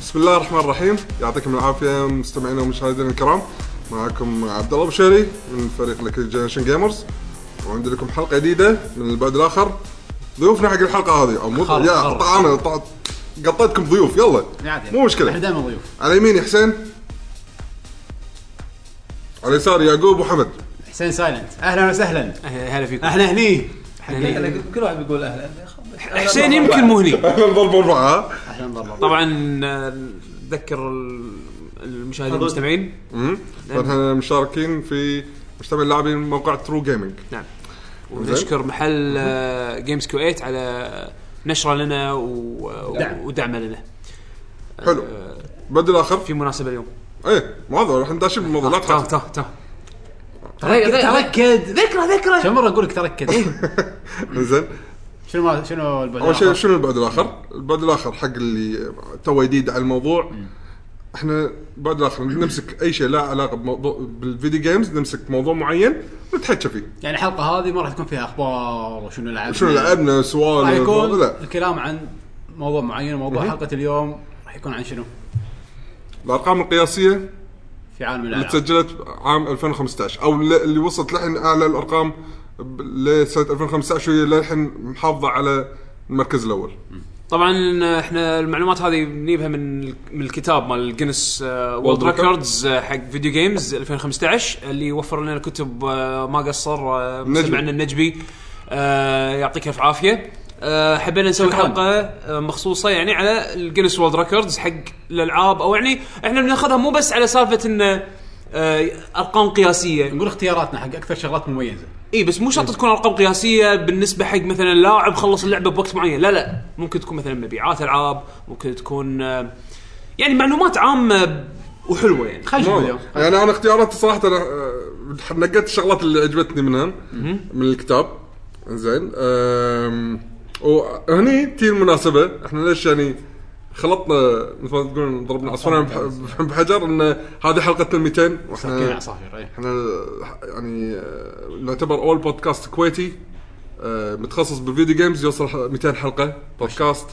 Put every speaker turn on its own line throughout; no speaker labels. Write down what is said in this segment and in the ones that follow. بسم الله الرحمن الرحيم يعطيكم العافيه مستمعينا ومشاهدينا الكرام معكم عبد الله بشيري من فريق لكل جنريشن جيمرز وعندي لكم حلقه جديده من البعد الاخر ضيوفنا حق الحلقه هذه او مو
خلاص،
يا
خلاص.
طعامة- طع- قطيتكم ضيوف يلا
عادي.
مو مشكله
احنا دائما ضيوف
على يميني حسين على يساري يعقوب وحمد
حسين سايلنت اهلا وسهلا
هلا فيكم
احنا هني
أنا- كل واحد بيقول اهلا
حسين يمكن مو هني
اهلا ضرب اربعه
اهلا والله
طبعا آه، نذكر ال- المشاهدين والمستمعين
احنا مشاركين في مجتمع اللاعبين من موقع ترو جيمنج
نعم ونشكر محل آه، جيمز كويت على نشره لنا و-
دعم.
و- ودعمه لنا
حلو بدل اخر
في مناسبه اليوم
ايه ما هذا احنا داشين بالموضوع لا
تاه
تخاف
تاه تاه
تركد تركد
ذكرى ذكرى
كم مره اقول لك تركد
إيه.
زين
شنو ما شنو البعد
اول شيء
الآخر؟
شنو البعد الاخر؟ البعد الاخر حق اللي تو جديد على الموضوع احنا البعد الاخر نمسك اي شيء له علاقه بموضوع بالفيديو جيمز نمسك موضوع معين ونتحكى فيه
يعني الحلقه هذه ما راح تكون فيها اخبار وشنو لعبنا
شنو لعبنا
راح
سوالف
يكون
لا
الكلام عن موضوع معين وموضوع حلقه اليوم راح يكون عن شنو
الارقام القياسيه
في عالم
اللي
الالعاب
تسجلت عام 2015 او اللي اللي وصلت لحن اعلى الارقام ب- لسنه 2015 وهي للحين محافظه على المركز الاول
طبعا آه، احنا المعلومات هذه نجيبها من ال- من الكتاب مال آه، جينيس وورلد
World
ريكوردز حق فيديو جيمز 2015 اللي وفر لنا كتب آه، ما قصر آه،
النجمي.
مستمعنا النجبي آه، يعطيك الف عافيه آه، حبينا نسوي
شكراً.
حلقه آه، مخصوصه يعني على الجينيس وورلد ريكوردز حق الالعاب او يعني احنا بناخذها مو بس على سالفه انه آه، ارقام قياسيه
نقول اختياراتنا حق اكثر شغلات مميزه
اي إيه، بس مو شرط تكون ارقام قياسيه بالنسبه حق مثلا لاعب خلص اللعبه بوقت معين لا لا ممكن تكون مثلا مبيعات العاب ممكن تكون آه، يعني معلومات عامه ب- وحلوه يعني
خلينا نشوف اليوم
يعني انا اختياراتي صراحه انا آه، نقيت الشغلات اللي عجبتني منها من الكتاب زين آم، وهني تي المناسبه احنا ليش يعني خلطنا مثل ما تقولون ضربنا عصفورين بح- بح- بحجر ان هذه حلقتنا ال 200
كلنا
واحنا
عصافير إيه.
احنا يعني آه، نعتبر اول بودكاست كويتي آه، متخصص بالفيديو جيمز يوصل ح- 200 حلقه بودكاست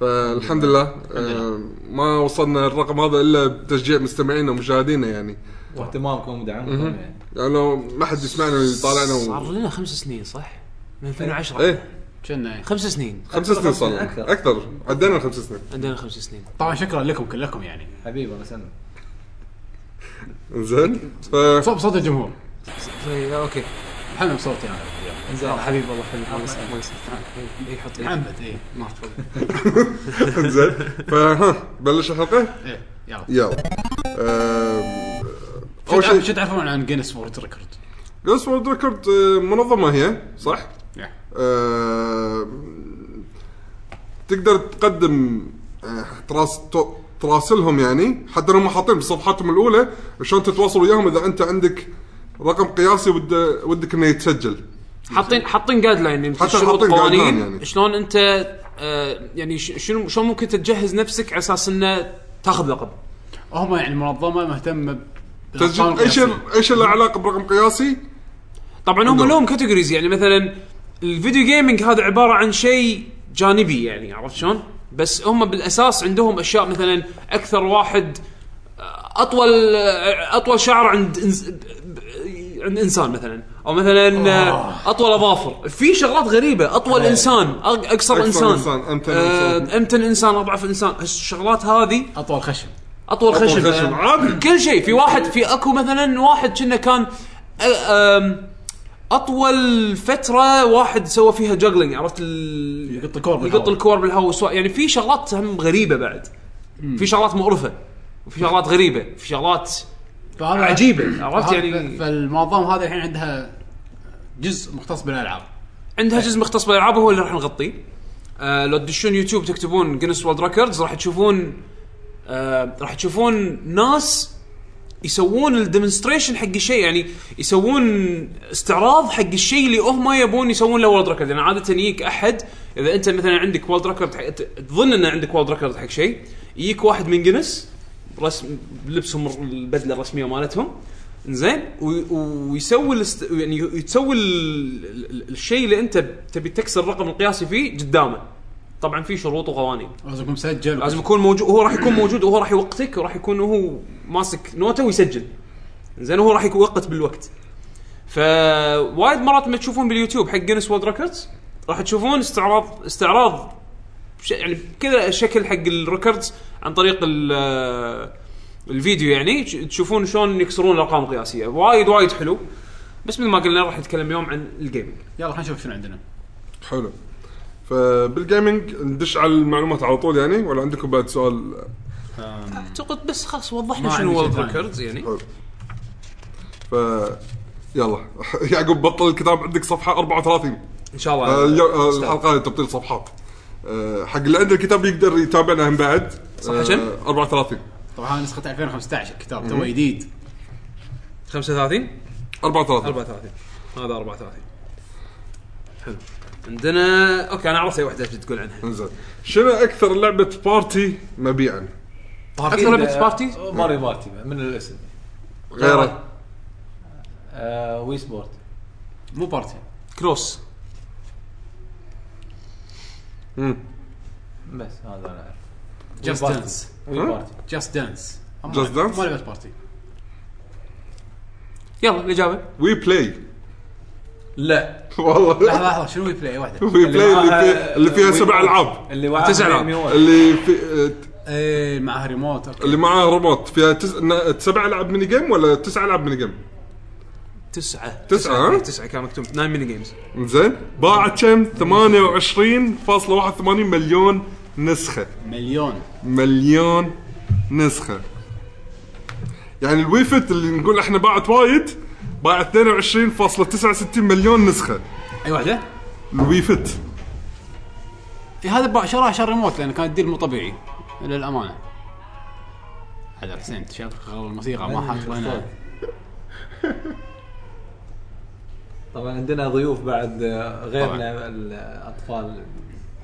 فالحمد لله آه، ما وصلنا الرقم هذا الا بتشجيع مستمعينا ومشاهدينا يعني
واهتمامكم ودعمكم يعني
يعني لو ما حد يسمعنا ويطالعنا
صار
و...
لنا خمس سنين صح؟ من 2010
ايه
كنا إيه.
خمس سنين
خمس سنين صار
سنين
لنا.
أكثر.
اكثر عدينا خمس سنين
عندنا خمس سنين
طبعا شكرا لكم كلكم يعني
حبيبي الله يسلمك
زين ف
صوت صوت الجمهور
إي، اوكي
حنا بصوتي انا اليوم
إيه، آه، حبيب والله حبيب ما يصير، ما يصير. إي، اي حط إي.
محمد إيه. اي ما أعرف.
زين فها بلش الحلقه
ايه يلا
يلا آه، آم،
شو
اول
تعرف-
شيء
شو تعرفون عن جينيس وورد ريكورد؟
جوست وورد ريكورد منظمه آه، هي صح؟ آم، آه، تقدر تقدم آه، تراس تو- تراسلهم يعني حتى لو هم حاطين بصفحتهم الاولى شلون تتواصل وياهم اذا انت عندك رقم قياسي ود- ودك انه يتسجل
حاطين حاطين جايد لاين
حتى
شروط
حاطين guideline
قوانين
يعني.
يعني. شلون انت آه، يعني ش- شنو شلون ممكن تجهز نفسك على اساس انه تاخذ لقب
هم يعني منظمه مهتمه ب-
تسجيل اي شيء اي شيء له علاقه برقم قياسي
طبعا هم
عندهم.
لهم كاتيجوريز يعني مثلا الفيديو جيمنج هذا عباره عن شيء جانبي يعني عرفت شلون؟ بس هم بالاساس عندهم اشياء مثلا اكثر واحد آه، اطول آه، اطول شعر عند إنس- ب- ب- عند انسان مثلا او مثلا آه، اطول اظافر في شغلات غريبه اطول انسان أق- اقصر
أقصر
انسان
إيه. إنسان، أمتن
آه،
إنسان.
امتن انسان اضعف انسان الشغلات هذه
اطول خشب
اطول خشب,
خشب، عادي.
كل شيء في واحد في اكو مثلا واحد كنا كان أ- أم، اطول فتره واحد سوى فيها جاجلينج عرفت ال...
يقط الكور بالهواء.
يقط الكور بالهواء والسوا- يعني في شغلات هم غريبه بعد في شغلات مقرفه وفي شغلات غريبه في شغلات
فهذا
عجيبه عرفت
فهذا-
يعني
فالمنظمه هذه الحين عندها جزء مختص بالالعاب
عندها جزء مختص بالالعاب هو اللي راح نغطيه آه لو تدشون يوتيوب تكتبون جينيس وولد ريكوردز راح تشوفون آه راح تشوفون ناس يسوون الديمونستريشن حق الشيء يعني يسوون استعراض حق الشيء اللي هم يبون يسوون له وولد ريكورد يعني عاده يجيك احد اذا انت مثلا عندك وولد ريكورد حق- ت- تظن ان عندك وولد ريكورد حق شيء يجيك واحد من جينيس رسم بلبسهم البدله الرسميه مالتهم زين و- ويسوي الاست... يعني تسوي ال... ال- ال- الشيء اللي انت تبي تكسر الرقم القياسي فيه قدامه طبعا في شروط وقوانين
لازم يكون مسجل
لازم يكون موجود هو راح يكون موجود وهو راح يوقتك وراح يكون هو ماسك نوته ويسجل زين هو راح يوقت بالوقت فوايد مرات ما تشوفون باليوتيوب حق جينيس وولد ريكوردز راح تشوفون استعراض استعراض ش- يعني كذا شكل حق الريكوردز عن طريق ال- الفيديو يعني ش- تشوفون شلون يكسرون الارقام القياسيه وايد وايد حلو بس مثل ما قلنا راح نتكلم اليوم عن الجيمنج
يلا خلينا نشوف شنو عندنا
حلو فبالجيمنج ندش على المعلومات على طول يعني ولا عندكم بعد سؤال
اعتقد بس خلاص وضحنا
ما
شنو
عندي شيء
وولد
ثاني.
ريكوردز يعني
حلو ف يلا يعقوب بطل الكتاب عندك صفحه 34
ان شاء الله
آه، اليو- آه، الحلقه هذه تبطيل صفحات آه، حق اللي عنده الكتاب يقدر يتابعنا هم بعد
صفحة كم؟
آه، 34
طبعا هذه نسخه 2015 الكتاب تو جديد
35
34
34 هذا 34 حلو عندنا اوكي انا عرفت اي وحده تقول عنها
انزين شنو اكثر لعبه بارتي مبيعا؟
اكثر لعبه بارتي
ماريو بارتي من الاسم
غيره
آه، وي سبورت
مو بارتي
كروس
مم.
بس هذا انا اعرف
جاست
بارتي.
دانس
وي
ها؟
بارتي
جاست دانس
Just Dance؟
ما لعبت بارتي
يلا الاجابه
وي بلاي
لا
لحظه
والله
لحظه شنو وي بلاي واحده
وي بلاي اللي,
معاها-
في... اللي فيها
وي
سبع
بورد.
العاب
اللي وعاها
تسع ألعاب.
ميمي وورد.
اللي في... آه،
ايه معها ريموت اوكي
اللي معاه ريموت فيها تس... نا- سبع العاب ميني جيم ولا تسع العاب ميني جيم؟
تسعة
تسعة، ها؟
تسعة كان مكتوب 9 ميني جيمز
زين باعت كم؟ 28.81 مليون نسخه
مليون
مليون نسخه يعني الوي فيت اللي نقول احنا باعت وايد باعت 22.69 مليون نسخه
اي واحده؟
الوي فيت
إيه هذا باع شراها شر ريموت لان كان الديل مو طبيعي للامانه هذا حسين شاف غلط الموسيقى ما حاط هنا
طبعا عندنا ضيوف بعد آه، غيرنا الاطفال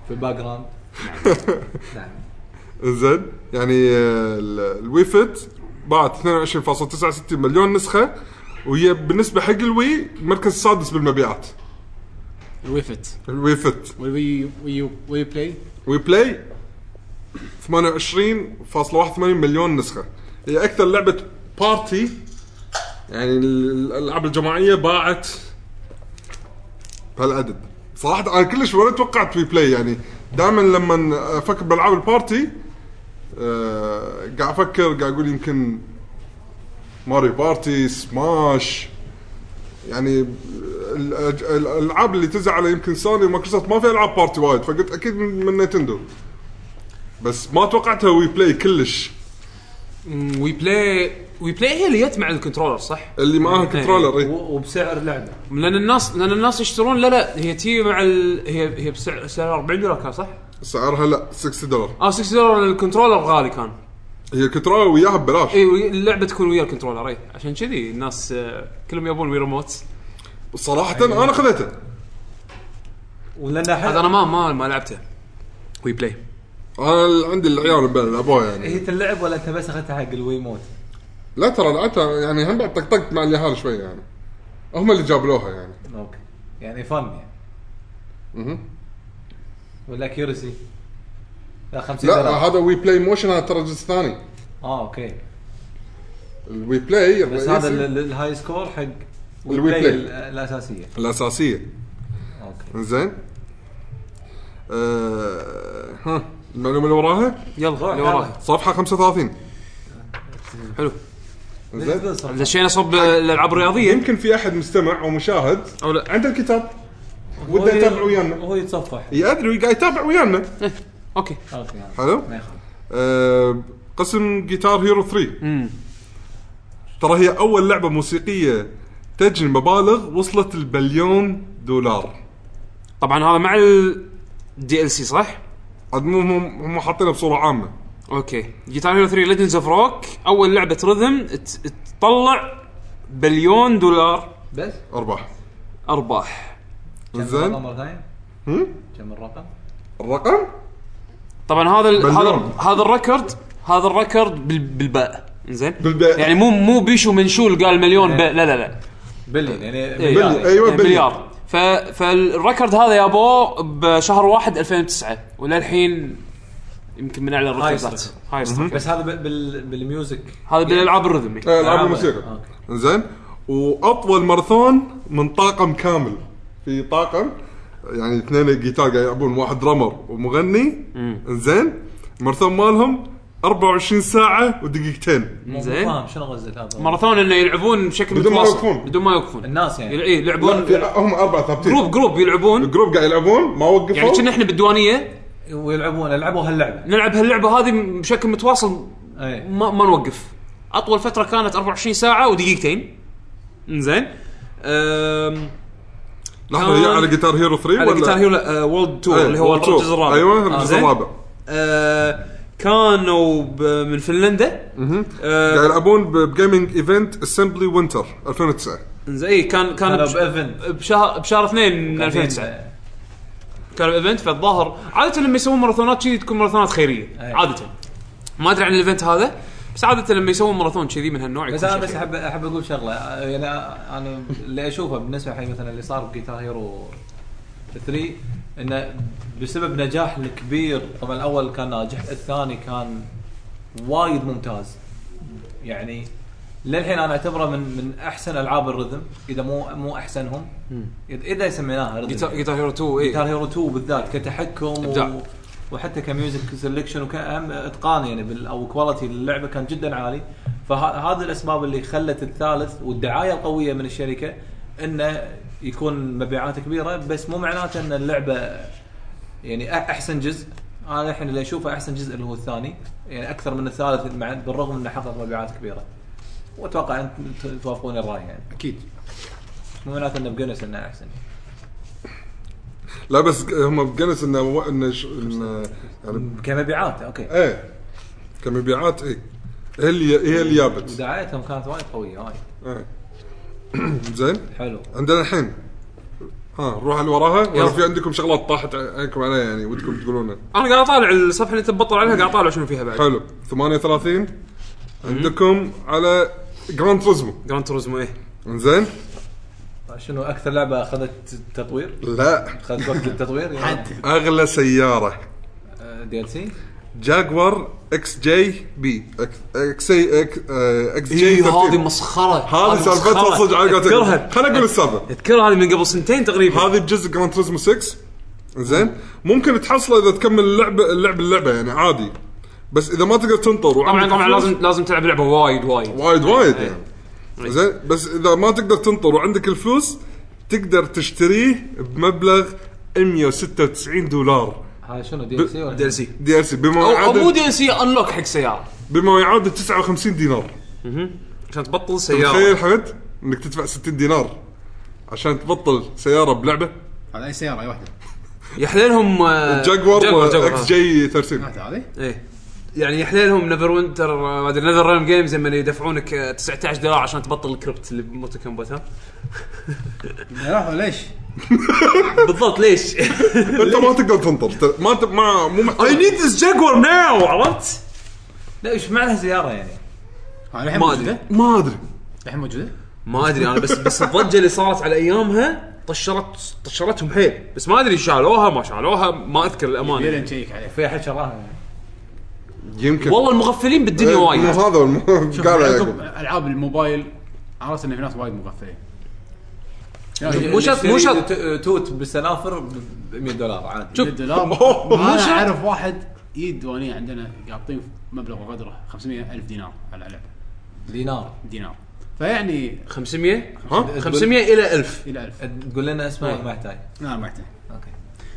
في الباك جراوند نعم
زين يعني آه، ال- الوي فيت باعت 22.69 مليون نسخه وهي بالنسبه حق الوي المركز السادس بالمبيعات
الويفت
الوي فيت
والوي وي وي بلاي
وي بلاي 28.81 مليون نسخه هي اكثر لعبه بارتي يعني ال- الالعاب الجماعيه باعت بهالعدد صراحه انا كلش ولا توقعت وي بلاي يعني دائما لما افكر بالعاب البارتي آه، قاعد افكر قاعد اقول يمكن ماريو بارتي سماش يعني ال- الأج- الالعاب اللي تنزل على يمكن سوني ومايكروسوفت ما في العاب بارتي وايد فقلت اكيد من من نينتندو بس ما توقعتها وي بلاي كلش
وي بلاي وي بلاي هي اللي جت مع الكنترولر صح؟
اللي معاها
إيه.
كنترولر اي
و- وبسعر لعبه
لان الناس لان الناس يشترون لا لا هي تي مع ال... هي هي بسعر سعر 40 دولار كان صح؟
سعرها لا 60 دولار
اه 6 دولار الكنترولر غالي كان
هي الكنترولر وياها ببلاش
إيه.
اي وي- اللعبه تكون ويا الكنترولر اي عشان كذي الناس آه، كلهم يبون وي ريموتس
صراحه
إيه.
انا خذيتها
ولنا
هذا
حد
انا ما ما ما لعبته وي بلاي
انا ال- عندي العيال بلا- لعبوها يعني
هي اللعب ولا انت بس اخذتها حق الويموت؟
لا ترى لعبتها يعني هم بعد طقطقت مع اليهال شوي يعني هم اللي جابلوها يعني
اوكي يعني فن يعني
مهم.
ولا كيورسي لا 50
لا
درهم
هذا وي بلاي موشن هذا ترى جزء ثاني
اه اوكي
الوي بلاي
بس
الرئيسي-
هذا ال- ال- الهاي سكور حق
الوي
البلاي
بلاي.
ال- الاساسيه
الاساسيه
اوكي
زين آه ها المعلومه اللي وراها
يلا اللي
يلا.
وراها
صفحه 35
حلو
زين
اذا شينا صب الالعاب الرياضيه
يمكن في احد مستمع او مشاهد
او لا
عنده الكتاب وده يتابع ويانا
هو يتصفح
يدري قاعد يتابع ويانا
إيه، اوكي
اوكي يلا.
حلو
ما يخالف
آه قسم جيتار هيرو 3
امم
ترى هي اول لعبه موسيقيه تجني مبالغ وصلت البليون دولار
طبعا هذا مع الدي ال سي صح؟
عاد مو هم هم حاطينها بصوره عامه
اوكي جيتار هيرو 3 ليجندز اوف روك اول لعبه رذم ت- تطلع بليون دولار
بس
ارباح
ارباح
كم الرقم
زين
مره ثانيه؟
هم؟
كم الرقم؟
الرقم
طبعا هذا ال- هذا
بليون.
هذا الريكورد هذا الريكورد بال- بالباء زين
بالباء.
يعني مو مو بيشو منشول قال مليون
إيه.
باء لا لا لا
بليون يعني
إيه.
مليار.
أيوة، بليون.
مليار ف... فالريكورد هذا جابوه بشهر واحد 2009 وللحين يمكن من اعلى الريكوردات
Highest record.
هايست
بس هذا بال- بال... بالميوزك
هذا بالالعاب الرذمي
آه، العاب
ألعاب.
الموسيقى
أوكي.
زين واطول ماراثون من طاقم كامل في طاقم يعني اثنين جيتار قاعد يلعبون واحد درامر ومغني زين الماراثون مالهم 24 ساعه ودقيقتين
مو- مو
زين.
فاهم شنو غزل هذا
ماراثون انه يلعبون بشكل
بدون ما
متواصل
يوقفون.
بدون ما يوقفون
الناس يعني
يل- إيه،
لا،
يلعبون
في- هم اربع ثابتين
جروب جروب يلعبون
الجروب قاعد يلعبون ما وقفوا
يعني كنا احنا بالديوانيه
ويلعبون لعبوا هاللعبه
نلعب هاللعبه هذه بشكل متواصل
اي
ما, ما نوقف اطول فتره كانت 24 ساعه ودقيقتين زين أم...
لحظه هي
كان-
على جيتار هيرو 3
على
ولا إيه،
جيتار هيرو وولد تور
أي،
اللي هو
World Tour.
الجزء الرابع آه،
ايوه الجزء
زين؟
الرابع
آه، كانوا ب- من فنلندا آه،
قاعد يلعبون بجيمنج ايفنت اسمبلي وينتر 2009
زين اي كان كان
كانوا
بش-
بإيفنت.
بشهر بشهر اثنين من
يعني
2009 كان ايفنت فالظاهر عاده لما يسوون ماراثونات كذي تكون ماراثونات خيريه
أي.
عاده ما ادري عن الايفنت هذا بس عاده لما يسوون ماراثون كذي من هالنوع
بس
يكون شيء
انا بس
خيري.
احب احب اقول شغله آه، يعني آه، انا اللي اشوفه بالنسبه حق مثلا اللي صار بجيتار هيرو 3 انه بسبب نجاح الكبير طبعا الاول كان ناجح الثاني كان وايد ممتاز يعني للحين انا اعتبره من من احسن العاب الرذم اذا مو مو احسنهم اذا إذا سميناها رذم
جيتار جيتار هيرو 2 اي
جيتار هيرو 2 بالذات كتحكم
إبداع.
و... وحتى كميوزك سلكشن وكأهم اتقان يعني بال... او كواليتي اللعبه كان جدا عالي فهذه الاسباب اللي خلت الثالث والدعايه القويه من الشركه انه يكون مبيعاته كبيره بس مو معناته ان اللعبه يعني أ- احسن جزء انا الحين اللي اشوفه احسن جزء اللي هو الثاني يعني اكثر من الثالث مع بالرغم انه حقق مبيعات كبيره واتوقع ان ت- توافقوني الراي يعني
اكيد
مو معناته انه بجنس انه احسن
لا بس هم بجنس انه و- انه ش- إنه يعني
كمبيعات اوكي
ايه كمبيعات ايه هي اللي هي اللي جابت
دعايتهم كانت وايد قويه وايد
إيه. زين
حلو
عندنا الحين ها نروح على اللي وراها ولا
يلا.
في عندكم شغلات طاحت عليكم عليها يعني ودكم تقولونها
انا قاعد اطالع الصفحه اللي انت بتبطل عليها قاعد اطالع شنو فيها بعد
حلو 38 عندكم على جراند تريزمو
جراند توريزمو ايه
زين
شنو اكثر لعبه اخذت تطوير؟
لا
اخذت وقت التطوير يعني
اغلى سياره
دي ال سي
جاكوار اكس جي بي إكس- اكس اي إك- آه، اكس جي
إيه،
13.
هذه مسخره
هذه سالفتها صدق على قولتك.
اذكرها
خليني اقول السالفه
اذكر هذه من قبل سنتين تقريبا
هذه بجزء جراند تريزمو 6 زين ممكن تحصله اذا تكمل اللعبه اللعبه اللعبه يعني عادي بس اذا ما تقدر تنطر
طبعا
وعندك
طبعا
فلوس-
لازم إيه. لازم تلعب لعبه وايد وايد
وايد وايد يعني زين بس اذا ما تقدر تنطر وعندك الفلوس تقدر تشتريه بمبلغ 196 دولار
هاي شنو دي ال سي ولا
دي ال سي
دي ار سي بما
او أو مو
يعادل
دي ال سي انلوك حق سياره
بما يعادل 59 دينار
عشان
تخيل
تبطل سياره
حمد انك تدفع 60 دينار عشان تبطل سياره بلعبه
هذا اي سياره اي واحده
يحليلهم آه،
جاكوار
جاكوار،
اكس جي 30
واحده هذه
ايه يعني يحليلهم نيفر وينتر آه، ما ادري نيفر ريم جيمز لما يدفعونك آه، 19 دولار عشان تبطل الكريبت اللي بموتو كومبات ها
لحظه ليش؟
بالضبط ليش؟
انت ما تقدر تنطر ت- ما ت- ما مو محتاج
ذس جاكور ناو عرفت؟
لا ايش معنى سياره يعني؟
هاي الحين
ما ادري
موجوده؟
ما ادري
الحين موجوده؟
ما ادري انا بس بس الضجه اللي صارت على ايامها طشرت طشرتهم حيل بس ما ادري شالوها ما شالوها ما اذكر
يلا
الامانه
نشيك عليه
في احد شراها يعني.
يمكن
والله المغفلين بالدنيا
إيه،
وايد
مو هذا والم- قال
عندكم
عليكم
العاب الموبايل عرفت ان في ناس وايد مغفلين يعني
مو شرط- مو
يشتري
شرط.
ت- توت بالسنافر ب 100 دولار عادي
شوف.
الدولار
أوه،
انا
شرط.
اعرف واحد يد ديوانيه عندنا قاطين مبلغ وقدره 500 الف دينار على لعبه
دينار
دينار فيعني
500
ها
500 الى 1000
الى 1000
تقول لنا اسمه
أي.
ما يحتاج
لا ما يحتاج
اوكي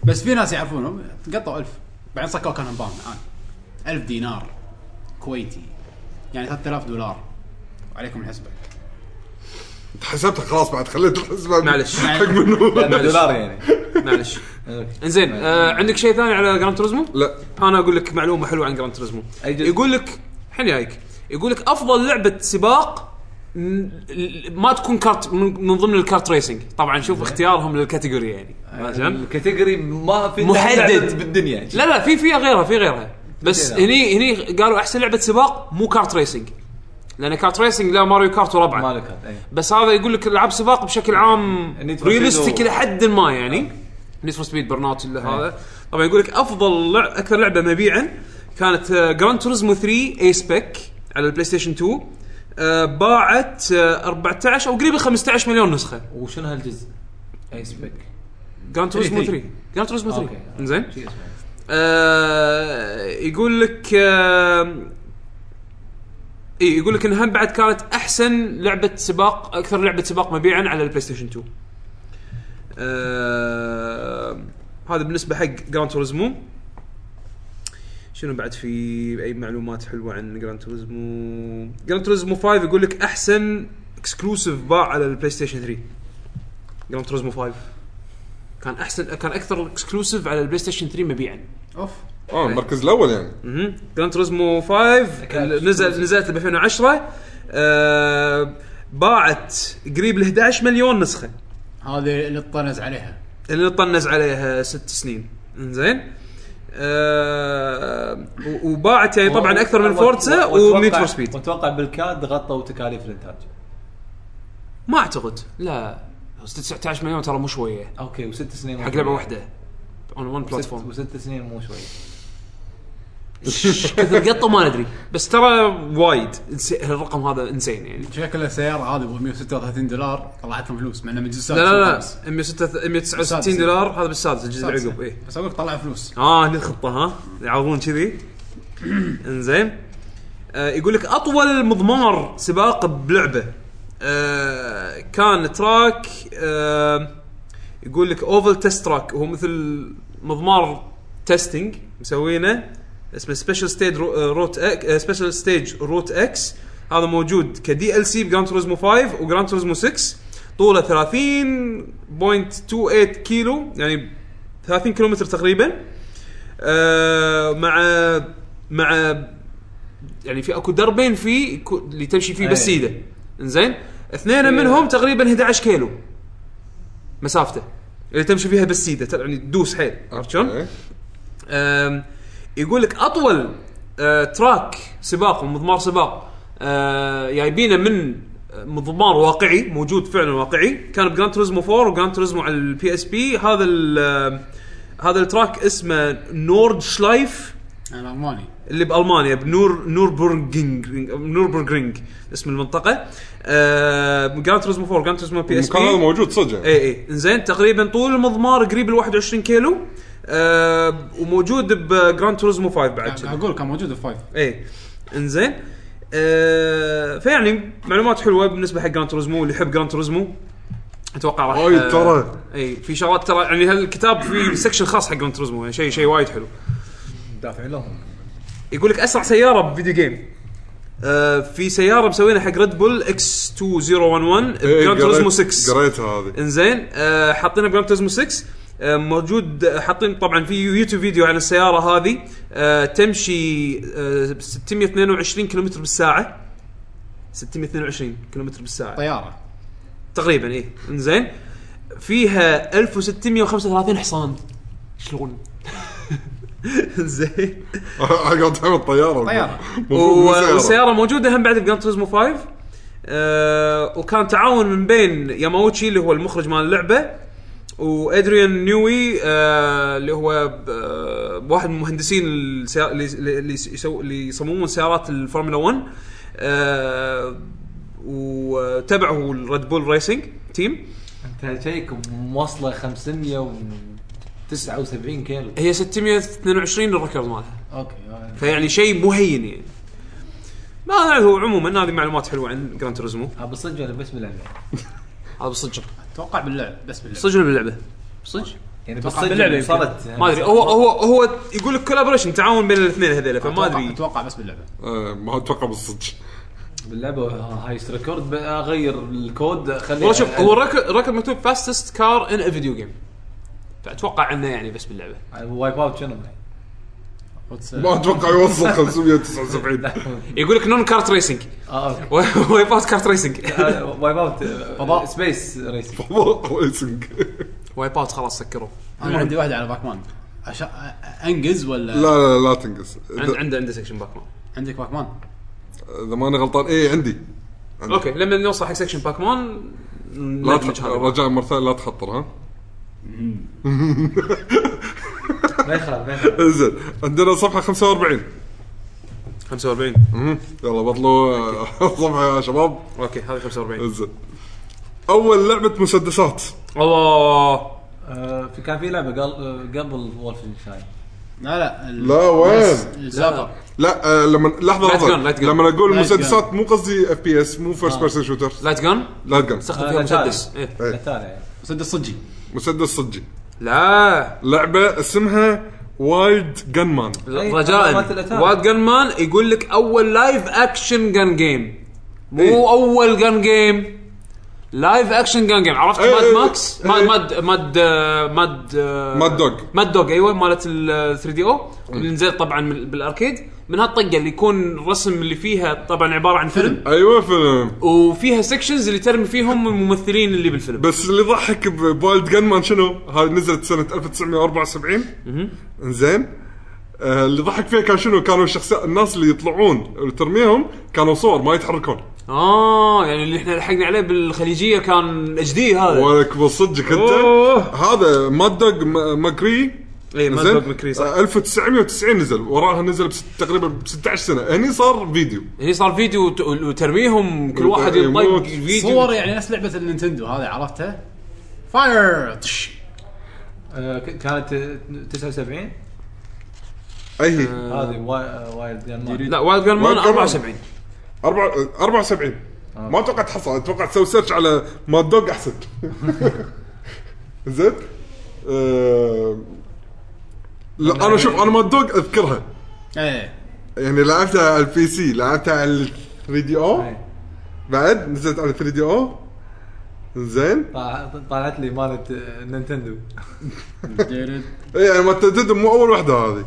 بس في ناس يعرفونهم قطوا 1000 بعدين صكوا كان همبان الان 1000 دينار كويتي يعني 3000 دولار عليكم الحسبه
حسبتها خلاص بعد خليت الحسبه
معلش.
حق منو
لأنه دولار يعني
معلش انزين آه عندك شيء ثاني على جراند توريزمو؟
لا آه،
انا اقول لك معلومه حلوه عن جراند توريزمو
أي جزء؟
يقول لك الحين جايك يقول لك افضل لعبه سباق م- ل- ما تكون كارت من من ضمن الكارت ريسنج طبعا
إيه.
شوف اختيارهم للكاتيجوري يعني
آه،
ما فهمت؟
الكاتيجوري ما في
محدد.
لعبة بالدنيا
لا لا في فيها غيرها في غيرها بس
كذا.
هني هني قالوا احسن لعبه سباق مو كارت ريسنج لان كارت ريسنج لا ماريو كارت وربعه
مالك هذا إيه.
بس هذا يقول لك العاب سباق بشكل عام
Need for Speed
ريالستيك
و-
الى حد ما يعني نيد فور سبيد برن اوت
إيه.
هذا طبعا يقول لك افضل لع... اكثر لعبه مبيعا كانت آه، جراند توريزمو 3 اي سبيك على البلاي ستيشن 2 آه، باعت آه، 14 او قريب 15 مليون نسخه
وشنو هالجزء؟ اي سبيك
جراند توريزمو
3.
3 جراند توريزمو 3
إيه، أوكي.
زين آه، يقول لك آه، اي يقول لك انها بعد كانت احسن لعبه سباق اكثر لعبه سباق مبيعا على البلاي ستيشن 2 آه، هذا بالنسبه حق جراند توريزمو شنو بعد في اي معلومات حلوه عن جراند توريزمو جراند توريزمو 5 يقول لك احسن اكسكلوسيف باع على البلاي ستيشن 3 جراند توريزمو 5 كان احسن كان اكثر اكسكلوسيف على البلاي ستيشن 3 مبيعا
اوف
إيه.
اه المركز الاول يعني
مهم. جراند توريزمو 5 ال- نزل نزلت ب 2010 آه، باعت قريب ل 11 مليون نسخه
هذه اللي طنز عليها
اللي طنز عليها ست سنين انزين آه، و- وباعت
إيه،
يعني طبعا اكثر من فورتسا وميت فور سبيد
واتوقع بالكاد غطوا تكاليف الانتاج
ما اعتقد لا 19 مليون ترى مو شويه
اوكي وست سنين مو
حق
شوي.
لعبه واحده اون ون
وست-
بلاتفورم
وست سنين مو شوي
كثر قطه ما ندري بس ترى وايد إنس- الرقم هذا انسين يعني
شكل السياره هذه ب 136 دولار طلعت لهم فلوس مع انها من الجزء
لا لا لا
السادس.
106 169
السادس.
دولار هذا بالسادس الجزء اللي
السادس.
عقب ايه
بس اقول طلع فلوس
اه هني الخطه ها يعرضون كذي انزين آه يقول لك اطول مضمار سباق بلعبه آه كان تراك آه يقول لك اوفل تيست تراك هو مثل مضمار تيستنج مسوينه اسمه سبيشال ستيج روت سبيشال ستيج روت اكس هذا موجود كدي ال سي بجراند توريزمو 5 وجراند توريزمو 6 طوله 30.28 كيلو يعني 30 كيلومتر تقريبا آه، مع مع يعني في اكو دربين فيه يكو- اللي تمشي فيه بس
أي.
ايده انزين اثنين منهم تقريبا 11 كيلو مسافته اللي تمشي فيها بس ايده تل- يعني تدوس حيل عرفت شلون؟
إيه.
آم، يقول لك اطول آه، تراك سباق ومضمار سباق آه، جايبينه من مضمار واقعي موجود فعلا واقعي كان بجراند توريزمو 4 وجراند توريزمو على البي اس بي هذا ال- آه، هذا التراك اسمه نورد شلايف
انا الماني
اللي بالمانيا بنور نوربرغينج نوربرغينج اسم المنطقه آه جراند توريزمو 4 جراند توريزمو بي اس
المكان هذا
بي
موجود صدق يعني
اي اي انزين تقريبا إيه. طول المضمار قريب ال 21 كيلو آه وموجود بجراند توريزمو 5 بعد كذي.
اقول كان موجود في فايف
اي انزين آه فيعني معلومات حلوه بالنسبه حق جراند توريزمو اللي يحب جراند توريزمو اتوقع راح
وايد
آه،
ترى.
اي في شغلات ترى يعني هالكتاب في سكشن خاص حق جراند توريزمو يعني شيء شيء وايد حلو
دافعين لهم
يقول لك اسرع سياره بفيديو جيم آه في سياره مسوينها حق ريد بول اكس 2011
إيه،
جراند توريزمو
قريت-
6
قريتها هذه
انزين آه حاطينها بجراند توريزمو 6 آه موجود آه، حاطين طبعا في يوتيوب فيديو عن السياره هذه آه تمشي آه 622 كيلومتر بالساعه 622 كيلومتر بالساعه
طيب. طياره
تقريبا اي انزين فيها 1635 حصان شلون زين
قاعد تعمل طياره
طيارة.
و-
وسياره
والسياره موجوده هم بعد في جراند توريزمو 5 آه وكان تعاون من بين ياماوتشي اللي هو المخرج مال اللعبه وادريان نيوي آه اللي هو ب- آه واحد من مهندسين السيا- اللي اللي يسو- اللي يصممون سيارات الفورمولا 1 آه وتبعه الريد بول ريسنج تيم
انت شيك موصله 579 كيلو
هي 622 الركض مالها
اوكي آه.
فيعني شيء مهين يعني ما أعرف، هو عموما هذه معلومات حلوه عن جراند توريزمو
ابو صدق انا آه، بس باللعبه
هذا بالصدق
اتوقع باللعب بس باللعب
صدق ولا باللعبه؟ صدق؟
يعني
أتوقع
بالصدق
باللعبة يمكن.
وصلت
ما ادري هو هو هو يقول لك كولابريشن تعاون بين الاثنين هذيلا فما
أتوقع-
ادري
اتوقع بس باللعبه
إيه، ما اتوقع بالصدق
باللعبه هايست ريكورد بقى اغير الكود خليه
والله شوف هو الركب الركب مكتوب فاستست كار ان فيديو جيم فاتوقع انه يعني بس باللعبه
وايب اوت آه، شنو؟
What's-
ما اتوقع يوصل 579
يقول لك نون كارت ريسنج
اه اوكي
وايب اوت كارت ريسنج
آه، وايب اوت
فضاء.
سبيس ريسنج
ريسنج
وايب اوت خلاص سكروا
انا عندي واحده على باكمان عشان انجز ولا
لا لا لا تنقص
عند- عنده عنده سكشن باك
عندك باكمان
اذا ماني غلطان اي عندي
اوكي لما نوصل حق سكشن باكمون
لا تح- رجاء مره ثانيه لا تخطر ها
ما يخالف ما يخالف
زين عندنا صفحه 45
45
مهم. يلا بطلوا آه، صفحه يا شباب
اوكي هذه 45
زين اول لعبه مسدسات
الله
آه، في كان في لعبه قل- آه، قبل وولفنشتاين
لا لا ال-
لا، وين؟
الساقط
لا آه لما لحظه
Light
لحظه
gun, light آه. gun.
لما اقول
Light
مسدسات مو قصدي اف بي اس مو فيرست بيرسون شوتر
لايت جن
لا جن
استخدم فيها
آه، لا تعال.
مسدس إيه.
إيه.
الثانية يعني.
صدق صجي
مسدس صجي
لا
لعبه اسمها وايد جن مان
أي،
رجاء
مالت الأتاري.
واد جن مان يقول لك اول لايف اكشن جن جيم مو
إيه.
اول جن جيم لايف اكشن جن جيم عرفت
إيه،
ماد
إيه،
ماكس
إيه.
ماد ماد ماد آه، ماد آه،
Mad Dog.
ماد دوج ايوه مالت ال 3 دي او اللي نزلت طبعا من- بالاركيد من هالطقه اللي يكون الرسم اللي فيها طبعا عباره عن فيلم
ايوه فيلم
وفيها سكشنز اللي ترمي فيهم الممثلين اللي بالفيلم
بس اللي ضحك بوايد جن مان شنو؟ هاي نزلت سنه 1974 انزين آه اللي ضحك فيها كان شنو؟ كانوا الشخصيات الناس اللي يطلعون وترميهم كانوا صور ما يتحركون
اه يعني اللي احنا لحقنا عليه بالخليجيه كان اتش دي هذا
ولك بصدقك انت
أوه.
هذا ماد دوج م- ماكري
اي ما
زين؟
أتذكر مكري صح
آه، 1990 نزل وراها نزل بس تقريبا ب 16 سنه هني صار فيديو
هني صار فيديو وت- وترميهم كل واحد يطق
يموت.
فيديو
صور يعني نفس لعبه النينتندو هذه عرفتها فاير طش.
آه، ك- كانت آه، 79
اي هي
هذه واي- آه، وايلد جن مان.
لا وايلد جان مان
Wild Gunman.
74
أربعة- 74
آه.
ما اتوقع تحصل اتوقع تسوي سيرش على ماد دوج احسن زين آه، لا انا شوف انا ماد دوج اذكرها
ايه
يعني لعبتها على البي سي لعبتها على ال 3 دي او
إيه.
بعد نزلت على 3 دي او زين
طلع- طلعت لي مالت آه، نينتندو
اي يعني ما تدد مو اول وحده هذه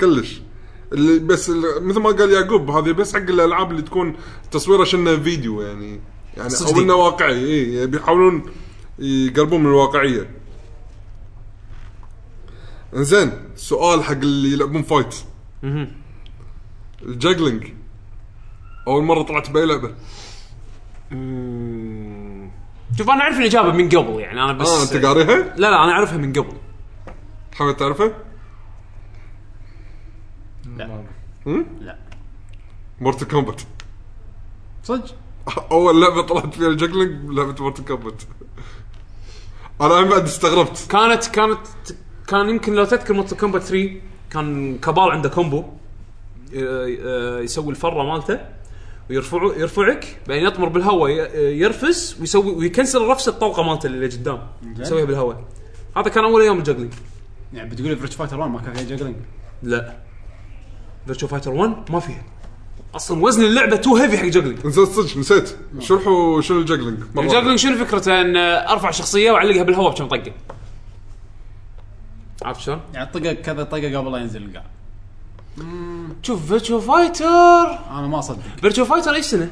كلش اللي بس اللي مثل ما قال يعقوب هذه بس حق الالعاب اللي تكون تصويره شنه فيديو يعني يعني او
صدق.
انه واقعي اي بيحاولون يقربون من الواقعيه انزين سؤال حق اللي يلعبون فايت الجاجلينج اول مره طلعت باي لعبه
شوف انا اعرف الاجابه من قبل يعني انا بس
اه انت قاريها؟
لا لا انا اعرفها من قبل
حابب تعرفها؟
لا لا
مورتل كومبات
صدق
اول لعبه طلعت فيها الجاكلينج لعبه مورتل كومبات انا هم بعد استغربت
كانت كانت كان يمكن لو تذكر موتو كومبات 3 كان كبال عنده كومبو ي- آه، يسوي الفره مالته ويرفع يرفعك بعدين يطمر بالهواء ي- آه، يرفس ويسوي ويكنسل رفس الطلقه مالته اللي قدام يسويها بالهواء هذا كان اول يوم الجاجلينج
يعني بتقول لي فريتش فايتر 1 ما كان فيها جاجلينج
لا فيرتشو فايتر 1 ما فيها اصلا وزن اللعبه تو هيفي حق جاجلينج
نسيت صدق نسيت شرحوا شنو الجاكلينج
الجاجلينج يعني شنو فكرته ان آه، ارفع شخصيه واعلقها بالهواء بكم طقه عرفت شلون؟
يعني طقه كذا طقه قبل لا ينزل القاع
شوف فيرتشو فايتر
انا ما اصدق
فيرتشو فايتر اي سنه؟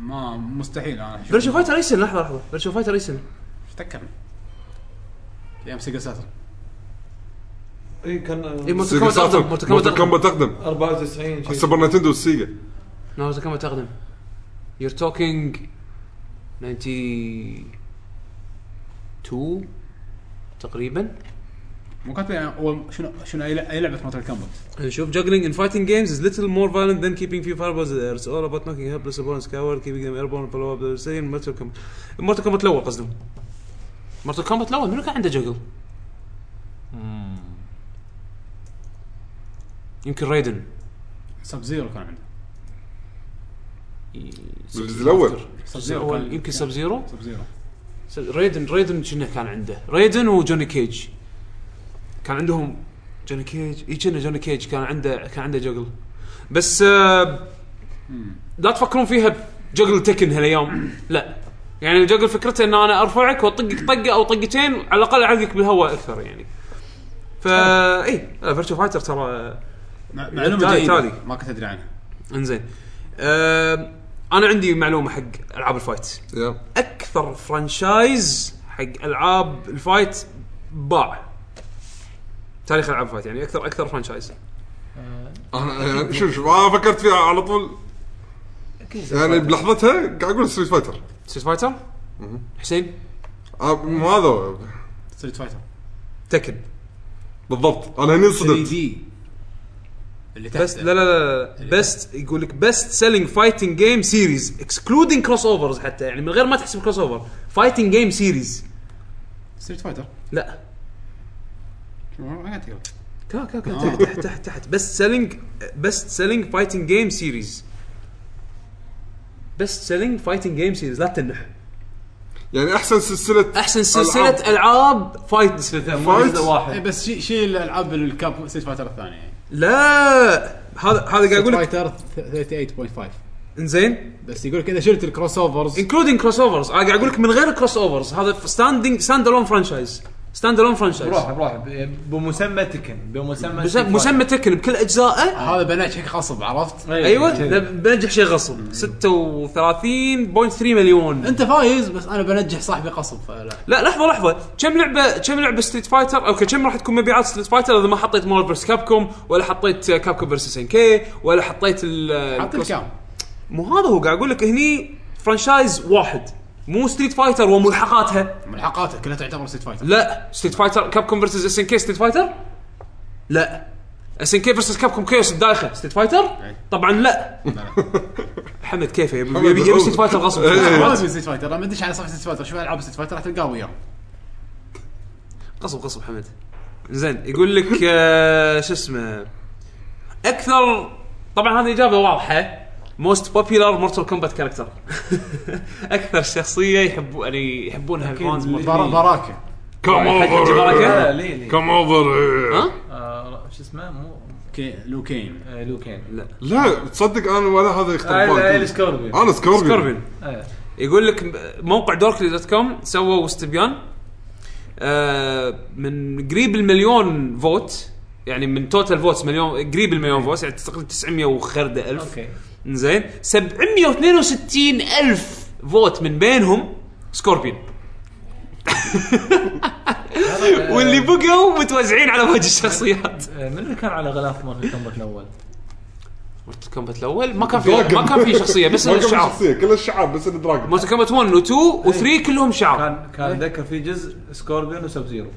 ما مستحيل انا أشوف.
فيرتشو فايتر اي سنه لحظه لحظه فيرتشو فايتر اي سنه؟
افتكرني ايام سيجا ساتر
اي كان
اي موتو كومبات اقدم موتو
مورتل
كومبات اقدم
كومبات اقدم
94 شيء.
السوبر نتندو والسيجا
موتو كومبات اقدم يور توكينج 92 تقريبا
مو كاتب يعني أول- شنو شنو اي لع- أي لعبه مالت الكامبوت
شوف juggling in fighting games is little more violent than keeping few fireballs there. It's all about knocking helpless opponents coward, keeping them airborne, follow up the same Mortal Kombat. Mortal Kombat الاول قصدهم. Mortal Kombat الاول منو كان عنده جوجل؟ يمكن رايدن
سب زيرو كان عنده
بالجزء الأول.
سب
الاول يمكن سب زيرو
سب زيرو
سب- ريدن ريدن شنو كان عنده؟ ريدن وجوني كيج كان عندهم جوني كيج اي كنا جوني كيج كان عنده كان عنده جوجل بس آه لا تفكرون فيها بجوجل تكن هالايام لا يعني الجوجل فكرته ان انا ارفعك واطقك طقه او طقتين على الاقل اعلقك بالهواء اكثر يعني فا اي فيرتشو فايتر ترى آه،
مع-
تالي-
معلومه جديده
تالي.
ما كنت ادري عنها
انزين آه انا عندي معلومه حق العاب الفايت
يا
اكثر فرانشايز حق العاب الفايت باع تاريخ العاب الفايت يعني اكثر اكثر فرانشايز
انا أنا- شوف شوف آه، فكرت فيها على طول يعني بلحظتها قاعد اقول ستريت فايتر
ستريت فايتر حسين
آه، مو هذا
ستريت فايتر
تكن
بالضبط انا هني
3
انصدمت
دي اللي تحت
بس لا لا لا بيست يقول لك بيست سيلينج فايتنج جيم سيريز اكسكلودينج كروس اوفرز حتى يعني من غير ما تحسب كروس اوفر فايتنج جيم سيريز
ستريت فايتر
لا
ما قاعد تقرا
كا كا كا تحت تحت تحت تحت بيست سيلينج بيست سيلينج فايتنج جيم سيريز بيست سيلينج فايتنج جيم سيريز لا تنح
يعني احسن سلسله
احسن سلسله العاب فايت
مو جزء
إيه،
واحد
بس شيء شيء الالعاب الكاب ستريت فايتر الثانيه يعني
لا هذا هذا قاعد
ستريت
اقول لك
فايتر 38.5
انزين
بس يقول لك اذا شلت الكروس اوفرز
انكلودينج كروس اوفرز انا قاعد اقول لك من غير الكروس اوفرز هذا ستاندينج ستاند الون فرانشايز ستاند الون فرانشايز
بروح بروح ب- إيه، بمسمى تكن بمسمى
بس- مسمى تكن بكل اجزائه
هذا بنجحك غصب عرفت؟
إيه،
ايوه ده بنجح شيء غصب 36.3 مليون
انت فايز بس انا بنجح صاحبي قصب فلا
لا لحظه لحظه كم لعبه كم لعبه ستريت فايتر اوكي كم راح تكون مبيعات ستريت فايتر اذا ما حطيت مارفل فيرس كابكوم ولا حطيت كابكوم فيرسس ان كي ولا حطيت ال
حط
الكروس-
الكام
مو هذا هو قاعد اقول لك هني فرانشايز واحد مو ستريت فايتر وملحقاتها
ملحقاته كلها تعتبر ستريت فايتر
لا ستريت فايتر كاب كوم فيرسز اس ان كي ستريت فايتر لا اس ان كي فيرسز كاب كوم كيوس الدايخه ستريت فايتر طبعا إيه. لا حمد إيه. كيفه يبي يبي- يبي ستريت فايتر غصب
ما في ستريت فايتر لما تدش على صفحه ستريت فايتر شوف العاب ستريت فايتر راح تلقاه وياهم
غصب غصب حمد زين يقول لك آه، شو اسمه اكثر طبعا هذه اجابه واضحه موست بوبيلر مورتال كومبات كاركتر اكثر شخصيه يحبوا يعني يحبونها الفانز
بر-
Mortal Kombat.
براكه
كم
حق حجي بركة.
اوفر
لا ليه ليه
كم اوفر
ها؟
آه، شو اسمه مو
كي لو كين
آه، لوكين
لا تصدق انا ولا هذا
آه،
يختلفون
السكوربيو
انا سكوربيون
سكوربيون
آه.
يقول لك موقع دوركلي دوت كوم سووا استبيان آه، من قريب المليون فوت يعني من توتال فوتس مليون قريب المليون فوت يعني تقريبا 900 وخرده الف
اوكي
زين 762 الف فوت من بينهم سكوربين
هذا، آه،
واللي بقوا متوزعين على وجه الشخصيات
آه، من اللي كان على غلاف مال الكومبات الاول؟
مورتل كومبات الاول ما كان في ما كان في شخصيه بس
ما كان في
الشعار
شخصية كل الشعب بس الدراجون
مورتل كومبات 1 و 2 و 3 كلهم شعار
كان كان اتذكر في جزء سكوربيون وسب زيرو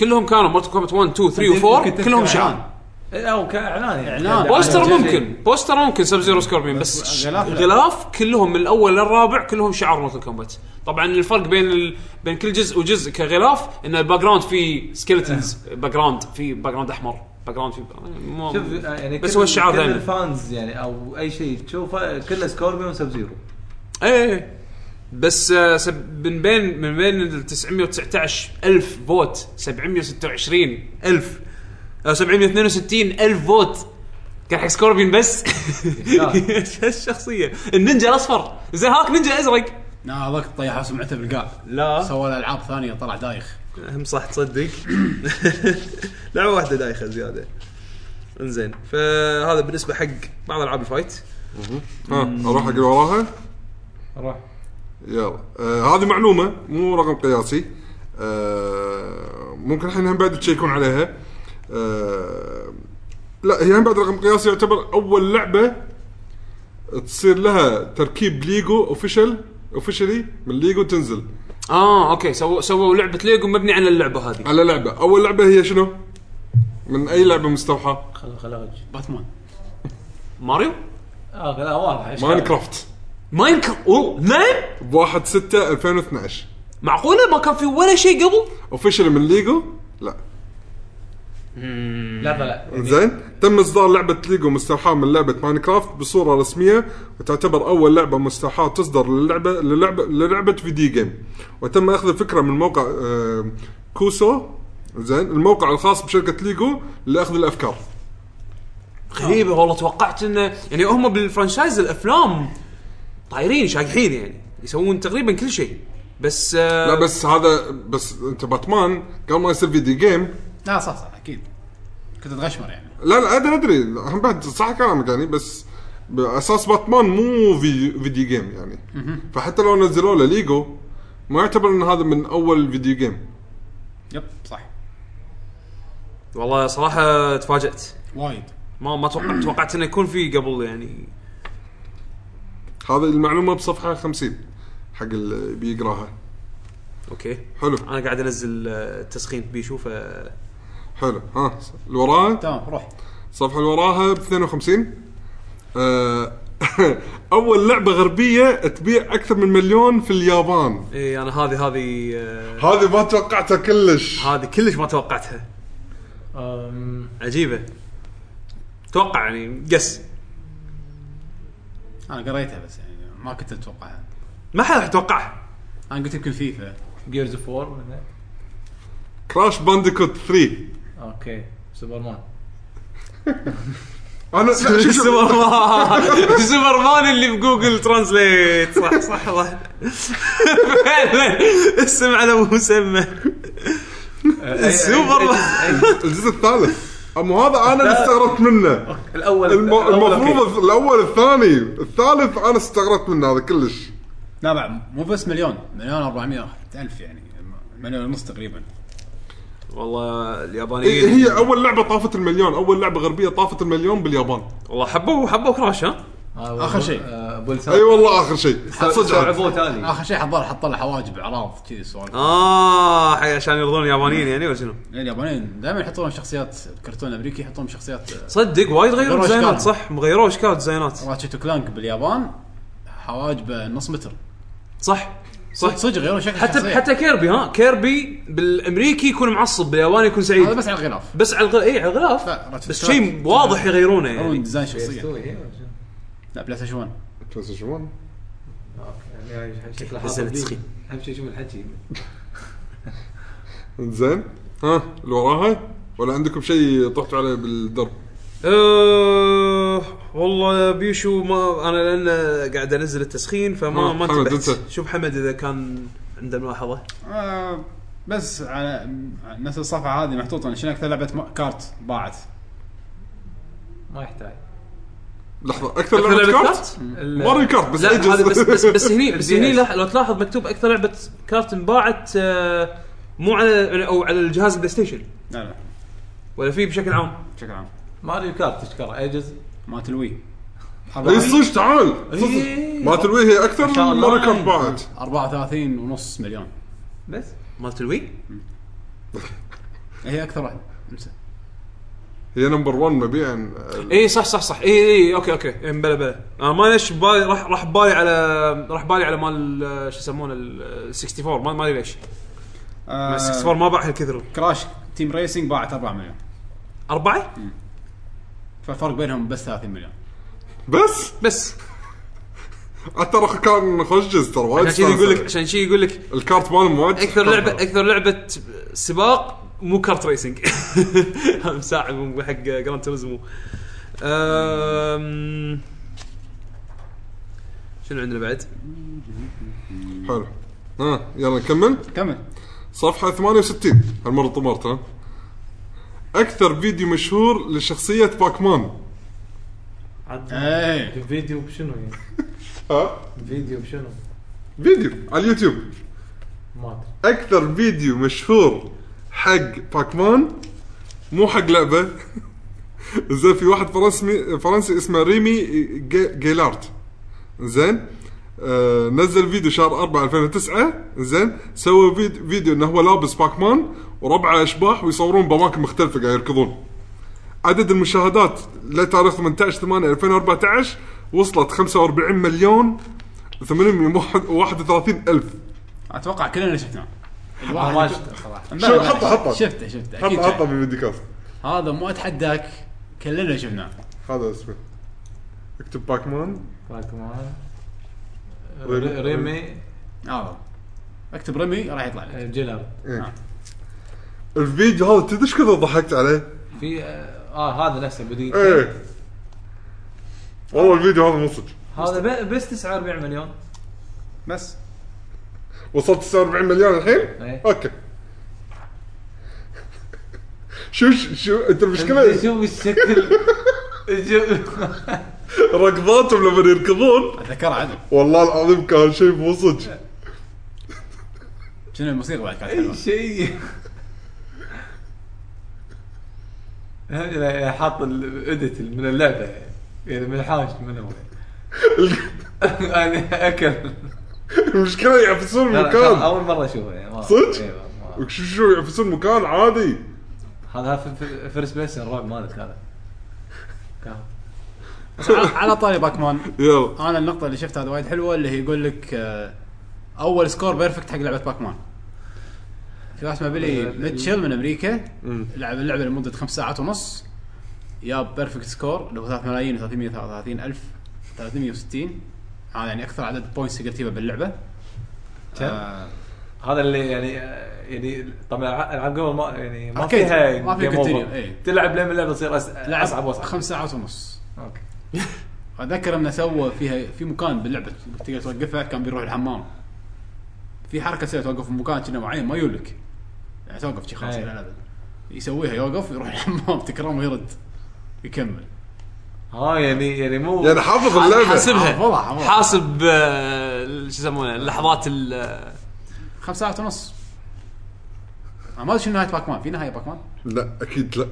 كلهم كانوا مورتل كومبات 1 2 3 و 4 كلهم شعار
آه، او كاعلان يعني
إعلان.
آه، بوستر
عن جزء.
ممكن بوستر ممكن سب زيرو سكوربين بس
بس
ش-
غلاف لا.
غلاف كلهم من الاول للرابع كلهم شعار موتل كومبات طبعا الفرق بين ال... بين كل جزء وجزء كغلاف ان الباك جراوند فيه سكيلتنز
آه.
باك جراوند في باك جراوند احمر باك جراوند في مو...
شوف آه، يعني
بس
كل-
هو الشعار
كل
دايماً.
الفانز يعني او اي شيء تشوفه كله سكوربيون وسب زيرو
ايه بس آه، سب... من بين من بين ال 919 الف فوت 726 الف آه، 762 الف فوت كان حق سكوربين بس الشخصيه النينجا الاصفر زين هاك نينجا ازرق
لا هذاك طيحوا سمعته بالقاع
لا
سوى له العاب ثانيه طلع دايخ
هم صح تصدق لعبه واحده دايخه زياده انزين فهذا بالنسبه حق بعض العاب الفايت
ها اروح اقرا وراها
روح
يلا آه هذه معلومه مو رقم قياسي آه ممكن الحين هم بعد تشيكون عليها آه لا هي هم بعد رقم قياسي يعتبر اول لعبه تصير لها تركيب ليجو اوفيشال اوفيشلي من ليجو تنزل
اه اوكي سووا سووا لعبه ليجو مبني على اللعبه هذه
على لعبه اول لعبه هي شنو من اي لعبه مستوحاه
خل خل اغش
باتمان
ماريو
اه لا واضح إيش كان.
ماينكرافت
ماينكرافت اوه نعم
ب 1 6 2012
معقوله ما كان في ولا شيء قبل
اوفيشلي من ليجو لا
لا لا
زين تم اصدار لعبه ليجو مستوحاه من لعبه ماينكرافت بصوره رسميه وتعتبر اول لعبه مستوحاه تصدر للعبه للعبه للعبه فيديو جيم وتم اخذ الفكره من موقع آه، كوسو زين الموقع الخاص بشركه ليجو لاخذ الافكار
غريبه والله توقعت انه يعني هم بالفرانشايز الافلام طايرين شاقحين يعني يسوون تقريبا كل شيء بس آه
لا بس هذا بس انت باتمان قبل ما يصير فيديو جيم
لا صح صح اكيد كنت اتغشمر يعني
لا لا ادري ادري هم بعد صح كلامك يعني بس باساس باتمان مو في فيديو جيم يعني فحتى لو نزلوا له ليجو ما يعتبر ان هذا من اول فيديو جيم
يب صح
والله صراحه تفاجات
وايد
ما ما توقعت توقعت انه يكون في قبل يعني
هذه المعلومه بصفحه 50 حق اللي بيقراها
اوكي
حلو
انا قاعد انزل آه، التسخين بيشوفه آه،
حلو ها اللي وراها
تمام روح
الصفحه اللي وراها ب 52 آه، اول لعبه غربيه تبيع اكثر من مليون في اليابان
اي انا إيه، هذه هذه آه،
هذه ما توقعتها كلش
هذه كلش ما توقعتها
أم،
عجيبه توقع يعني قس
انا قريتها بس يعني ما كنت اتوقعها
ما حد راح يتوقعها
انا قلت يمكن فيفا
جيرز اوف وور
كراش بانديكوت 3
اوكي سوبرمان
انا شوف- شوف-
سوبرمان سوبرمان اللي بجوجل ترانزليت صح صح صح فعلا اسم على مسمى سوبرمان
الجزء الثالث اما هذا انا اللي استغربت منه
الاول
الم-
الأول أوكي.
المفروض الاول الثاني الثالث انا استغربت منه هذا كلش
لا بعد مو بس مليون مليون 400 الف يعني مليون ونص تقريبا
والله
إيه،
اليابانيين
هي اول لعبه طافت المليون اول لعبه غربيه طافت المليون باليابان
والله حبوا حبوا كراش ها
آه،
آخر شيء.
آه، بولسان
أيوه.
اي والله اخر شيء صدق
صعبوه
آه،
تالي
اخر شيء حط حط له حواجب اعراض كذي سوالف
اه حق- عشان يرضون اليابانيين يعني ولا شنو؟
اليابانيين دائما يحطون شخصيات الكرتون الامريكي يحطون شخصيات
صدق وايد غيروا
غيروا
ديزاينات
أشكالهم.
صح غيروا اشكال ديزاينات
راتشت كلانك باليابان حواجبه نص متر
صح
صدق صدق غيروا شكل
حتى
الشخصية.
حتى كيربي ها كيربي بالامريكي يكون معصب بالياباني يكون
هذا
سعيد
آه، بس على الغلاف
بس على الغلاف اي على الغلاف
لا، راتشت
بس
كلانك.
شيء واضح يغيرونه يعني
يغيرون ديزاين شخصيه
يستوي، إيه، ولا شنو؟
لا بلاي ستيشن 1
شلون؟
أوكي، يعني شكله
بس
حاطط
أنا تسخين.
بيه. اهم شيء شوف الحكي
زين ها اللي وراها ولا عندكم شيء طحتوا عليه بالدرب
أه والله بيشو ما انا لان قاعد انزل التسخين فما
آه،
ما
حمد،
انتبهت
أنت.
شوف حمد اذا كان عنده ملاحظه
آه بس على على نفس الصفحه هذه محطوطه شنو اكثر لعبه م- كارت باعت
ما يحتاج
لحظه اكثر لعبه كارت ماريو كارت بس
لا
أي جزء؟
هذا بس بس بس هني بس
ال
هني
DS.
لح- لو تلاحظ مكتوب اكثر لعبه كارت انباعت آه، مو على او على الجهاز البلاي ستيشن
لا لا
ولا في بشكل عام
بشكل عام
ماريو كارت تشكره اي جزء
مالت الوي إيه،
اي صدق تعال
إيه.
ما تلوي هي اكثر
إن شاء
من
الله.
ماريو كارت باعت
34 ونص مليون إيه،
بس
مالت الوي
هي اكثر واحده انسى
هي نمبر 1 مبيعا
اي إيه، صح صح صح اي اي اوكي اوكي إيه، بلا بلا انا ما ليش بالي راح راح بالي على راح بالي على مال آه، شو يسمونه ال 64 ما ما ادري ليش
آه
مع 64 ما باع هالكثر
كراش تيم ريسنج باعت 4 مليون
اربعه
فالفرق بينهم بس 30 مليون
بس
بس
ترى كان خوش جزء ترى وايد
عشان شي يقول لك إيه،
استانس.
عشان شي يقول لك
الكارت مالهم وايد
اكثر لعبه اكثر لعبه سباق مو كارت ريسنج هذا مساعد مو حق جراند توريزمو أم... شنو عندنا بعد؟
حلو ها يلا نكمل
كمل
صفحه 68 هالمره طمرت ها اكثر فيديو مشهور لشخصيه باكمان
اي
فيديو بشنو يعني
ها
فيديو بشنو
آه، فيديو على اليوتيوب
ما ادري
اكثر فيديو مشهور حق باكمان مو حق لعبه زين في واحد فرنسي فرنسي اسمه ريمي جي- جيلارت زين آه نزل فيديو شهر 4 2009 زين سوى فيد- فيديو انه هو لابس باكمان وربعه اشباح ويصورون باماكن مختلفه قاعد يركضون عدد المشاهدات لتاريخ 18 8 2014 وصلت 45 مليون 831 الف
اتوقع كلنا شفناه
أنا ما
الواحد
شفته صراحه
بلى،
شو-
بلى،
حطه، حطه.
شفته شفته
حط
اكيد
حطه
شفته.
بالفيديو كاست
هذا مو اتحداك كلنا شفناه
هذا اسمه اكتب باكمان
باكمان
ريمي.
ريمي آه،
هذا اكتب رمي راح يطلع لك
جيلارد
إيه. الفيديو هذا تدري إيش كثر ضحكت عليه؟
في اه آه، هذا نفسه
إيه.
بدقيقتين
ايه والله الفيديو هذا مصج
هذا ب- بس 49 مليون
بس
وصلت 49 مليون الحين؟
إيه.
آه،
اوكي شو شو انت
انت
المشكله
شوف الشكل شوف-
ركضاتهم لما يركضون
اتذكر عدل
والله العظيم كان شيء مصج
شنو الموسيقى بعد كانت حلوه
اي شيء أنا حاط الاديت من اللعبه يعني من الحاج من اول انا اكل
المشكله يعفسون
لا، لا، ترى
المكان
اول مره اشوفه يعني ما-
صدق؟
إيه، ما-
شو شو يعفسون المكان عادي
هذا هذا في- في- فيرست بيس الرعب مالك هذا كان.
بس على- على طاري باكمان
يلا
انا النقطه اللي شفتها هذا وايد حلوه اللي هي يقول لك آه، اول سكور بيرفكت حق لعبه باكمان في واحد اسمه بيلي ميتشل من امريكا
مم.
لعب اللعبه لمده خمس ساعات ونص جاب بيرفكت سكور اللي هو 3 ملايين و333 الف 360 هذا يعني اكثر عدد بوينتس تقدر تجيبه باللعبه
كم؟
آه،
هذا اللي يعني آه، يعني طبعا الع- العاب قبل ما يعني ما
أكيد،
فيها
ما في
game
continue،
over.
إيه.
تلعب لين اللعبه تصير أس-
لعب
اصعب واصعب
خمس ساعات ونص
اوكي
اتذكر انه سوى فيها في مكان باللعبه تقدر توقفها كان بيروح الحمام في حركه سوى توقف في مكان كذا معين ما يولك يعني توقف شي خلاص
أي.
لا لا، لا. يسويها يوقف يروح الحمام تكرم ويرد يكمل
اه يعني يعني مو
يعني حافظ اللعبه
والله،
حاسبها
آه، والله.
حاسب آه، شو يسمونه اللحظات ال
خمس ساعات ونص أنا ما ادري شنو نهايه باكمان في نهايه باكمان
لا اكيد لا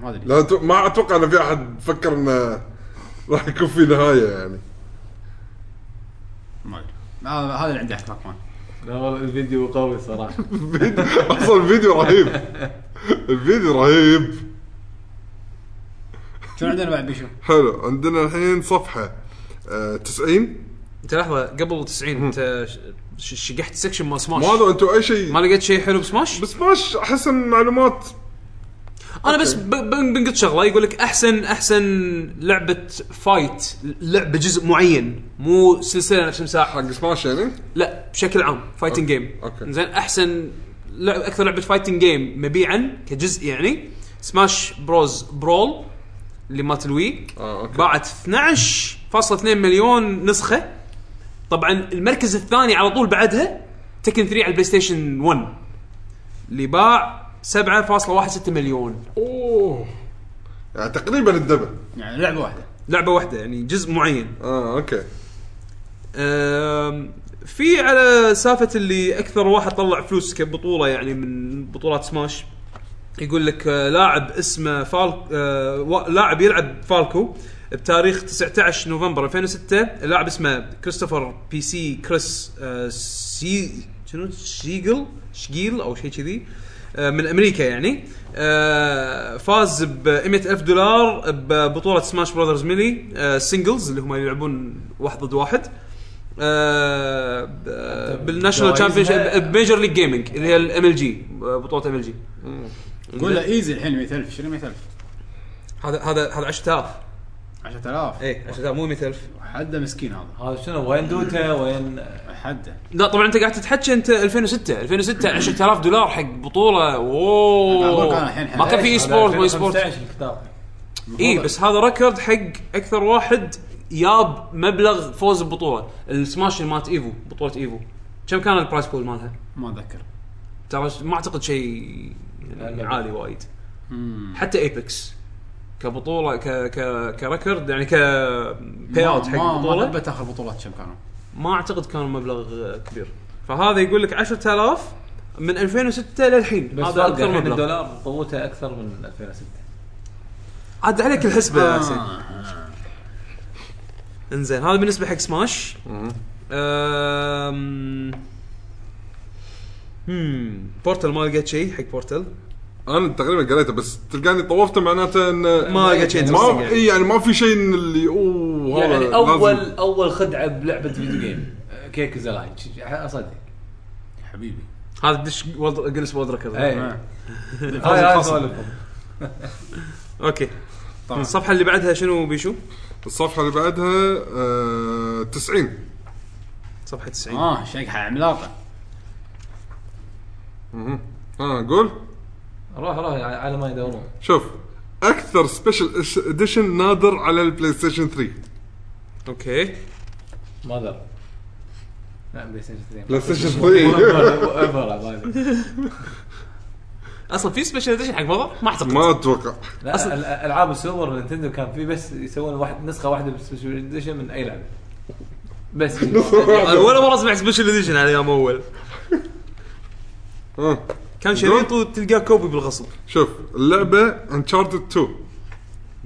ما ادري
لا أتو- ما اتوقع ان في احد فكر انه راح يكون في نهايه يعني
ما ادري هذا هذا اللي عندي عن باكمان
لا والله الفيديو قوي صراحه
فيديو- اصلا الفيديو رهيب الفيديو رهيب
شنو عندنا بعد بيشو؟
حلو عندنا الحين صفحه آه 90
انت لحظه قبل 90 انت ش- ش- شقحت سكشن مال سماش
ما ادري انتم اي شيء
ما لقيت شيء حلو بسماش
بس ماش احس ان معلومات
انا بس ب- ب- بنقط شغله يقول لك احسن احسن لعبه فايت لعبه جزء معين مو سلسله نفس مساحه
حق سماش يعني
لا بشكل عام فايتنج جيم
أوكي.
زين احسن لعب اكثر لعبه فايتنج جيم مبيعا كجزء يعني سماش بروز برول اللي مالت الوي
آه، أوكي.
باعت 12.2 مليون نسخه طبعا المركز الثاني على طول بعدها تكن 3 على البلاي ستيشن 1 اللي باع 7.16 مليون
اوه يعني تقريبا الدبل
يعني لعبه واحده
لعبه واحده يعني جزء معين
اه اوكي
أم، في على سافة اللي اكثر واحد طلع فلوس كبطوله يعني من بطولات سماش يقول لك آه، لاعب اسمه فال آه، وا- لاعب يلعب فالكو بتاريخ 19 نوفمبر 2006 لاعب اسمه كريستوفر بي سي كريس آه، سي شنو شيجل شقيل او شيء كذي آه، من امريكا يعني آه، فاز ب 100 الف دولار ببطوله سماش براذرز ميلي آه، سينجلز اللي هم يلعبون واحد ضد واحد آه، ب- آه، بالناشونال آه، تشامبيون
جوائزها-
بميجر ليج جيمنج اللي هي الام ال جي بطوله ام ال جي
قول له ايزي الحين 100000 شنو 100000
هذا هذا هذا 10000
10000
اي 10000 مو 100000
حده مسكين هذا
هذا شنو وين دوتا وين
حده
لا طبعا انت قاعد تتحكى انت 2006 2006 10000 دولار حق بطوله
أنا أقول كان
اوه
الحين
ما كان في اي
إيش؟
سبورت
هذا
ما اي سبورت
2015 الكتاب
اي إيه، بس هذا ريكورد حق اكثر واحد ياب مبلغ فوز ببطوله السماش اللي مالت ايفو بطوله ايفو كم كان البرايس بول مالها؟
ما اتذكر
ترى ما اعتقد شيء يعني
لا.
عالي وايد
مم.
حتى ايبكس كبطوله ك ك كريكورد يعني ك باي اوت
ما-
حق
ما-
البطوله
ما ثبت اخر بطولات كم كانوا
ما اعتقد كان مبلغ كبير فهذا يقول لك 10000 من 2006 للحين
بس
هذا
فرق
اكثر
الحين
يعني
مبلغ
الدولار قوته اكثر من 2006
عاد عليك الحسبه يا حسين
آه.
انزين هذا بالنسبه حق سماش أم... هم بورتل ما لقيت شيء حق بورتل
انا تقريبا قريته بس تلقاني طوفته معناته ان
ما لقيت شيء interesting
ما
يعني.
اي يعني ما في شيء إن اللي اوه هذا
يعني
لازم-
اول اول خدعه بلعبه فيديو جيم كيك زلاين اصدق
حبيبي
هذا دش وولد- جلس وولد ريكورد
اي
آه.
هاي هاي سوالفهم
اوكي
طبعا
الصفحه اللي بعدها شنو بيشو؟
الصفحه اللي بعدها آه 90
صفحه 90
اه شقحه عملاقه
اه قول
روح روح على ما يدورون
شوف اكثر سبيشل اديشن نادر على البلاي ستيشن 3
اوكي
ماذر لا بلاي ستيشن 3
بلاي ستيشن 3
Whatever.
اصلا في سبيشل اديشن حق ماذا؟ ما اعتقد
ما اتوقع
لا
أصلاً-
ال- العاب السوبر نينتندو كان في بس يسوون واحد نسخه واحده بالسبيشل اديشن من اي لعبه بس
أنا ولا مره سمعت سبيشل اديشن على ايام اول
آه.
كان شريط وتلقاه كوبي بالغصب
شوف اللعبه انشارتد 2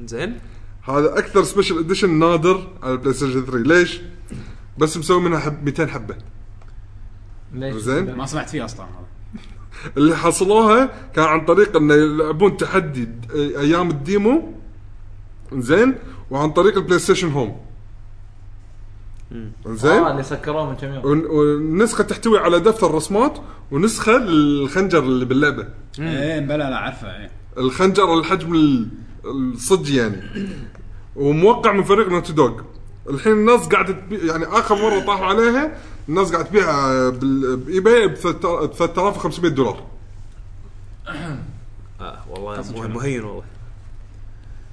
زين
هذا اكثر سبيشل اديشن نادر على البلاي ستيشن 3 ليش؟ بس مسوي منها حب 200 حبه
ليش؟
زين
ما سمعت فيه اصلا هذا
اللي حصلوها كان عن طريق انه يلعبون تحدي د- ايام الديمو زين وعن طريق البلاي ستيشن هوم
اه
زين
آه، اللي سكروه من كم يوم
ون- والنسخه تحتوي على دفتر رسمات ونسخه للخنجر اللي باللعبه
ايه بلا لا عارفه ايه
الخنجر الحجم ال- الصج يعني وموقع من فريق نوتي دوغ الحين الناس قاعده تبيع يعني اخر مره طاحوا عليها الناس قاعده تبيعها بال- بايباي ب 3500 دولار
اه والله مه- مهين والله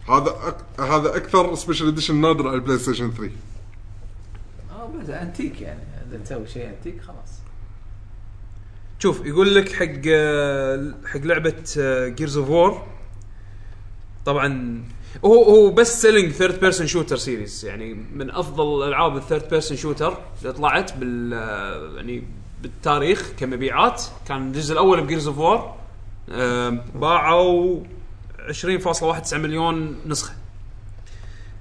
هذا أك... هذا اكثر سبيشل اديشن نادر على البلاي ستيشن 3
اه بس انتيك يعني اذا تسوي شيء انتيك خلاص
شوف يقول لك حق آه، حق آه، لعبه جيرز اوف وور طبعا هو هو بس سيلينج ثيرد بيرسون شوتر سيريز يعني من افضل العاب الثيرد بيرسون شوتر اللي طلعت بال آه، يعني بالتاريخ كمبيعات كان الجزء الاول بجيرز اوف وور آه، باعوا 20.19 مليون نسخه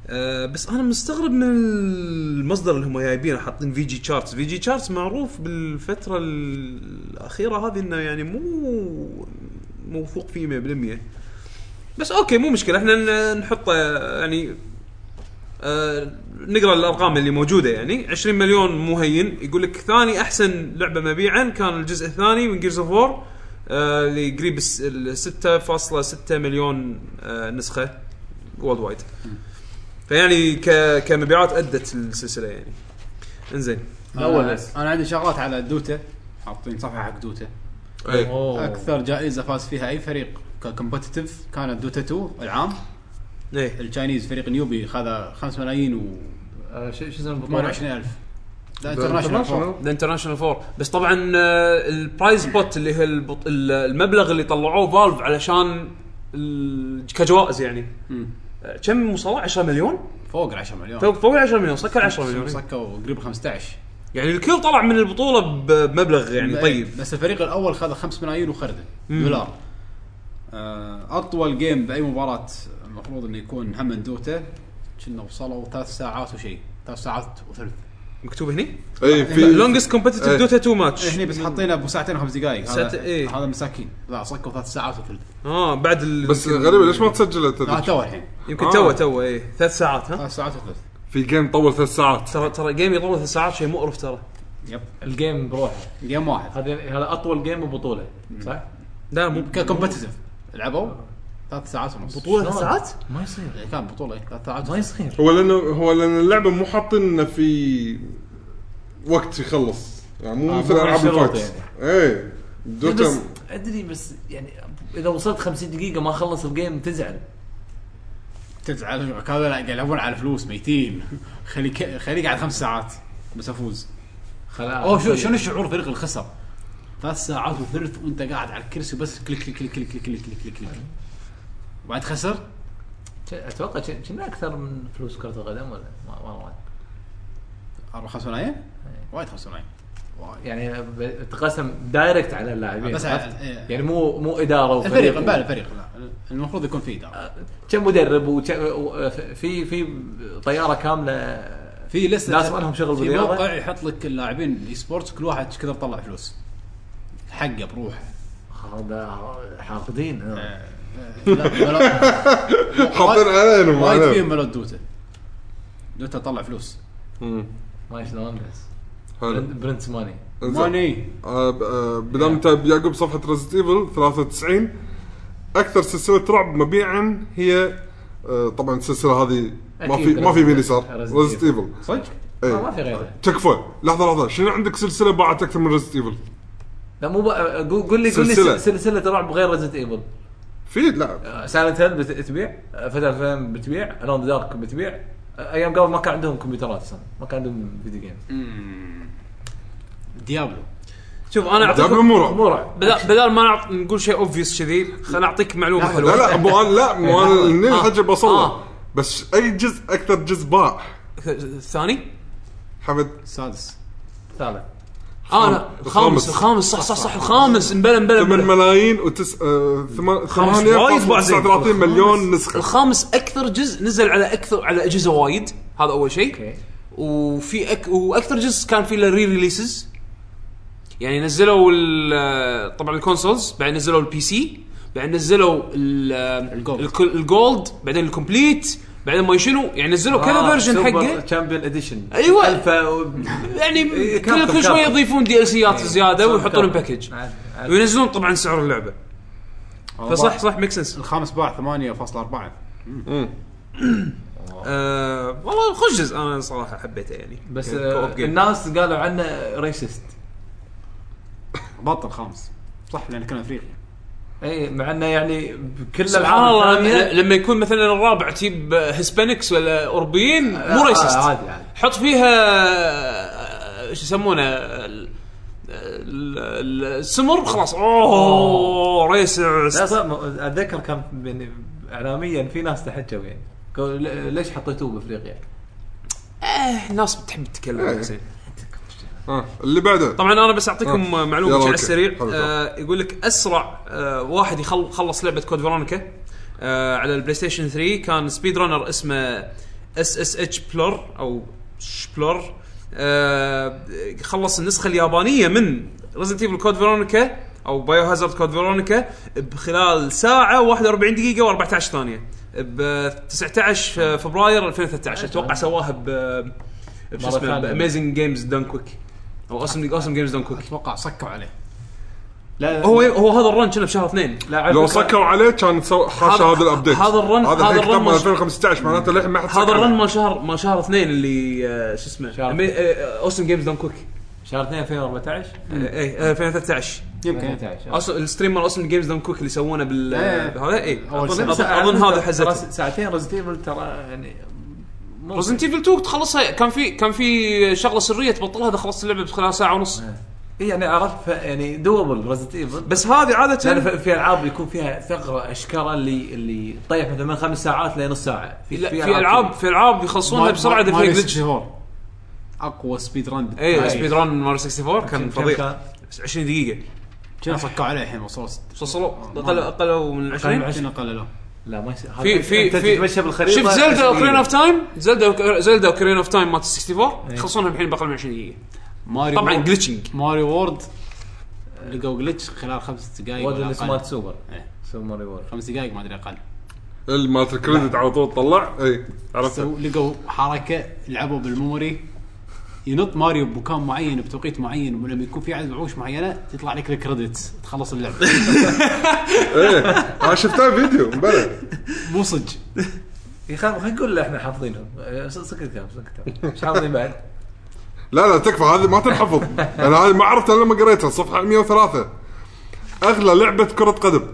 آه، بس انا مستغرب من المصدر اللي هم جايبينه حاطين في جي تشارتس في جي تشارتس معروف بالفتره الاخيره هذه انه يعني مو موثوق فيه 100% بس اوكي مو مشكله احنا ن- نحطه يعني آه، نقرا الارقام اللي موجوده يعني 20 مليون مهين يقول لك ثاني احسن لعبه مبيعا كان الجزء الثاني من جيرز اوف وور آه، اللي قريب الس- ال 6.6 مليون آه، نسخه وولد وايد فيعني ك... كمبيعات ادت السلسله يعني انزين
الأول
أنا-
بس.
انا عندي شغلات على دوتا حاطين صفحه حق دوتا
اي
اوه
اكثر جائزه فاز فيها اي فريق كومبتتف كانت دوتا 2 العام
ايه
التشاينيز فريق نيوبي خذ 5 ملايين و
آه، شو شو اسم البطوله؟
28000 ذا انترناشونال فور.
ذا انترناشونال فور بس طبعا آه، البرايز بوت اللي هي البط... ال- المبلغ اللي طلعوه فالف علشان ال... كجوائز يعني
مم.
آه، كم وصلوا 10 مليون؟
فوق ال 10 مليون
فوق
آه.
فوق ال 10 مليون سكر 10 مليون إيه.
سكوا قريب 15
يعني الكل طلع من البطوله ب- بمبلغ يعني
إيه،
طيب
بس الفريق الاول خذ 5 ملايين وخرده دولار آه، اطول جيم باي مباراه المفروض انه يكون هم دوتا كنا وصلوا ثلاث ساعات وشيء ثلاث ساعات وثلث
مكتوب هني
اي في
لونجست كومبتيتيف
إيه.
دوتا 2 ماتش
هني بس حاطينه ابو ساعتين وخمس دقائق
ساعت-
هذا
إيه.
هذا مساكين لا صكوا ثلاث ساعات وثلث
اه بعد ال...
بس
يمكن-
غريبه ليش ما تسجلت
لا
هذيك؟
تو الحين
يمكن
آه.
تو تو ايه ثلاث ساعات ها
ثلاث ساعات وثلث
في جيم طول ثلاث ساعات
ترى ترى جيم يطول ثلاث ساعات شيء مقرف ترى
يب
الجيم بروحه
جيم واحد
هذا هذا اطول جيم ببطوله صح؟
لا مو
كومبتتف لعبوا ثلاث ساعات ونص
بطوله ثلاث
شلون؟
ساعات؟
ما يصير
إيه، كان بطوله إيه، ثلاث ساعات
ما
وثلث.
يصير
هو لانه هو لان اللعبه مو حاطين انه في وقت يخلص يعني مو
آه،
مثل
مو
العاب
شروط
الفايت اي
بس
دوتا
ادري بس يعني اذا وصلت 50 دقيقه ما خلص الجيم تزعل
تزعل هذول قاعد يلعبون على فلوس ميتين خليك خليك على خمس ساعات بس افوز
خلاص
اوه شو شنو الشعور فريق الخسر ثلاث ساعات وثلث وانت قاعد على الكرسي بس كليك كليك كليك كليك كليك كليك كليك كليك وبعد خسر
اتوقع ش- كنا اكثر من فلوس كره القدم ولا ما ما ما-
اربع خمس ملايين وايد خمس ملايين
يعني ب- تقسم دايركت على اللاعبين
بس
عرفت؟
على- إيه.
يعني مو مو اداره
الفريق
وفريق
بال الفريق لا المفروض يكون في اداره
كم مدرب وفي في طياره كامله
في لسه
ناس ما لهم شغل
في
بالرياضه
موقع يحط لك اللاعبين الاي سبورتس كل واحد ايش كثر طلع فلوس حقه بروحه
هذا حاقدين
آه، آه، لا، بلا-
حاطين علينا
وايد
معنا
فيهم ملوت دوتا دوتا طلع فلوس
ما شلون بس
حلو
برنت ماني
إنزين.
ماني
آه، ب- آه، بدام
يعني.
انت بيعقوب صفحه ريزنت ايفل 93 اكثر سلسله رعب مبيعا هي آه، طبعا السلسله هذه ما
أكيد
في ما في
Resident-
بين يسار
Resident
ريزنت ايفل
صدق؟
إيه.
ما ما في غيره
إيه. تكفى لحظه لحظه شنو عندك سلسله باعت اكثر من ريزنت ايفل؟
لا مو بقى قول قول لي قول لي
سلسلة.
سل- سلسله رعب غير ريزنت ايفل
في لا
سايلنت هيل بتبيع فتره فيلم آه، بتبيع الون دارك بتبيع آه، ايام قبل ما كان عندهم كمبيوترات اصلا ما كان عندهم فيديو جيمز
ديابلو
شوف انا
دابل
اعطيكم
مو رعب
مو رعب
بدل, بدل ما نعط... نقول شيء اوبفيس كذي خليني اعطيك معلومه
لا
حلوه
لا مو انا لا مو انا
آه.
هني الحجه بوصل
آه.
بس اي جزء اكثر جزء باع
الثاني
حمد
السادس
ثالث
اه لا الخامس
الخامس.
الخامس صح صح صح الخامس انبلى انبلى
8
انبلى.
ملايين وتس آه، ثمان-
خامس
ثمانية
وايد باع زين.
39 مليون نسخه
الخامس اكثر جزء نزل على اكثر على اجهزه وايد هذا اول شيء
اوكي
وفي أك... واكثر جزء كان فيه له ري ريليسز يعني نزلوا ال- طبعا الكونسولز بعدين نزلوا البي سي بعدين نزلوا ال-
الجولد.
الك- الجولد بعدين الكومبليت بعدين ما شنو يعني نزلوا
آه،
كذا فيرجن حقه
تشامبيون اديشن
أيوة.
الفا و...
يعني
إيه،
كل
كابكم،
كل شويه
كابكم.
يضيفون دي ال سيات زياده
صح،
ويحطون
كابكم.
باكج
عاد- عاد.
وينزلون طبعا سعر اللعبه فصح صح ميك سنس
الخامس باع 8.4
آه والله خوش جزء انا صراحه حبيته يعني
بس
كان
آه،
co-op game.
الناس قالوا عنه ريسست
بطل خامس صح لان كان افريقيا
اي مع انه يعني بكل
سبحان
الألعاب
الله
الثانية-
لما- لما يكون مثلا الرابع تجيب هسبانكس ولا اوروبيين مو
آه،
ريسست
عادي عادي
حط فيها آه، شو يسمونه ال- ال- ال- السمر خلاص اوه
لا
ريسست
صار م- اتذكر كان بن- اعلاميا في ناس تحجوا يعني قالوا ل- ليش حطيتوه بافريقيا؟
آه، الناس بتحب تتكلم
إيه.
زين
آه، اللي بعده
طبعا انا بس اعطيكم
آه.
معلومه
يلا،
على
أوكي.
السريع
حلو،
آه يقول لك اسرع آه واحد يخل- خلص لعبه كود فيرونيكا آه على البلاي ستيشن 3 كان سبيد رانر اسمه اس اس اتش بلور او شبلور آه خلص النسخه اليابانيه من ريزنت ايفل كود فيرونيكا او بايو هازارد كود فيرونيكا بخلال ساعه 41 دقيقه و14 ثانيه ب 19 فبراير 2013 اتوقع سواها ب بشو
مرة
اسمه
ثانية.
اميزنج جيمز دان كويك او اوسم اوسم جيمز دون كوك
اتوقع صكوا عليه لا
هو هو هذا الرن كنا بشهر اثنين
لا على
لو
فكرة-
صكوا عليه كان سو- حاشا
هذا-
هذا الابديت
هذا الرن- هذا
هذا
الرن
الرن
مش-
2015 معناته للحين ما حد
هذا
صك عليه.
الرن مال شهر مال شهر اثنين اللي آه، شو اسمه
شهر
أمي- آه، اوسم جيمز دون كوك
شهر 2 2014
اي آه، 2013
يمكن
2013.
أوس- الستريم مال اوسم جيمز دون كوك اللي سوونه بال
إيه.
هذا اي
أول
أظن-
سنة.
أظن- اظن هذا حزته
ترى ساعتين رزديفل ترى يعني مو-
رزنت ايفل 2 تخلصها كان في كان في شغله سريه تبطلها اذا خلصت اللعبه خلال ساعه ونص
إيه يعني عرفت ف- يعني دوبل رزدنت ايفل
بس هذه
لان
عاده
ف- في العاب يكون فيها ثغره اشكره اللي اللي تطيح مثلا من خمس ساعات لنص ساعه
لا، في العاب في العاب يخلصونها بسرعه اذا فيها جلتش
اقوى سبيد إيه. ران
اي إيه، سبيد ران ماري 64 كان
كم
فظيع
كان؟
20 دقيقه
كنا صكوا عليه الحين وصلوا ست-
وصلوا اقل اقل من 20
كنا قللوه
لا ما يصير
في
هذا
في
أنت
في
تتمشى بالخريطه
شفت زلدا اوكرين
اوكرين
اوف تايم زلدا زلدا اوكرين اوف تايم مالت
إيه.
64 يخلصونها الحين باقل من 20 دقيقه
ماريو
طبعا
وورد-
جلتشنج
ماريو وورد لقوا جلتش خلال خمس دقائق
ولا
ولا
اسمه
أقل.
سوبر
إيه.
سوبر ماريو وورد
خمس دقائق ما ادري اقل
اللي مالت إيه، الكريدت على طول طلع اي
سو-
عرفت
لقوا حركه لعبوا بالميموري ينط ماريو بمكان معين بتوقيت معين ولما يكون في عدد وحوش معينه تطلع لك الكريدتس تخلص اللعبه
اي انا شفتها إيه. فيديو بلى
مو صدق
يا اخي خلينا نقول احنا حافظينهم آه، س- سكت كلام سكت كلام مش حافظين بعد
لا لا تكفى هذه ما تنحفظ انا هذه ما عرفتها إلا لما قريتها صفحه 103 اغلى لعبه كره قدم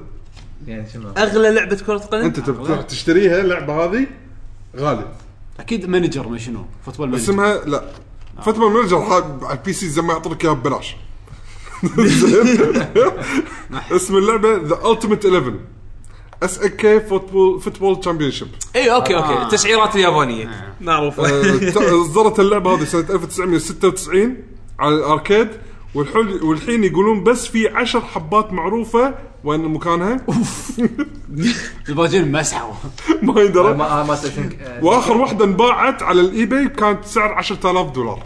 يعني شنو
اغلى لعبه كره قدم
انت تب- تروح تشتريها اللعبه هذه غالي
اكيد مانجر ما شنو فوتبول مانجر
اسمها لا فتره مانجر حق- على البي سي زي ما يعطونك اياها ببلاش زين؟ اسم اللعبه ذا التيمت 11 اس اك كي فوتبول فوتبول تشامبيون شيب
اي اوكي
آه.
اوكي التسعيرات
إيه.
اليابانيه
آه،
معروفه
اصدرت اللعبه هذه سنه 1996 على الاركيد والحل والحين يقولون بس في عشر حبات معروفه وين مكانها
الباجين مسحوا
ما
آه،
يندرى
ما آه، ما تشنك- آه،
واخر واحده انباعت على الايباي كانت سعر 10000 دولار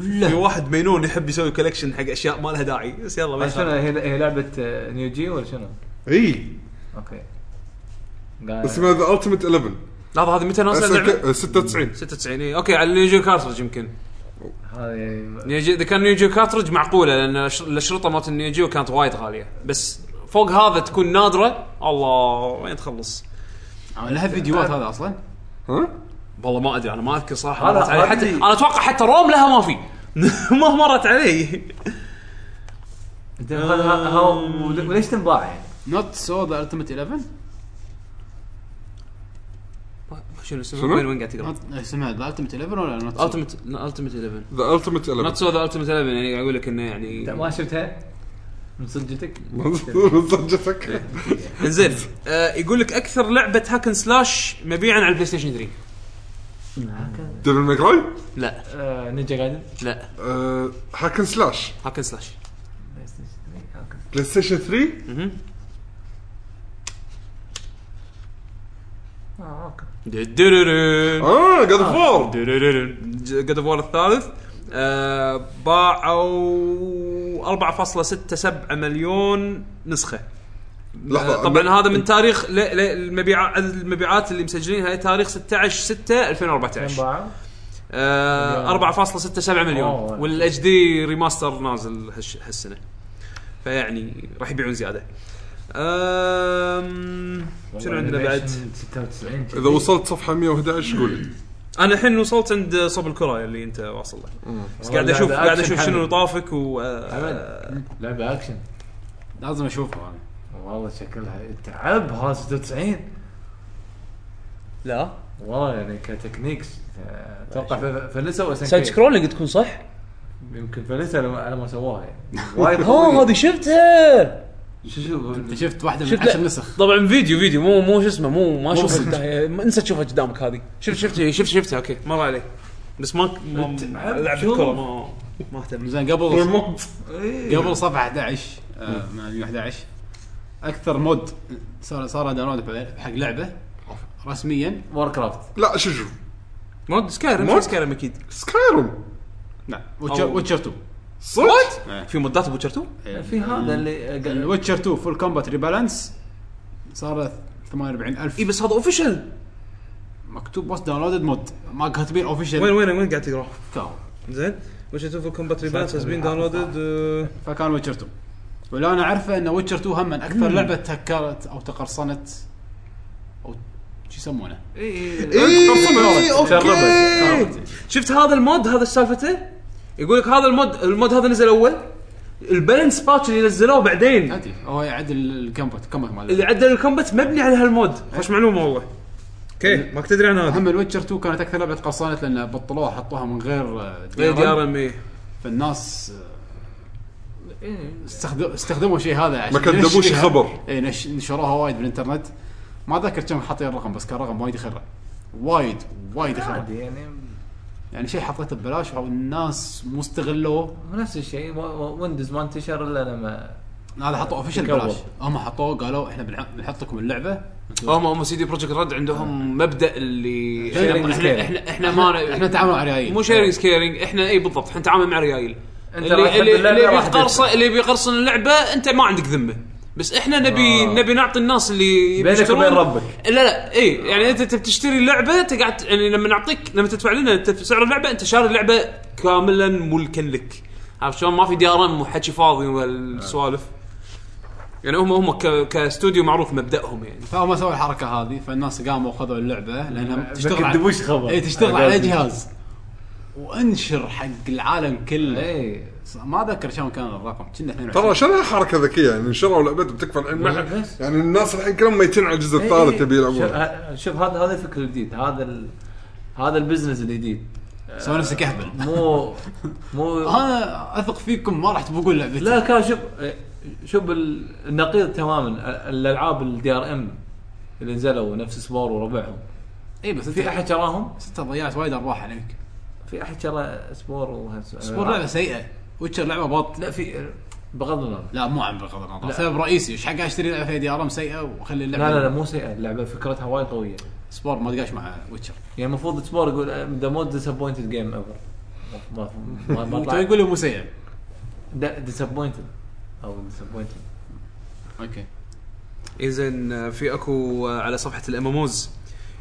في واحد مينون يحب يسوي كولكشن حق اشياء ما لها داعي بس يلا
آه،
ما
شنو
يخالف.
هي هي لعبه آه، نيو جي ولا شنو؟
اي
اوكي قاعد-
اسمها ذا التيمت 11
لحظه هذه متى نازله
إيه،
اللعبه؟
96
96 اي اوكي إيه، على نيوجو كارترج يمكن
هذه
نيوجي اذا كان نيوجيو كارترج معقوله لان الأش- الاشرطه مالت النيوجيو كانت وايد غاليه بس فوق هذا تكون نادره الله وين تخلص؟
لها فيديوهات هذا اصلا
ها
والله ما ادري انا ما اذكر صراحه
هذا-
مرت علي.
هذه-
حتى انا اتوقع حتى روم لها ما في ما مرت علي
انت هذا- ها- ها- وليش تنباع يعني؟
نوت سو ذا التيمت 11
شنو اسمه
شنو؟
وين وين قاعد تقرا؟
Not- إيه، اسمها ذا التيمت 11 ولا نوت سو؟
التمت التمت 11
ذا التيمت
نوت
11
سو ذا التمت 11 يعني قاعد اقول لك انه
انت
يعني
ما شفتها؟ من صدقتك؟
صدقتك
انزين
نعم.
آه، يقول لك اكثر لعبه هاكن سلاش مبيعا على البلاي ستيشن 3
ديفل ماكراي
لا
آه، نينجا جايدن
لا
أه هاكن سلاش
هاكن سلاش
بلاي ستيشن 3
آه، أوكي.
اه جاد فور
جاد اوف وور الثالث آه، باعوا 4.67 مليون نسخه
لحظه
طبعا هذا من تاريخ ل- ل- المبيعات المبيعات اللي مسجلينها تاريخ 16 6 2014
انباعوا
آه، 4.67 مليون
أوه.
والاتش دي ريماستر نازل هالش- هالسنه فيعني راح يبيعون زياده أم، شنو عندنا بعد؟
96
اذا وصلت صفحه 111 قول لي
انا الحين وصلت عند صوب الكره اللي انت واصل له بس قاعد
والله
اشوف
هذا
قاعد
أكشن
اشوف شنو
حمد.
طافك و
حمد.
لعبه اكشن
لازم اشوفه انا
والله شكلها تعب ها 96
لا
والله يعني كتكنيكس آه، اتوقع ف- فلسوا SNK.
سايد سكرولينج تكون صح؟
يمكن فلسوا لما- على ما سواها يعني وايد
ها
قوية.
آه، هذه شفتها
شو شو
انت شفت واحده من
شفت-
عشر نسخ
طبعا فيديو فيديو مو مو شو اسمه مو ما
مو
شوف
صدق.
انسى تشوفها قدامك هذه
شفت شفت شفت شفتها اوكي مر علي بس ما ما- لعب
شوف.
الكره ما ما اهتم
زين قبل
إيه.
قبل صفحه 11 آه، من 2011 اكثر مود صار صار داونلود ب- حق لعبه رسميا
وور كرافت
لا شو شو
مود سكايرم
مود؟
شو سكايرم اكيد
سكايروم
نعم
أو-
ويتشر 2
صدق
في مودات ابو شرتو
إيه.
في هذا اللي آه، قال-
الويتشر 2 فول كومبات ريبالانس صار 48000
اي بس هذا اوفيشال
مكتوب بس داونلودد مود ما كاتبين
وين
اوفيشال
وين وين قاعد تقرا زين وش تشوف الكومبات ريبالانس هاز بين داونلودد
فكان ويتشر 2 ولا انا عارفه ان ويتشر 2 هم من اكثر لعبه تهكرت او تقرصنت او شو يسمونه؟
إيه، اي اوكي
شفت هذا المود هذا ايش سالفته؟ يقول لك هذا المود المود هذا نزل اول البالانس باتش اللي نزلوه بعدين
عادي هو يعدل الكمبت كمبت مال
اللي عدل الكومبات مبني على هالمود خوش معلومه والله اوكي ماك تدري عن هذا
هم الويتشر 2 كانت اكثر لعبه تقرصنت لان بطلوها حطوها من غير آه،
غير
DRM.
دي ار ام اي
فالناس آه، استخدم استخدموا شيء هذا عشان
ما كذبوش
ينشرها.
خبر.
اي نش- نشروها وايد بالانترنت ما ذكر كم حاطين الرقم بس كان رقم وايد يخرع وايد وايد يخرع
عادي يعني
يعني شيء حطيته ببلاش والناس مو استغلوه
نفس الشيء و- و- ويندوز ما انتشر الا لما
هذا حطوه اوفيشال
تكبر.
ببلاش هم حطوه قالوا احنا بنح- بنحط لكم اللعبه
هم هم سي دي بروجكت رد عندهم مبدا اللي
Sharing
احنا
is
احنا
caring.
احنا, إحنا ما
احنا تعاملنا مع ريايل
مو شيرنج سكيرنج احنا اي بالضبط احنا نتعامل مع ريايل
انت راح
اللي
تحب
اللي, اللي
اللعبه راح
بيقرص
تدفع.
اللي بيقرصن اللعبه انت ما عندك ذمه بس احنا نبي
آه.
نبي نعطي الناس اللي
بينك
بيشترون-
وبين ربك.
لا لا اي يعني انت تبي تشتري لعبه انت قاعد يعني لما نعطيك لما تدفع لنا انت في سعر اللعبه انت شاري اللعبه كاملا ملكا لك عرفت شلون ما في دي ار ام وحكي فاضي والسوالف يعني هم هم ك- كاستوديو معروف مبداهم يعني
فهم سووا الحركه هذه فالناس قاموا وخذوا اللعبه لانها تشتغل
ما كذبوش خبر.
اي تشتغل
إيه، على
على
قولتهم.
جهاز وانشر حق العالم كله
اي
ما اذكر كم كان الرقم كنا 22
ترى شنو حركه ذكيه يعني شروا لعبتهم تكفى الحين ما- إيه،
بس.
يعني الناس الحين كلهم ميتين على الجزء الثالث يبي
إيه، شوف-
يلعبون
ه- شوف هذا هذا الفكر الجديد هذا ال... هذا البزنس الجديد
سوى نفسك اهبل
مو مو
انا اثق فيكم ما راح تبقون لعبتي
لا كان شوف شوف ال- النقيض تماما ال- الالعاب الدي ار ام اللي نزلوا نفس سبور وربعهم
اي بس
في احد شراهم؟
ستة ضيعت وايد ارباح عليك
في احد شرى سبور وهالس-
سبور لعبه سيئه ويتشر لعبه بط
لا في بغض النظر
لا مو عن بغض النظر
لا.
سبب رئيسي ايش حق اشتري لعبه فيها دي ار ام سيئه واخلي اللعبه
لا لا لا مو سيئه اللعبه فكرتها وايد قويه
سبور ما تقاش مع ويتشر
يعني المفروض سبور يقول ذا مود ديسابوينتد جيم ايفر ما ما ما
تو
طلع
طيب. يقول مو سيئه
ديسابوينتد او ديسابوينتد
اوكي
اذا آه، في اكو على صفحه الاماموز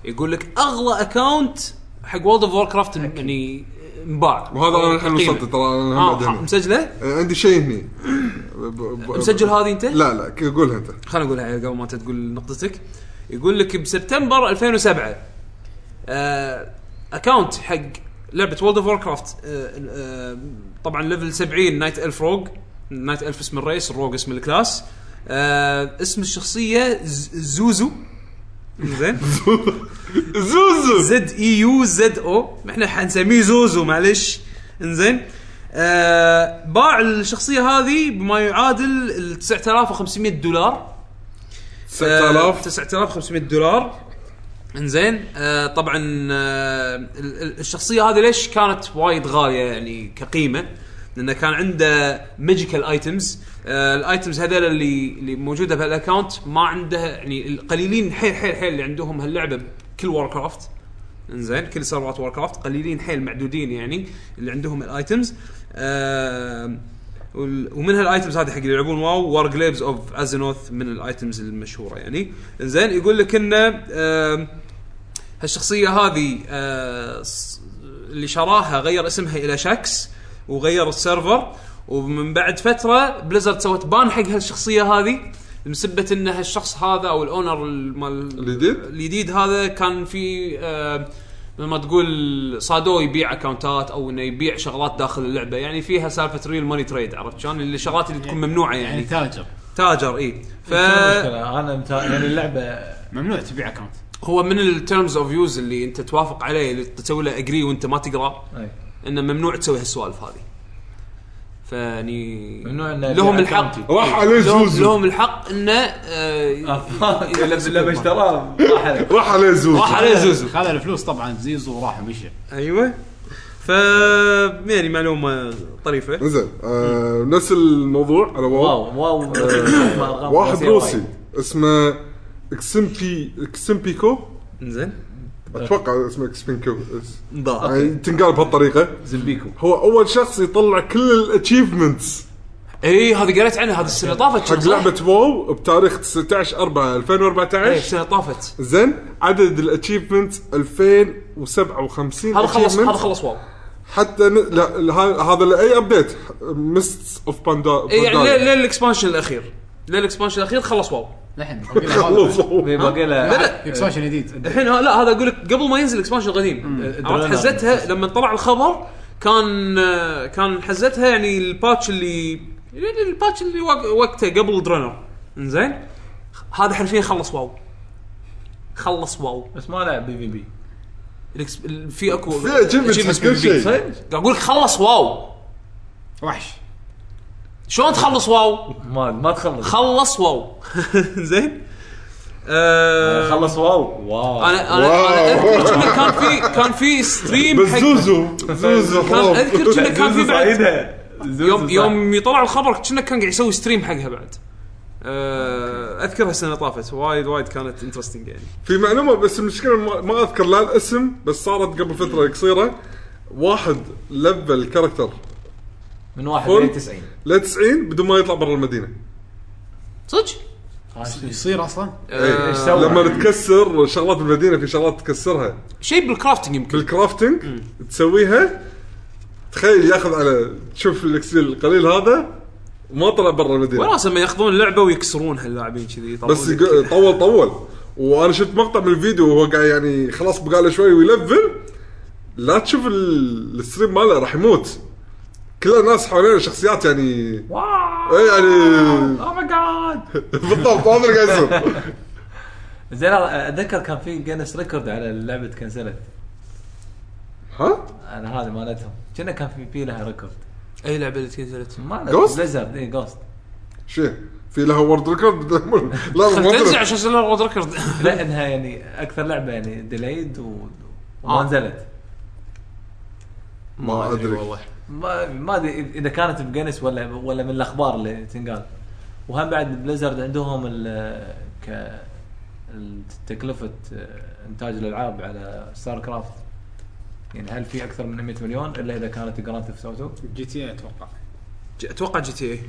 يقول لك اغلى اكونت حق وولد اوف وور كرافت يعني انباع
وهذا انا الحين
قيمة.
وصلت ترى أنا الحين
اه
بعد هنا.
مسجله؟
آه، عندي شيء هني ب- ب-
مسجل هذه انت؟
لا لا ك- قولها انت
خليني اقولها قبل ما انت تقول نقطتك يقول لك بسبتمبر 2007 آه، اكونت حق لعبه وولد اوف ووركرافت آه، طبعا ليفل 70 نايت الف روج نايت الف اسم الرئيس الروج اسم الكلاس آه، اسم الشخصيه ز- زوزو زين E
زوزو
زد اي يو زد او احنا حنسميه زوزو معلش انزين آه باع الشخصيه هذه بما يعادل ال 9500 دولار آه،
9000
9500 دولار انزين آه طبعا آه ال- ال- الشخصيه هذه ليش كانت وايد غاليه يعني كقيمه؟ لانه كان عنده ماجيكال ايتمز آه الايتمز هذول اللي اللي موجوده بهالاكونت ما عنده يعني القليلين حيل حيل حيل اللي عندهم هاللعبه بكل وور كرافت انزين كل سيرفرات وور كرافت قليلين حيل معدودين يعني اللي عندهم الايتمز آه وال- ومن هالايتمز هذه حق اللي يلعبون واو وار جليفز اوف ازينوث من الايتمز المشهوره يعني انزين يقول لك انه آه هالشخصيه هذه آه ص- اللي شراها غير اسمها الى شاكس وغير السيرفر ومن بعد فتره بليزرد سوت بان حق هالشخصيه هذه مسبه ان هالشخص هذا او الاونر مال
الجديد؟
الجديد هذا كان في آه لما تقول صادوه يبيع اكونتات او انه يبيع شغلات داخل اللعبه يعني فيها سالفه ريل ماني تريد عرفت شلون اللي شغلات اللي تكون ممنوعه
يعني
يعني
تاجر
تاجر إيه. اي ف
المشكله انا متا... يعني اللعبه
ممنوع تبيع اكونت
هو من التيرمز اوف يوز اللي انت توافق عليه اللي تسوي له اجري وانت ما تقرا
أي.
انه ممنوع تسوي هالسوالف هذه فيعني
ممنوع إنه
لهم
يبيع
الحق
account.
راح عليه
لهم,
زوزو
لهم الحق انه آه،
لما اشتراه راح عليه.
راح عليه زوزو
راح عليه زوزو
خذ الفلوس طبعا زيزو وراح مشى
ايوه ف يعني معلومه طريفه
زين آه نفس الموضوع على واو
واو واو
آه، واحد روسي اسمه اكسمبي اكسمبيكو
زين
اتوقع اسمه اكسبينكو
ضاع
يعني تنقال بهالطريقه
زمبيكو
هو اول شخص يطلع كل الاتشيفمنتس
اي هذه قريت عنها هذه السنه طافت
حق
صح؟
لعبه واو بتاريخ 19 4
إيه،
2014
السنه طافت
زين عدد الاتشيفمنتس 2057
هذا خلص
achievement.
هذا خلص واو
حتى ن... لا لا- هذا لاي ابديت ميست اوف باندا
إيه، يعني ليه ليه الاكسبانشن الاخير ليه الاكسبانشن الاخير خلص واو
الحين
خلصوا
باقي له
لا لا
اكسبانشن جديد
الحين ه- لا هذا اقول لك قبل ما ينزل الاكسبانشن القديم عرفت
درينا.
حزتها لما طلع الخبر كان آه، كان حزتها يعني الباتش اللي يعني الباتش اللي وق- وقته قبل درونر انزين هذا حرفيا خلص واو خلص واو
بس ما لعب بي في بي
الإكس- ال- في اكو
في achievements حق كل شيء.
قاعد اقول لك خلص واو
وحش
شلون تخلص واو؟
ما ما تخلص
خلص واو زين آه
خلص واو واو
انا انا انا اذكر إنه كان في كان في ستريم
بس
حق
زوزو زوزو
كان
خلاص.
اذكر كنا كان في بعد
زوزو
يوم
صح.
يوم يطلع الخبر كنا كان قاعد يسوي ستريم حقها بعد آه، اذكرها السنه طافت وايد وايد كانت انترستنج يعني
في معلومه بس المشكله ما- ما اذكر لا الاسم بس صارت قبل فتره قصيره واحد لفل كاركتر
من واحد
فل.
ل 90
ل 90 بدون ما يطلع برا المدينه
صدق آه،
يصير اصلا
إيه.
سوى؟
لما تكسر شغلات المدينه في شغلات تكسرها
شيء بالكرافتنج يمكن
بالكرافتنج تسويها تخيل ياخذ على تشوف الاكسيل القليل هذا وما طلع برا المدينه
وراس لما ياخذون اللعبه ويكسرونها اللاعبين كذي يطلعون
بس
لك.
يق- طول طول وانا شفت مقطع من الفيديو وهو قاعد يعني خلاص بقى له شوي ويلفل لا تشوف ال- الستريم ماله راح يموت كل الناس حوالينا شخصيات يعني ايه يعني
Oh
اوه ماي جاد
بالضبط هذا اللي قاعد يصير
زين أنا اتذكر كان في جينس ريكورد على لعبه كنسلت
ها؟
انا هذه مالتهم كنا كان في في لها ريكورد
اي لعبه اللي نزلت
مالت
Ghost؟
بليزرد اي جوست
شيء في لها وورد ريكورد لا ما
تنزل
أدري.
عشان سلر رود ريكورد
لا انها يعني اكثر لعبه يعني ديليد و... وما
آه.
نزلت
ما ادري
والله
ما ما ادري اذا كانت بجنس ولا ولا من الاخبار اللي تنقال وهم بعد بليزرد عندهم ال ك ال- تكلفه انتاج الالعاب على ستار كرافت يعني هل في اكثر من 100 مليون الا اذا كانت جراند اوف سوتو؟
جي تي إيه اي اتوقع
ج- اتوقع جي تي اي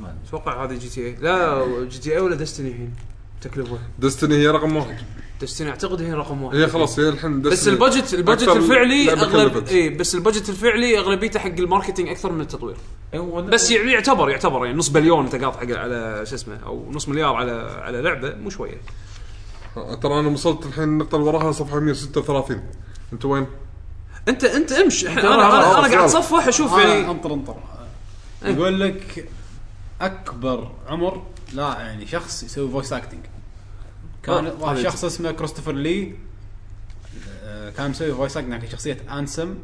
ما ادري
اتوقع هذه جي تي اي لا جي تي اي ولا ديستني الحين تكلفه
دستني هي رقم واحد
ديستني اعتقد هي رقم واحد
هي خلاص هي الحين
بس
Destiny.
البادجت البادجت
أكثر
الفعلي إيه.
لعبة
اغلب
كلفت.
اي بس البادجت الفعلي اغلبيته حق الماركتينج اكثر من التطوير
إيه، هو-
بس يعني يعتبر يعتبر يعني نص بليون انت قاطع حق على شو اسمه او نص مليار على على لعبه مو شويه
ترى انا وصلت الحين النقطه اللي وراها صفحه 136 انت وين؟
انت انت امشي احنا-
راح-
انا انا,
راح-
أنا قاعد اتصفح اشوف
آه،
يعني إيه.
انطر انطر يقول لك اكبر عمر لا يعني شخص يسوي فويس اكتنج كان
آه،
واحد
هذا
شخص اسمه كريستوفر لي آه، كان مسوي فويس اكتنج حق شخصيه انسم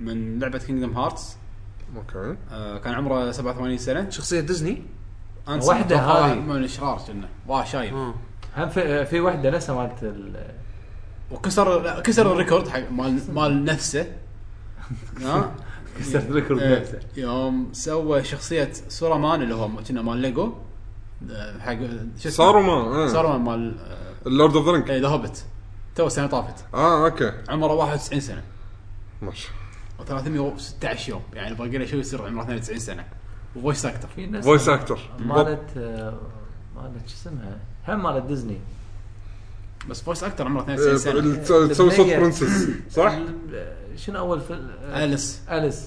من لعبه كينجدم هارتس
اوكي
آه، كان عمره 87 سنه
شخصيه ديزني
انسم
وحدة
أتوقع
هذه.
من الاشرار كنا واه شايب
آه.
هم في, في واحده نفسها مالت ال-
وكسر لا، كسر الريكورد حق مال مال نفسه ها
كسرت ريكورد
إيه،
نفسه
يوم سوى شخصيه سورامان اللي هو كنا مال ليجو آه، حق شو اسمه
سارومان، إيه.
سارومان مال آه،
اللورد اوف ذا رينج
اي ذا هوبت تو السنه طافت
اه اوكي
عمره 91 سنه
ماشي
و316 يوم يعني باقي له شوي يصير عمره 92 سنه وفويس اكتر
في ناس
فويس اكتر
مالت آه، مالت شو اسمها هم مالت ديزني
بس فويس اكتر عمره
آه،
92 سنه
تسوي صوت برنسس صح؟
ال- شنو اول فيلم آه،
اليس
اليس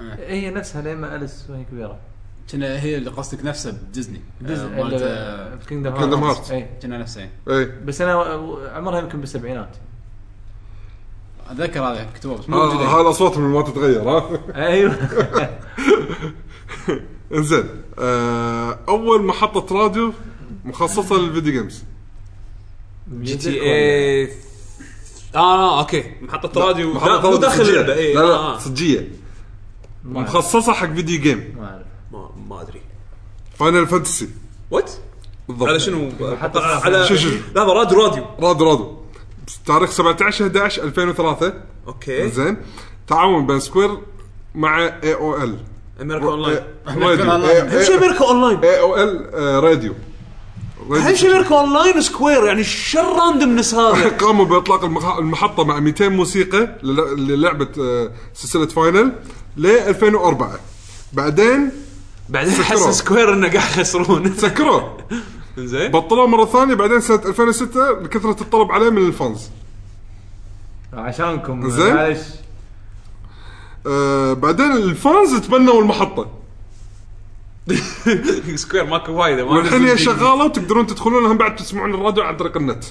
آه.
هي نفسها لما اليس وهي كبيره
كنا هي اللي قصدك نفسها بديزني
ديزني
آه، مالت آه،
كينجدم
Kingdom Hearts.
اي
كنا نفسها إيه.
اي
بس انا و- عمرها يمكن بالسبعينات
اتذكر هذا كتبوه بس
آه،
مو
هاي
جديد
الاصوات من ما تتغير ها
ايوه
انزين آه، اول محطه راديو مخصصه للفيديو جيمز
جي تي
إيه.
إيه.
إيه. اي اه اوكي محطه راديو لا مو
راديو
داخل
صجية.
اللعبه اي
لا
آه،
لا
آه.
صجيه
ما أعرف،
مخصصه حق فيديو جيم
ما اعرف
ما ما ادري
فاينل فانتسي
وات
بالضبط
على شنو
محطة
على
شو- شو؟
لحظه راديو راديو
راديو راديو تاريخ 17 11 2003
اوكي
زين تعاون بين سكوير مع اي او ال
امريكا اون
إيه،
لاين اهم شيء
راديو
امريكا اون لاين
اي او ال آه، راديو
اهم
راديو
شيء امريكا اون لاين سكوير يعني شر راندمنس هذا
قاموا باطلاق المخ- المحطه مع 200 موسيقى لل- للعبه آه، سلسله فاينل ل 2004 بعدين
بعدين
سكروا.
حس سكوير انه قاعد يخسرون
سكروه
زين
بطلوه مره ثانيه بعدين سنه 2006 لكثره الطلب عليه من الفانز
عشانكم
زين.
معلش
آه بعدين الفانز تبنوا المحطه
سكوير ماكو وايد ما
والحين
نزل
هي
جديد.
شغاله وتقدرون تدخلونها بعد تسمعون الراديو عن طريق النت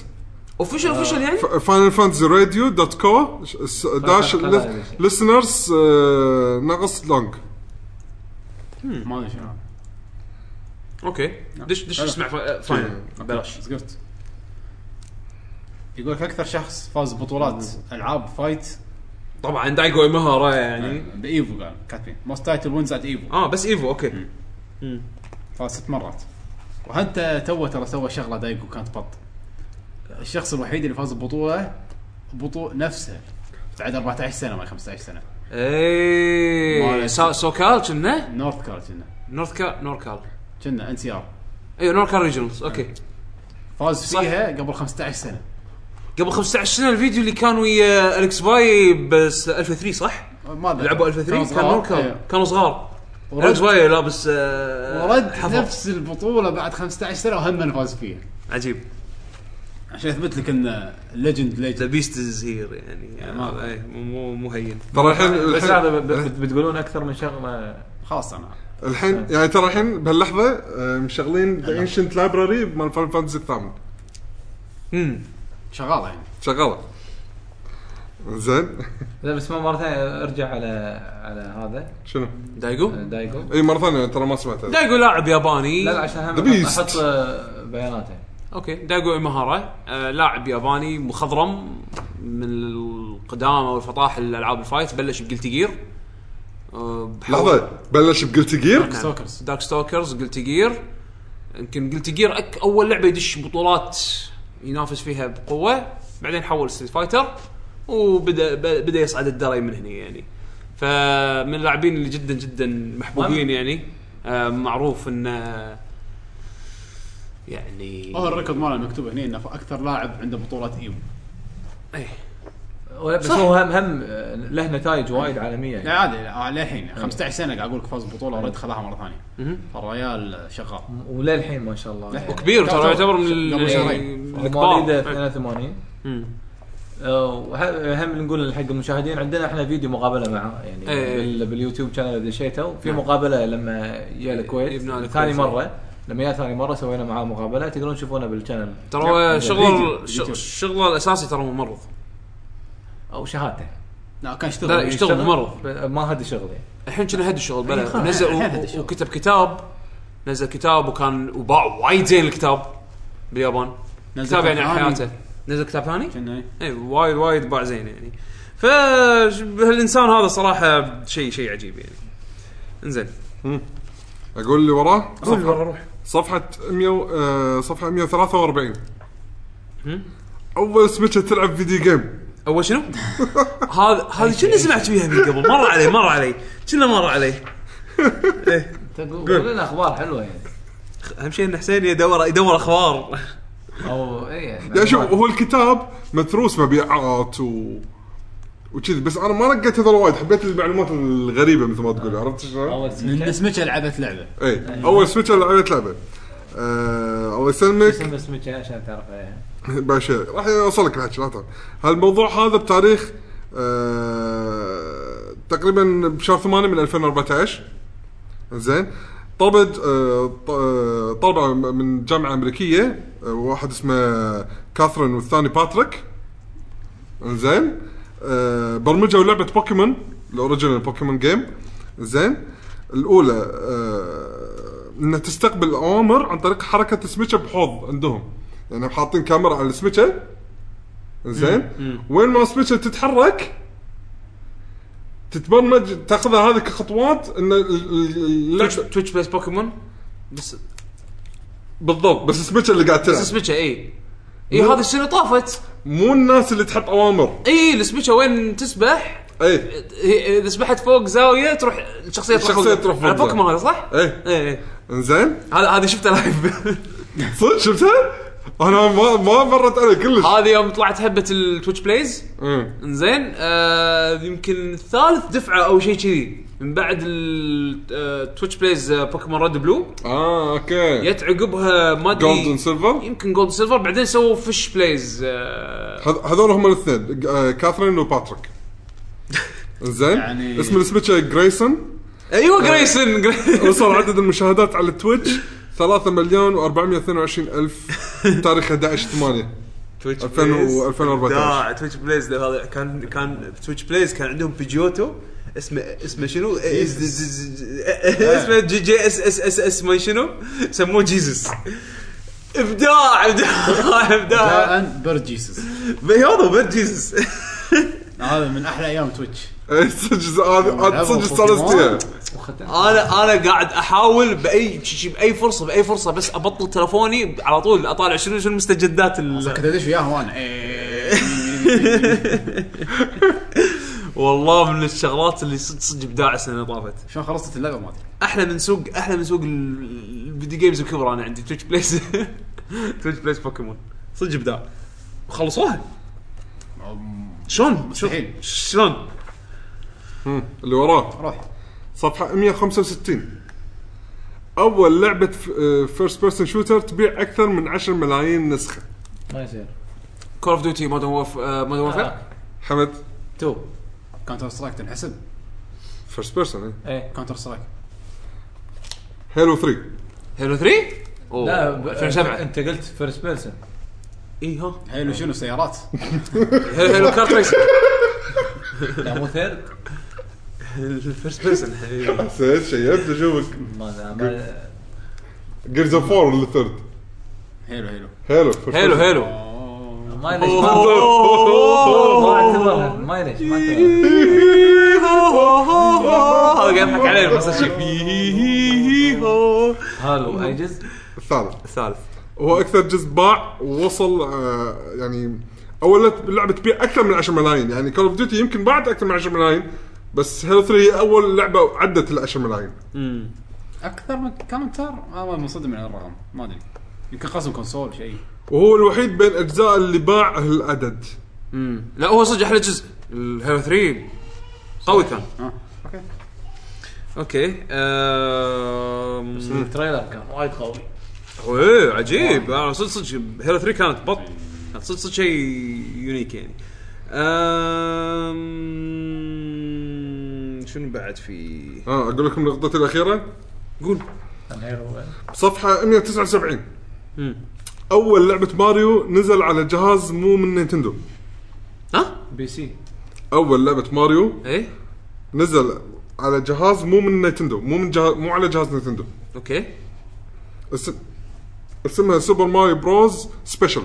اوفشل
آه.
اوفشل يعني
فاينل فانتسي راديو دوت كو داش
خلاص.
لسنرز آه، ناقص لونج
ما ادري شنو
اوكي
نعم.
دش دش
حلو.
اسمع آه، فا- فاينل
نعم.
بلاش
سقطت يقول لك اكثر شخص فاز ببطولات العاب فايت
طبعا دايجو مهاره
نعم.
يعني
بايفو قال كاتبين موست تايتل وينز ات ايفو
اه بس ايفو اوكي
فاز ست مرات وحتى تو ترى سوى شغله دايجو كانت بط الشخص الوحيد اللي فاز ببطوله بطولة نفسها بعد 14 سنه ما 15 سنه
اي
مالك.
إيه. سا- سوكال كنا
نورث كارل كنا
نورث كال نوركال
كنا ان سي ار
ايوه نوركال ريجنالز اوكي
فاز فيها قبل 15 سنه
قبل 15 سنه الفيديو اللي كان ويا الكس باي بس 2003 صح؟
ما أدري.
لعبوا 2003 كان نوركال
إيه.
كانوا صغار الكس
ورد,
باي لابس آه،
ورد
حفر.
نفس البطوله بعد 15 سنه وهم فاز فيها
عجيب
عشان اثبت لك ان ليجند
ذا
ليجند
بيست از هير يعني
ما-
آه، إيه، مو مو مو هين
ترى الحين
بس
الحين-
هذا ب- ب- بتقولون اكثر من شغله
خلاص انا
الحين يعني ترى الحين بهاللحظه آه، مشغلين ذا انشنت لايبراري مال فاينل فانتسي الثامن
امم
شغاله يعني
شغاله زين
لا بس ما مره ثانيه ارجع على على هذا
شنو؟
دايجو
آه.
دايجو
اي مره ثانيه ترى ما سمعتها
دايجو لاعب ياباني
لا لا عشان هم
The Beast.
أحط- احط آه، بياناته
اوكي دايجو امهارا آه لاعب ياباني مخضرم من القدامى والفطاح الالعاب الفايت بلش آه، بجلتي جير
لحظه بلش بقلتي جير
Stalkers.
دارك ستوكرز جلتي جير يمكن جلتي جير أك اول لعبه يدش بطولات ينافس فيها بقوه بعدين حول ستريت فايتر وبدا ب- بدا يصعد الدرج من هنا يعني فمن اللاعبين اللي جدا جدا محبوبين يعني آه معروف انه يعني
هو الركض ماله مكتوب هنا انه اكثر لاعب عنده E بطولات ايفو
إيه.
ولا بس هو هم هم آه، له نتائج وايد عالميه
لا
يعني
عادي لا، آه، للحين 15 سنه قاعد اقول لك فاز ببطوله ورد خذاها مره ثانيه
مهم.
فالريال شغال
وللحين ما شاء الله يعني.
للحين.
كبير ترى يعتبر من ال-
قبل شهرين.
من
هم
الكبار
مواليده 82
مم.
آه، وه- هم نقول حق المشاهدين عندنا احنا فيديو مقابله معه يعني
إيه.
بال- باليوتيوب شانل دشيته في مقابله لما جا
يبنى
الكويت
الكويت.
ثاني مره لما جاء ثاني مره سوينا معاه مقابله تقدرون تشوفونها بالشانل
ترى هو شغله
فيديو.
ش-
يوتيوب.
شغله الاساسي ترى ممرض
او شهادته
لا كان يشتغل
لا، يشتغل.
يشتغل
مرض.
ب- ما هذا شغل يعني
الحين كنا هد الشغل
إيه،
بلا
خلاص،
نزل
الحين
و-
هد الشغل.
وكتب كتاب نزل كتاب وكان وباع وايد زين الكتاب باليابان
نزل
كتاب يعني
كتاب
عن
ثاني.
حياته نزل كتاب ثاني؟
كنا
اي وايد وايد باع زين يعني فالانسان هذا صراحه شيء شيء عجيب يعني انزين
اقول اللي وراه
قول ورا روح
صفحة 100 آه، صفحة 143 اول سمكه تلعب فيديو جيم
اول شنو؟ هذا هذه كنا سمعت فيها من قبل مر علي مر علي كنا مر علي
قول لنا اخبار حلوه يعني
اهم شيء ان حسين يدور يدور اخبار
او اي يعني
يا شوف هو الكتاب متروس مبيعات و وكذي بس انا ما رقيت هذول وايد حبيت المعلومات الغريبه مثل ما تقول عرفت شلون؟
اول
لان
سمكه
سمكه لعبت لعبه
اي اول سويتش لعبت لعبه آه الله يسلمك
اسم سمكه عشان تعرفها يعني.
باشا راح يوصلك الحكي لا تعرف هالموضوع هذا بتاريخ آه تقريبا بشهر 8 من 2014 زين طلبت آه، ط- آه، طلبه من جامعه امريكيه آه، واحد اسمه كاثرين والثاني باتريك زين آه، برمجوا لعبه بوكيمون الاوريجينال بوكيمون جيم زين الاولى آه، انها تستقبل اوامر عن طريق حركه السمكه بحوض عندهم يعني حاطين كاميرا على السمكه زين وين ما السمكه تتحرك تتبرمج تاخذها هذه كخطوات ان ال- ال- اللعبة-
تويتش تويتش بليس بوكيمون بس
بالضبط بس السمكه اللي قاعد تلعب
بس سمكه اي اي هذه السنه طافت
مو الناس اللي تحط إيه. اوامر
اي السمكه وين تسبح
اي
هي- اذا سبحت فوق زاويه تروح الشخصيه تروح
الشخصية
فوق- إيه،
تروح فوق
على
زاوية.
بوكيمون هذا صح؟
اي
اي إي.
انزين
هذا هذه شفتها لايف
صدق شفتها؟ انا ما ما مرت علي كلش
هذه يوم طلعت هبه التويتش بلايز
مم.
انزين آه يمكن ثالث دفعه او شيء كذي من بعد التويتش بلايز آه، بوكيمون ريد بلو
اه اوكي
جت عقبها إيه، ما
جولد اند
ادري
سيلفر
يمكن جولد سيلفر بعدين سووا فيش بلايز آه
هذ- هذول هم الاثنين ج- آه، كاثرين وباتريك زين
يعني-
اسم السمكه جريسون
ايوه جريسون
وصل عدد المشاهدات على تويتش 3 مليون و422 الف تاريخ 11 8
تويتش
2000 2014
لا تويتش بلايز ده هذا كان كان تويتش بلايز كان عندهم بيجوتو اسمه اسمه شنو؟ إيه، إز- إز- إز- إز- إيه، اسمه جي جي اس اس اس اس ما شنو؟ سموه جيزس ابداع ابداع ابداع
جاء بيرد جيسس
هذا بيت جيزس
هذا من احلى ايام تويتش
إيه، صدق هذه هذه صدق استانست فيها
انا انا قاعد احاول باي شي- شي- باي فرصه باي فرصه بس ابطل تلفوني على طول اطالع شنو شنو المستجدات ال-
كنت ادش وياها وانا إيه.
والله من الشغلات اللي صدق صدق ابداع السنه اللي طافت
شلون خلصت اللعبه ما ادري
احلى من سوق احلى من سوق ال- الفيديو جيمز الكبرى انا عندي تويتش بلايز تويتش بلايز بوكيمون صدق ابداع وخلصوها شلون؟ شلون؟
مستحيل.
شلون؟
اللي وراه
روح
صفحه 165 اول لعبه فيرست بيرسون شوتر تبيع اكثر من 10 ملايين نسخه
ما يصير آه،
كول اوف ديوتي مودرن وورف مودرن
آه.
وورفير
حمد
تو
كاونتر سترايك تنحسب
فيرست بيرسون
إيه.
ايه
كاونتر سترايك
هيلو 3
هيلو 3
لا
اوه
ب-
آه.
2007
انت قلت فيرست بيرسون
اي إيه، ها
حلو شنو سيارات
هيلو هيلو كارت ريسنج
لا مو ثيرد
الفيرست بيرسون
حسيت شيبت اشوفك
ما ما-
جيرز اوف 4 اللي ثيرد
حلو حلو
هيلو
هيلو هيلو
ما يليش ما- ما اعتبرها ما يليش ما اعتبرها
هذا قاعد يضحك علينا بس شيء
هالو ايجز
الثالث
الثالث
هو اكثر جزء باع ووصل آه، يعني اول لعبه تبيع اكثر من 10 ملايين يعني كول اوف ديوتي يمكن باعت اكثر من 10 ملايين بس هيلو 3 هي اول لعبه عدت ال 10 ملايين
اكثر من كاونتر انا منصدم من الرقم ما ادري يمكن قسم كونسول شيء
وهو الوحيد بين اجزاء اللي باع هالعدد
لا هو صدق احلى جزء الهيرو 3 قوي كان
ها اوكي
اوكي آم،
التريلر كان وايد قوي
اوه إيه، عجيب انا صدق صدق هيرو 3 كانت بط كانت صدق صدق شيء يونيك يعني آم، شنو بعد في
اه اقول لكم نقطتي الاخيره
قول
صفحه 179
مم.
اول لعبه ماريو نزل على جهاز مو من نينتندو
ها
بي سي
اول لعبه ماريو
ايه
نزل على جهاز مو من نينتندو مو من جهاز مو على جهاز نينتندو
اوكي
اسم اسمها سوبر ماريو بروز سبيشل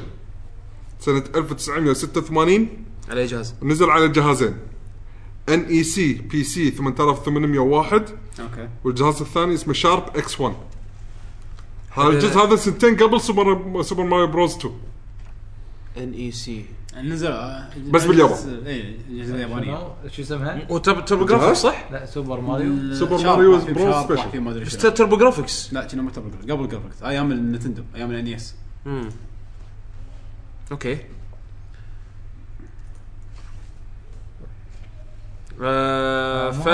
سنه 1986
على أي جهاز
نزل على جهازين E ان اي سي بي سي 8801
اوكي
والجهاز الثاني اسمه شارب اكس 1 هذا الجزء هذا سنتين قبل سوبر سوبر ماريو بروز 2
ان اي سي
يعني نزل آه، إيه،
بس باليابان.
اي الاجهزه اليابانيه
شنو؟ شو اسمها؟
وتربو جرافيكس صح؟
لا سوبر ماريو
سوبر
شارب
ماريو
واحد فيهم
برو
شارب، واحد
سبيشل.
فيهم ما ادري
بس
شنو.
تربو جرافيكس
لا كنا متى قبل قبل ايام النتندو ايام الان اس
مم. اوكي آه ف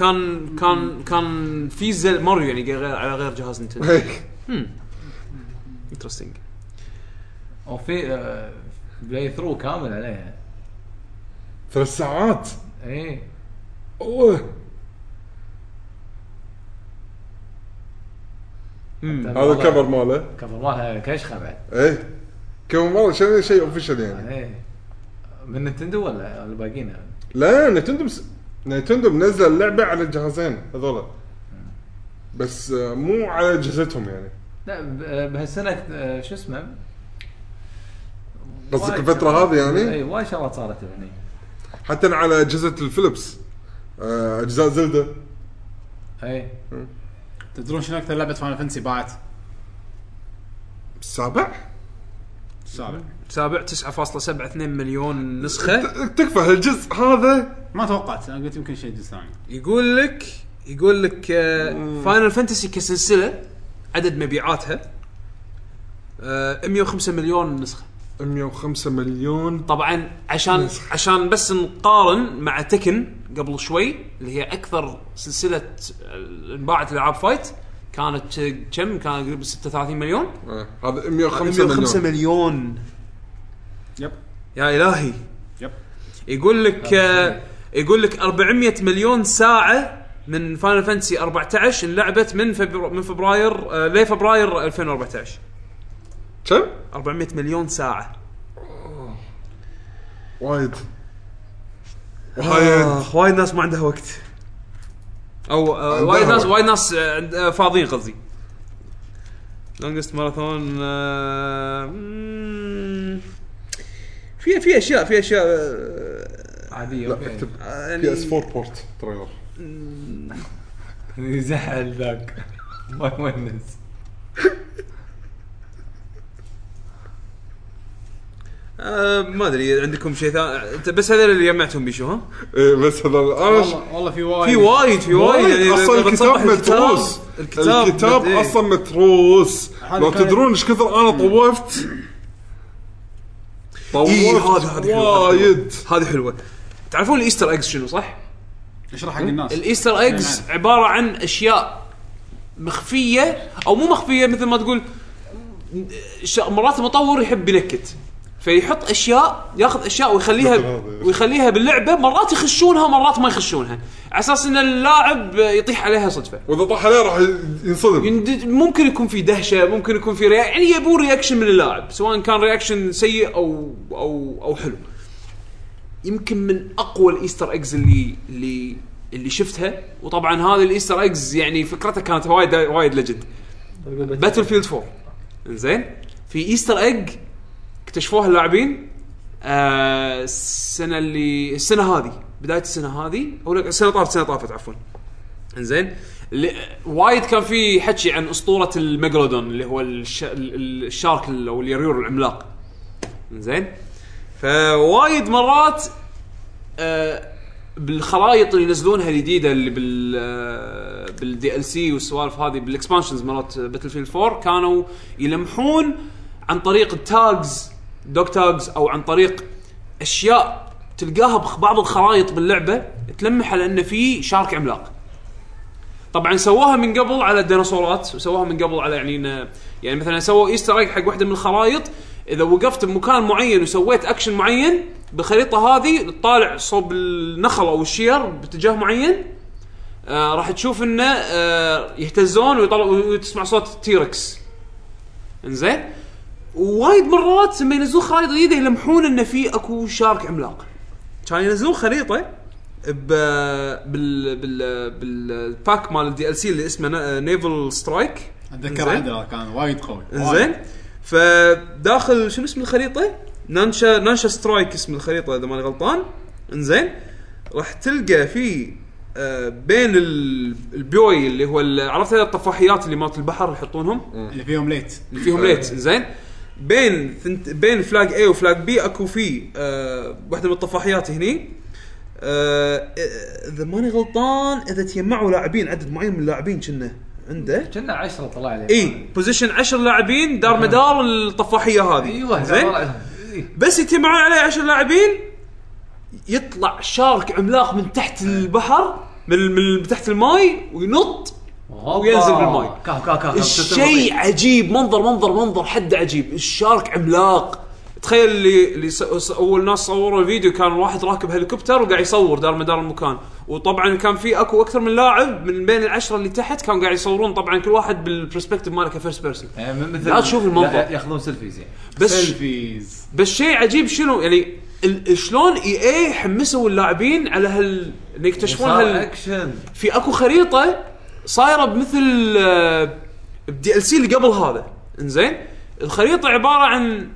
كان كان كان في زل ماريو يعني غير على غير جهاز نينتندو انترستنج
وفي آه، بلاي ثرو كامل عليها
ثلاث ساعات
اي
اوه هذا الكفر ماله
كفر مالها كشخه بعد
ايه كم مره شيء شيء اوفيشال
إيه.
يعني
اي من نتندو ولا الباقيين
لا نتندو مس... نتندو منزل اللعبه على الجهازين هذول بس آه، مو على اجهزتهم يعني
لا ب- بهالسنه آه، شو اسمه
قصدك
وايد
الفترة
شغلات-
هذه يعني؟
اي وايد شغلات صارت يعني. هني
حتى على اجهزه الفيلبس آه، اجزاء زلده
اي
تدرون شنو اكثر لعبه فاينل فانسي باعت؟
السابع
السابع
سابع 9.72 مليون نسخه
ت- تكفى هالجزء هذا
ما توقعت انا قلت يمكن شيء جزء ثاني
يقول لك يقول لك آه، فاينل فانتسي كسلسله عدد مبيعاتها آه 105 مليون نسخه
105 مليون
طبعا عشان عشان بس نقارن مع تكن قبل شوي اللي هي اكثر سلسله آه، انباعت العاب فايت كانت آه، كم كان قريب 36 مليون
آه، هذا 105
105
مليون
مليون
يب
يا الهي
يب
يقول لك آه، يقول لك 400 مليون ساعه من فاينل فانتسي 14 انلعبت من فبر... من فبراير آه، لفبراير 2014
كم؟
400 مليون ساعه
وايد وايد
آه، وايد ناس ما عندها وقت او آه، وايد ناس وايد ناس آه، عند- آه، فاضيين قصدي لونجست ماراثون آه، في في اشياء في اشياء آه،
عاديه
لا
اوكي
اكتب
آه، يعني-
بي اس 4 بورت تريلر
يزعل ذاك ما يونس
آه، ما ادري عندكم شيء ثاني انت بس هذول اللي جمعتهم بيشو ها؟
إيه، بس هذا انا ش-
والله والله في وايد
في وايد في وايد يعني
اصلا
لما تصفح
الكتاب متروس
الكتاب
الكتاب
إيه.
اصلا متروس
هذا
لو
كان-
تدرون ايش كثر انا طوفت
إيه، هذا- هذا
طوفت
حلو،
وايد
هذه حلوه تعرفون الايستر ايجز شنو صح؟
اشرح حق الناس
الايستر ايجز عباره عن اشياء مخفيه او مو مخفيه مثل ما تقول ش- مرات المطور يحب ينكت فيحط اشياء ياخذ اشياء ويخليها ويخليها باللعبه مرات يخشونها مرات ما يخشونها على اساس ان اللاعب يطيح عليها صدفه
واذا طاح عليه راح ينصدم
يند- ممكن يكون في دهشه ممكن يكون في ريا... يعني يبون رياكشن من اللاعب سواء كان رياكشن سيء او او او حلو يمكن من اقوى الايستر ايجز اللي اللي اللي شفتها وطبعا هذا الايستر ايجز يعني فكرته كانت وايد وايد لجد باتل فيلد 4 زين في ايستر ايج اكتشفوها اللاعبين آه السنه اللي السنه هذه بدايه السنه هذه او لا، السنه طافت السنه طافت عفوا انزين ل- وايد كان في حكي عن اسطوره الميجلودون اللي هو الش... ال- الشارك ال- او اليريور العملاق انزين فوايد مرات آه بالخرائط اللي ينزلونها الجديده اللي بال آه، بالدي ال سي والسوالف هذه بالاكسبانشنز مرات باتل فيلد 4 كانوا يلمحون عن طريق التاجز دوك تاجز او عن طريق اشياء تلقاها ببعض الخرائط باللعبه تلمح على ان في شارك عملاق طبعا سووها من قبل على الديناصورات وسووها من قبل على يعني إن- يعني مثلا سووا ايستر ايج حق واحده من الخرائط اذا وقفت بمكان معين وسويت اكشن معين بالخريطه هذه تطالع صوب النخل او الشير باتجاه معين آه راح تشوف انه آه يهتزون ويطلع وتسمع صوت تيركس انزين وايد مرات لما ينزلون خرائط جديده يلمحون انه في اكو شارك عملاق كان ينزلون خريطه ب بال بال بالباك مال الدي ال سي اللي اسمه نيفل سترايك
اتذكر
إنزين.
عدل كان وايد قوي وايد.
انزين فداخل شنو اسم الخريطه؟ نانشا نانشا سترايك اسم الخريطه اذا ماني غلطان انزين راح تلقى في آه، بين ال- البيوي اللي هو ال- عرفت هذه الطفاحيات اللي مالت البحر يحطونهم
اللي فيهم ليت
اللي فيهم ليت انزين
بين ثنت بين فلاج اي وفلاج بي اكو في آه واحده من الطفاحيات هني آه، اذا ماني غلطان اذا تجمعوا لاعبين عدد معين من اللاعبين كنا عنده
كنا 10 طلع لي
إيه.
اي بوزيشن 10 لاعبين دار مدار الطفاحيه هذه
أيوة،
ايوه
زين بس يتجمعون عليه 10 لاعبين يطلع شارك عملاق من تحت البحر من من تحت الماي وينط وينزل بالماء.
كاف كاف كاف
الشيء عجيب منظر منظر منظر حد عجيب الشارك عملاق تخيل اللي اللي س- س- اول ناس صوروا الفيديو كان واحد راكب هليكوبتر وقاعد يصور دار مدار المكان وطبعا كان في اكو اكثر من لاعب من بين العشره اللي تحت كانوا قاعد يصورون طبعا كل واحد بالبرسبكتيف ماله كفيرست بيرسون
إيه،
يعني مثل
لا تشوف المنظر.
لا، ياخذون سيلفيز يعني
بس
سيلفيز
بس شيء عجيب شنو يعني ال- شلون اي
إيه
اي حمسوا اللاعبين على هال إن يكتشفون هال
اكشن
في اكو خريطه صايره بمثل آه، بدي ال سي اللي قبل هذا انزين الخريطه عباره عن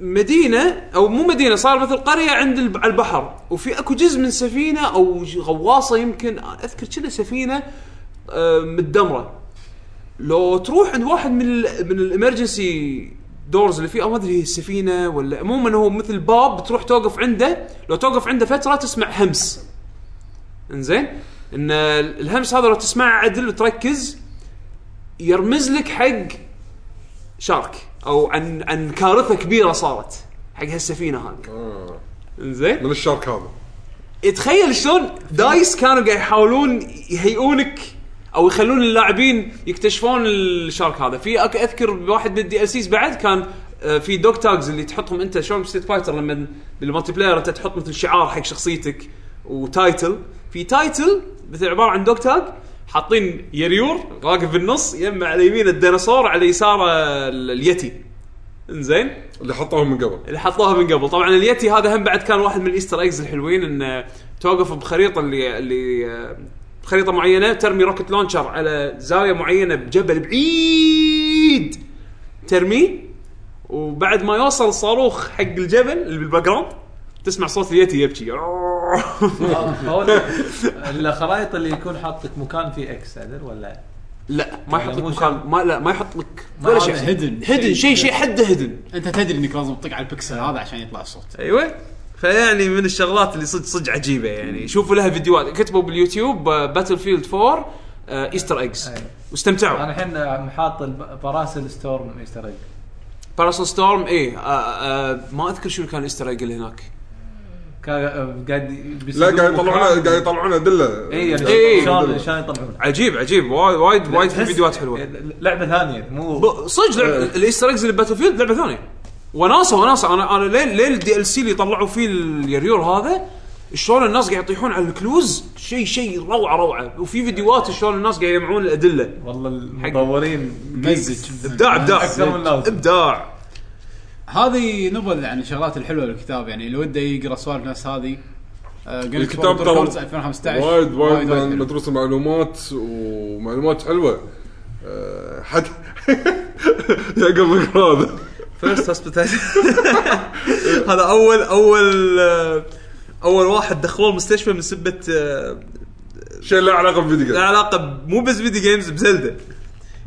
مدينه او مو مدينه صار مثل قريه عند الب- على البحر وفي اكو جزء من سفينه او ج- غواصه يمكن اذكر كنا سفينه آه، متدمره لو تروح عند واحد من ال من الامرجنسي دورز اللي فيه او ما ادري هي السفينه ولا عموما هو مثل باب تروح توقف عنده لو توقف عنده فتره تسمع همس انزين ان ال- الهمس هذا لو تسمعه عدل وتركز يرمز لك حق شارك او عن عن كارثه كبيره صارت حق هالسفينه هذه
آه.
انزين
من الشارك هذا
تخيل شلون دايس كانوا قاعد يحاولون يهيئونك او يخلون اللاعبين يكتشفون الشارك هذا في أك- اذكر بواحد من الدي ال سيز بعد كان آه، في دوغ تاجز اللي تحطهم انت شلون بستيت فايتر لما بالمالتي بلاير انت تحط مثل شعار حق شخصيتك وتايتل في تايتل مثل عباره عن دوغ تاج حاطين يريور راقب بالنص يمه على يمينه الديناصور على يساره ال- اليتي انزين
اللي حطوهم من قبل
اللي حطوها من قبل طبعا اليتي هذا هم بعد كان واحد من الايستر ايجز الحلوين انه توقف بخريطه اللي اللي آه، بخريطه معينه ترمي روكت لونشر على زاويه معينه بجبل بعيد ترميه وبعد ما يوصل صاروخ حق الجبل اللي بالباك جراوند تسمع صوت اليتي يبكي
هو الخرائط اللي يكون حاطك مكان فيه اكس عدل ولا
لا ما يحط لك
مو
مكان
شرط.
ما لا ما يحط لك ولا شيء
هيدن
هدن شيء شيء حده هدن
انت تدري انك لازم تطق على البكسل هذا عشان يطلع الصوت
ايوه
أيوة. فيعني من الشغلات اللي صدق صدق عجيبه يعني شوفوا لها فيديوهات كتبوا باليوتيوب باتل فيلد 4 آه، ايستر ايجز
أيوة.
واستمتعوا
انا الحين عم حاط الب- باراسل ستورم ايستر ايج
باراسول ستورم اي آه، آه، ما اذكر شنو كان ايستر ايج اللي هناك
آه،
كان قاعد
لا قاعد يطلعون قاعد يطلعون ادله
اي يعني
إيه.
شلون شلون يطلعون
عجيب عجيب وايد وايد وايد في فيديوهات حلوه
لعبه ثانيه مو
ب- صدق لعب- الايستر ايجز اللي باتل فيلد لعبه ثانيه وناسه وناسه انا انا لين لين الدي ال سي اللي طلعوا فيه اليريور هذا شلون الناس قاعد يطيحون على الكلوز شيء شيء روعه روعه وفي فيديوهات شلون الناس قاعد يجمعون الادله
والله المطورين
مزج
ابداع ابداع
أكثر من لازم.
ابداع
هذه نبذ عن الشغلات الحلوه بالكتاب يعني اللي وده يقرا سوالف نفس هذه آه، قلت
الكتاب
World
ترى
Records 2015
وايد وايد
حلو.
مدروس المعلومات ومعلومات حلوه أه، حتى يا قبل اقرا هذا
فيرست هوسبيتال هذا اول اول آه، اول واحد دخلوه المستشفى من سبه آه،
شيء له علاقه بالفيديو
له
جيم.
علاقه ب- مو بس فيديو جيمز بزلده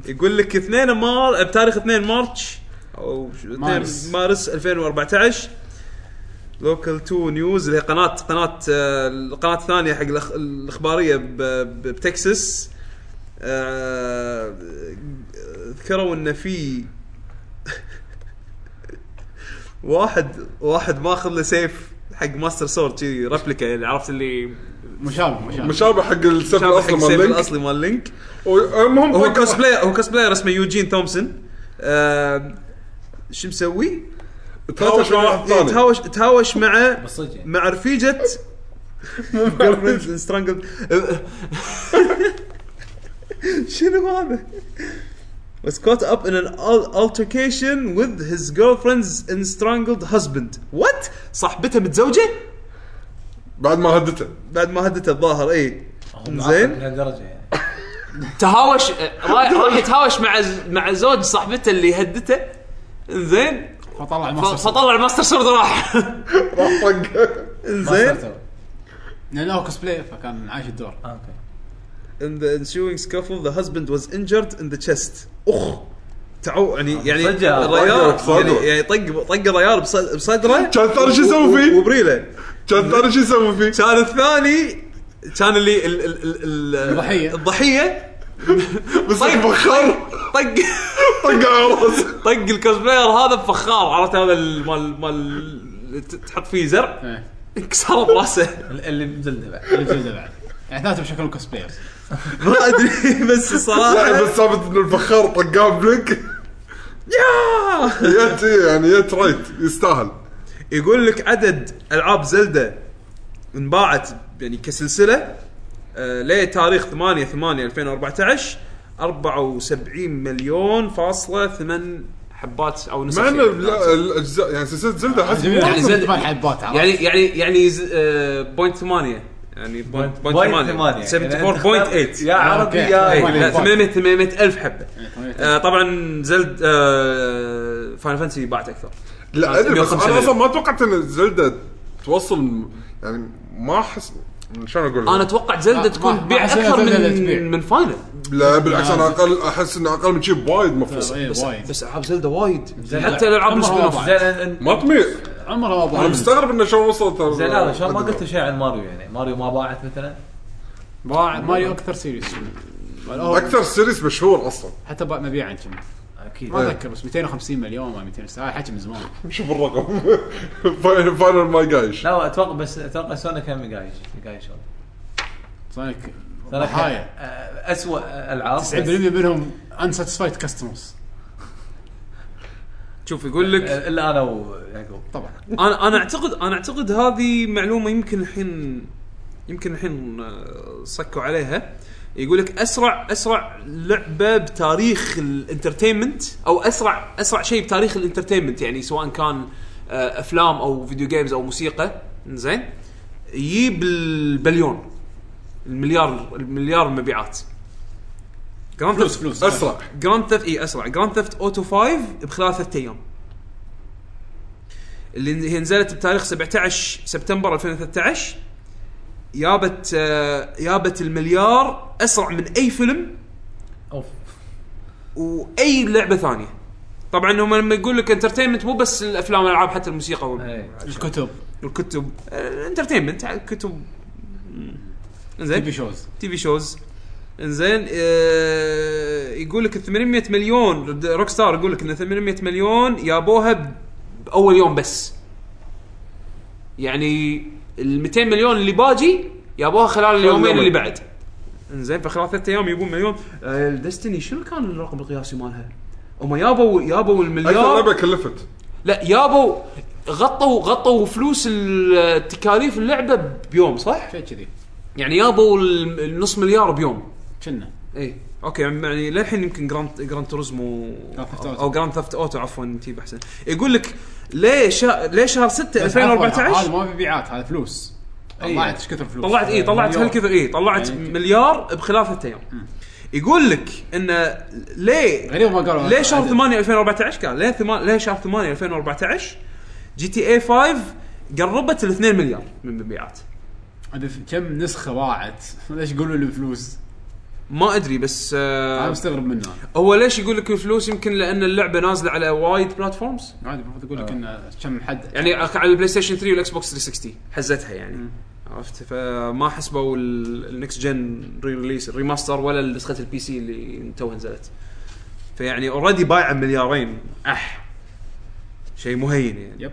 يقول لك 2 مار بتاريخ 2 مارش او شو- 2
مارس.
مارس 2014 لوكال 2 نيوز اللي هي قناه قناه آه، القناه الثانيه حق الأخ- الاخباريه ب- ب- بتكساس آه، ذكروا ان في واحد واحد ماخذ له سيف حق ماستر سورد كذي ريبليكا يعني عرفت اللي
مشابه مشابه
مشابه حق السيف
شابه حق
الاصلي مال
السيف
لينك
الاصلي مال لينك
المهم
هو كوسبلاير هو كوسبلاير اسمه يوجين تومسون آه، شو مسوي؟ إيه،
تهاوش مع واحد ثاني.
تهاوش تهاوش مع
بس صدق يعني.
مع رفيجة girlfriends and strangled شنو هذا؟ was caught up in an al- altercation with his girlfriend's and strangled husband. What? صاحبته متزوجة؟
بعد ما هدته
بعد ما هدته الظاهر اي.
آه،
زين؟
لهالدرجه يعني
تهاوش آه، رايح رايح يتهاوش مع ز- مع زوج صاحبته اللي هدته زين
فطلع
ف-
مصر
فطلع الماستر سورد راح
راح طقه
زين؟
طيب،
لانه هو كوسبلاي فكان عايش الدور
آه،
In the ensuing scuffle, the husband was injured in the chest. اخ
تعو يعني يعني
صدق.
الريار
طق بصدره.
يعني, يعني طق طق الريار بص- بصدره
كان ثاني شو يسوي فيه؟
وبريله
كان ترى شو يسوي فيه؟
كان الثاني كان اللي ال ال ال ال
الضحية.
الضحيه
بس
طيب.
بخر
طق
طق على راسه
طق الكوسبلاير هذا بفخار عرفت هذا ال- مال مال ت- تحط فيه زرع
إيه.
انكسر براسه
اللي نزلنا بعد
اللي بجوزه بعد يعني ثلاثه بشكل كوسبلايرز
ما ادري بس
لا
الصراحه
بس ثابت ان البخار طقام بلك
ياه!
يت يعني يت رايت يستاهل
يقول لك عدد العاب زلدة انباعت يعني كسلسله آه، لتاريخ 8 8 2014 74 مليون فاصلة 8 حبات او نسخ
مع ان
فيها.
لا، الاجزاء يعني سلسله زلده احس
يعني
وايد-
زلده مال حبات عرفت؟
يعني يعني يعني ز- آه، بوينت 8 يعني بوينت
Point-
بوينت
point
8
ثمانية. يعني أنت
74.8
يا إيه، عربي
أوكي.
يا
أي.
إيه، لا،
point.
800 800 الف حبه
يعني
آه، طبعا زلد آه، فاينل فانتسي باعت اكثر
لا ادري بس
150
انا
مليون.
اصلا ما توقعت ان زلده توصل يعني ما احس شلون اقول لك؟
انا اتوقع زلده
ما-
تكون
ما-
تبيع
ما حسينا
اكثر
زلدة تبيع.
من من فاينل
لا بالعكس انا اقل احس انه اقل من شي بوايد
بس-
مفروض
إيه، وايد
بس العاب زلده وايد حتى
حتى
الالعاب
عمرها
السبين
ما
اوف
بعد.
ما تميل
عمرها
انا
ما
مستغرب انه شلون وصلت
زين هذا شلون ما قلت شيء عن ماريو يعني ماريو ما باعت مثلا
باع ماريو اكثر سيريس
اكثر سيريس مشهور اصلا
حتى باع مبيعا كم
اكيد
ما اتذكر بس 250 مليون ما 200 هذا حكي من زمان
شوف الرقم فاينل فاينل ما قايش
لا اتوقع بس اتوقع سونا كان قايش قايش
سونيك
سونا كان
ضحايا
آه، اسوء العاب
90% منهم انساتسفايد كاستمرز
شوف يقول لك
آه، الا انا ويعقوب
طبعا
انا انا اعتقد انا اعتقد هذه معلومه يمكن الحين يمكن الحين آه، صكوا عليها يقول لك اسرع اسرع لعبه بتاريخ الانترتينمنت او اسرع اسرع شيء بتاريخ الانترتينمنت يعني سواء كان آه، افلام او فيديو جيمز او موسيقى زين يجيب البليون المليار المليار المبيعات جراند ثيفت
فلوس
اسرع
جراند ثيفت اي اسرع جراند ثيفت اوتو 5 بخلال ثلاثة ايام اللي هي نزلت بتاريخ 17 سبتمبر 2013 يابت آه، يابت المليار اسرع من اي فيلم
اوف
واي لعبه ثانيه طبعا هم لما يقول لك انترتينمنت مو بس الافلام والالعاب حتى الموسيقى وال-
إيه.
الكتب
والكتب انترتينمنت كتب
تي
زين
في شوز
تي في شوز انزين آه يقول لك 800 مليون روك ستار يقول لك ان 800 مليون يابوها ب- باول يوم بس يعني ال 200 مليون اللي باجي يابوها خلال اليومين اللي بعد انزين فخلال ثلاثة ايام يبون مليون آه ديستني شنو كان الرقم القياسي مالها؟ هم يابوا يابوا
اكثر
المليار
لعبه كلفت
لا يابوا غطوا غطوا فلوس ال- تكاليف اللعبه بيوم صح؟
شيء كذي
يعني يابوا ال- النص مليار بيوم
كنا
اي اوكي يعني للحين يمكن جراند جراند توريزمو
Grand Theft Auto.
او جراند ثفت اوتو عفوا تجيب احسن يقول لك ليه شا... ليه شهر 6
هذا
2014
ما مبيعات هذا فلوس طلعت ايش كثر فلوس
إيه،
يعني
طلعت اي طلعت
مليون.
هالكذا اي طلعت
يعني-
مليار بخلال ثلاث ايام يقول لك ان ليه
غريب ما قالوا
ليه شهر
عدد.
8 2014 كان ليه ثما... ليه شهر 8 2014 جي تي اي 5 قربت ال 2 مليار من مبيعات
عدد كم نسخه باعت ليش يقولوا لي فلوس
ما ادري بس
انا
آه
مستغرب منه أنا.
هو ليش يقول لك الفلوس يمكن لان اللعبه نازله على وايد بلاتفورمز
عادي المفروض اقول لك انه كم حد
يعني على البلاي ستيشن 3 والاكس بوكس 360 حزتها يعني عرفت فما حسبوا ال- النكست جن ري ريليس الريماستر ولا نسخه البي سي اللي تو نزلت فيعني اوريدي بايعه مليارين اح شيء مهين يعني
يب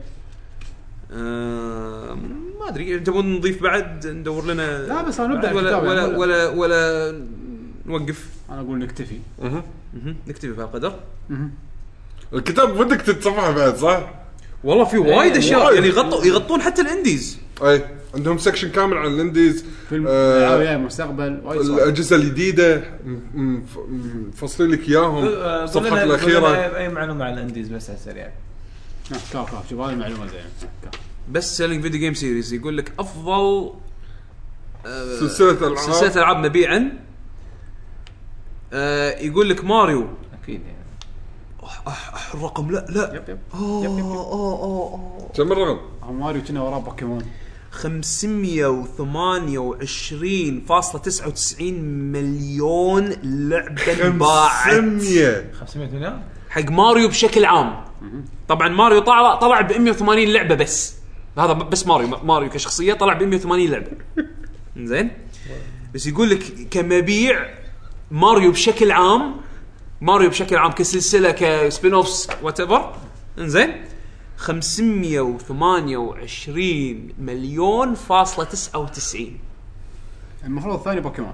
آه ما ادري تبون نضيف بعد ندور لنا
لا، بس أنا نبدأ
بعد ولا
الكتاب،
ولا,
يعني
ولا ولا نوقف
انا اقول نكتفي
مهم. نكتفي بهالقدر
الكتاب ودك تتصفح بعد صح؟
والله في وايد اشياء
وايد.
يعني يغطوا يغطون حتى الانديز
اي عندهم سكشن كامل عن الانديز
فيلم
آه،
العاب جاي مستقبل وايد سوالف.
الاجهزه الجديده م- م- ف- م- مفصلين لك اياهم
آه، قول لنا-
الصفحه
قول لنا
الاخيره
اي معلومه عن الانديز بس على السريع
آه، كاف كاف شوف هذه معلومه زينه كاف.
بس سيلينج فيديو جيم سيريز يقول لك افضل آه،
سلسله العاب
سلسله العاب مبيعا آه، يقول لك ماريو
اكيد يعني
أح الرقم لا لا
يب يب
كم الرقم؟
آه، ماريو كنا وراه بوكيمون
528.99 مليون لعبه انباعت
500
500 مليون
حق ماريو بشكل عام طبعا ماريو طلع طلع ب 180 لعبه بس هذا بس ماريو ماريو كشخصيه طلع ب 180 لعبه زين بس يقول لك كمبيع ماريو بشكل عام ماريو بشكل عام كسلسله كسبين اوفس وات ايفر انزين 528 مليون فاصلة 99
المفروض الثاني بوكيمون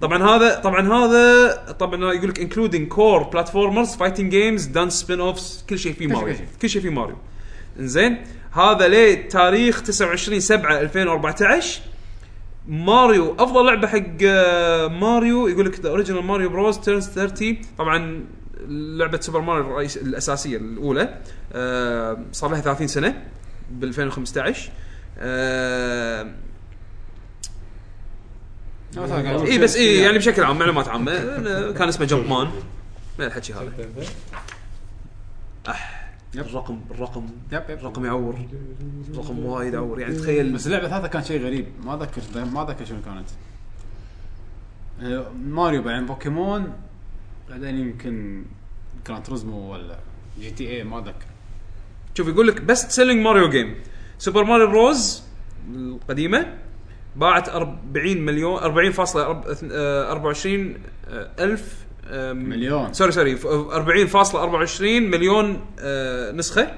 طبعا هذا طبعا هذا طبعا يقول لك انكلودينج كور بلاتفورمرز فايتنج جيمز دانس سبين اوفس كل شيء في ماريو
كل شيء.
كل شيء في ماريو انزين هذا ليه تاريخ 29 7 2014 ماريو افضل لعبه حق آه، ماريو يقول لك ذا اوريجينال ماريو بروز تيرنز 30 طبعا لعبه سوبر ماريو الرئيس الاساسيه الاولى آه، صار لها 30 سنه ب 2015 آه، اي بس اي يعني بشكل عام معلومات عامه أنا- كان اسمه جمب مان ما الحكي هذا
يب.
اح الرقم الرقم
يب يب
الرقم يعور الرقم وايد يعور يعني تخيل
بس اللعبه هذا كان شيء غريب ما اذكر ما اذكر شنو كانت آه، ماريو بعدين بوكيمون بعدين يمكن كان تريزمو ولا جي تي اي ما اذكر
شوف يقول لك بيست سيلينج ماريو جيم سوبر ماريو روز القديمه باعت 40 مليون 40 فاصلة أرب- آه، 24 آه، الف آم،
مليون.
سوري سوري ف- 40.24 مليون آه، نسخه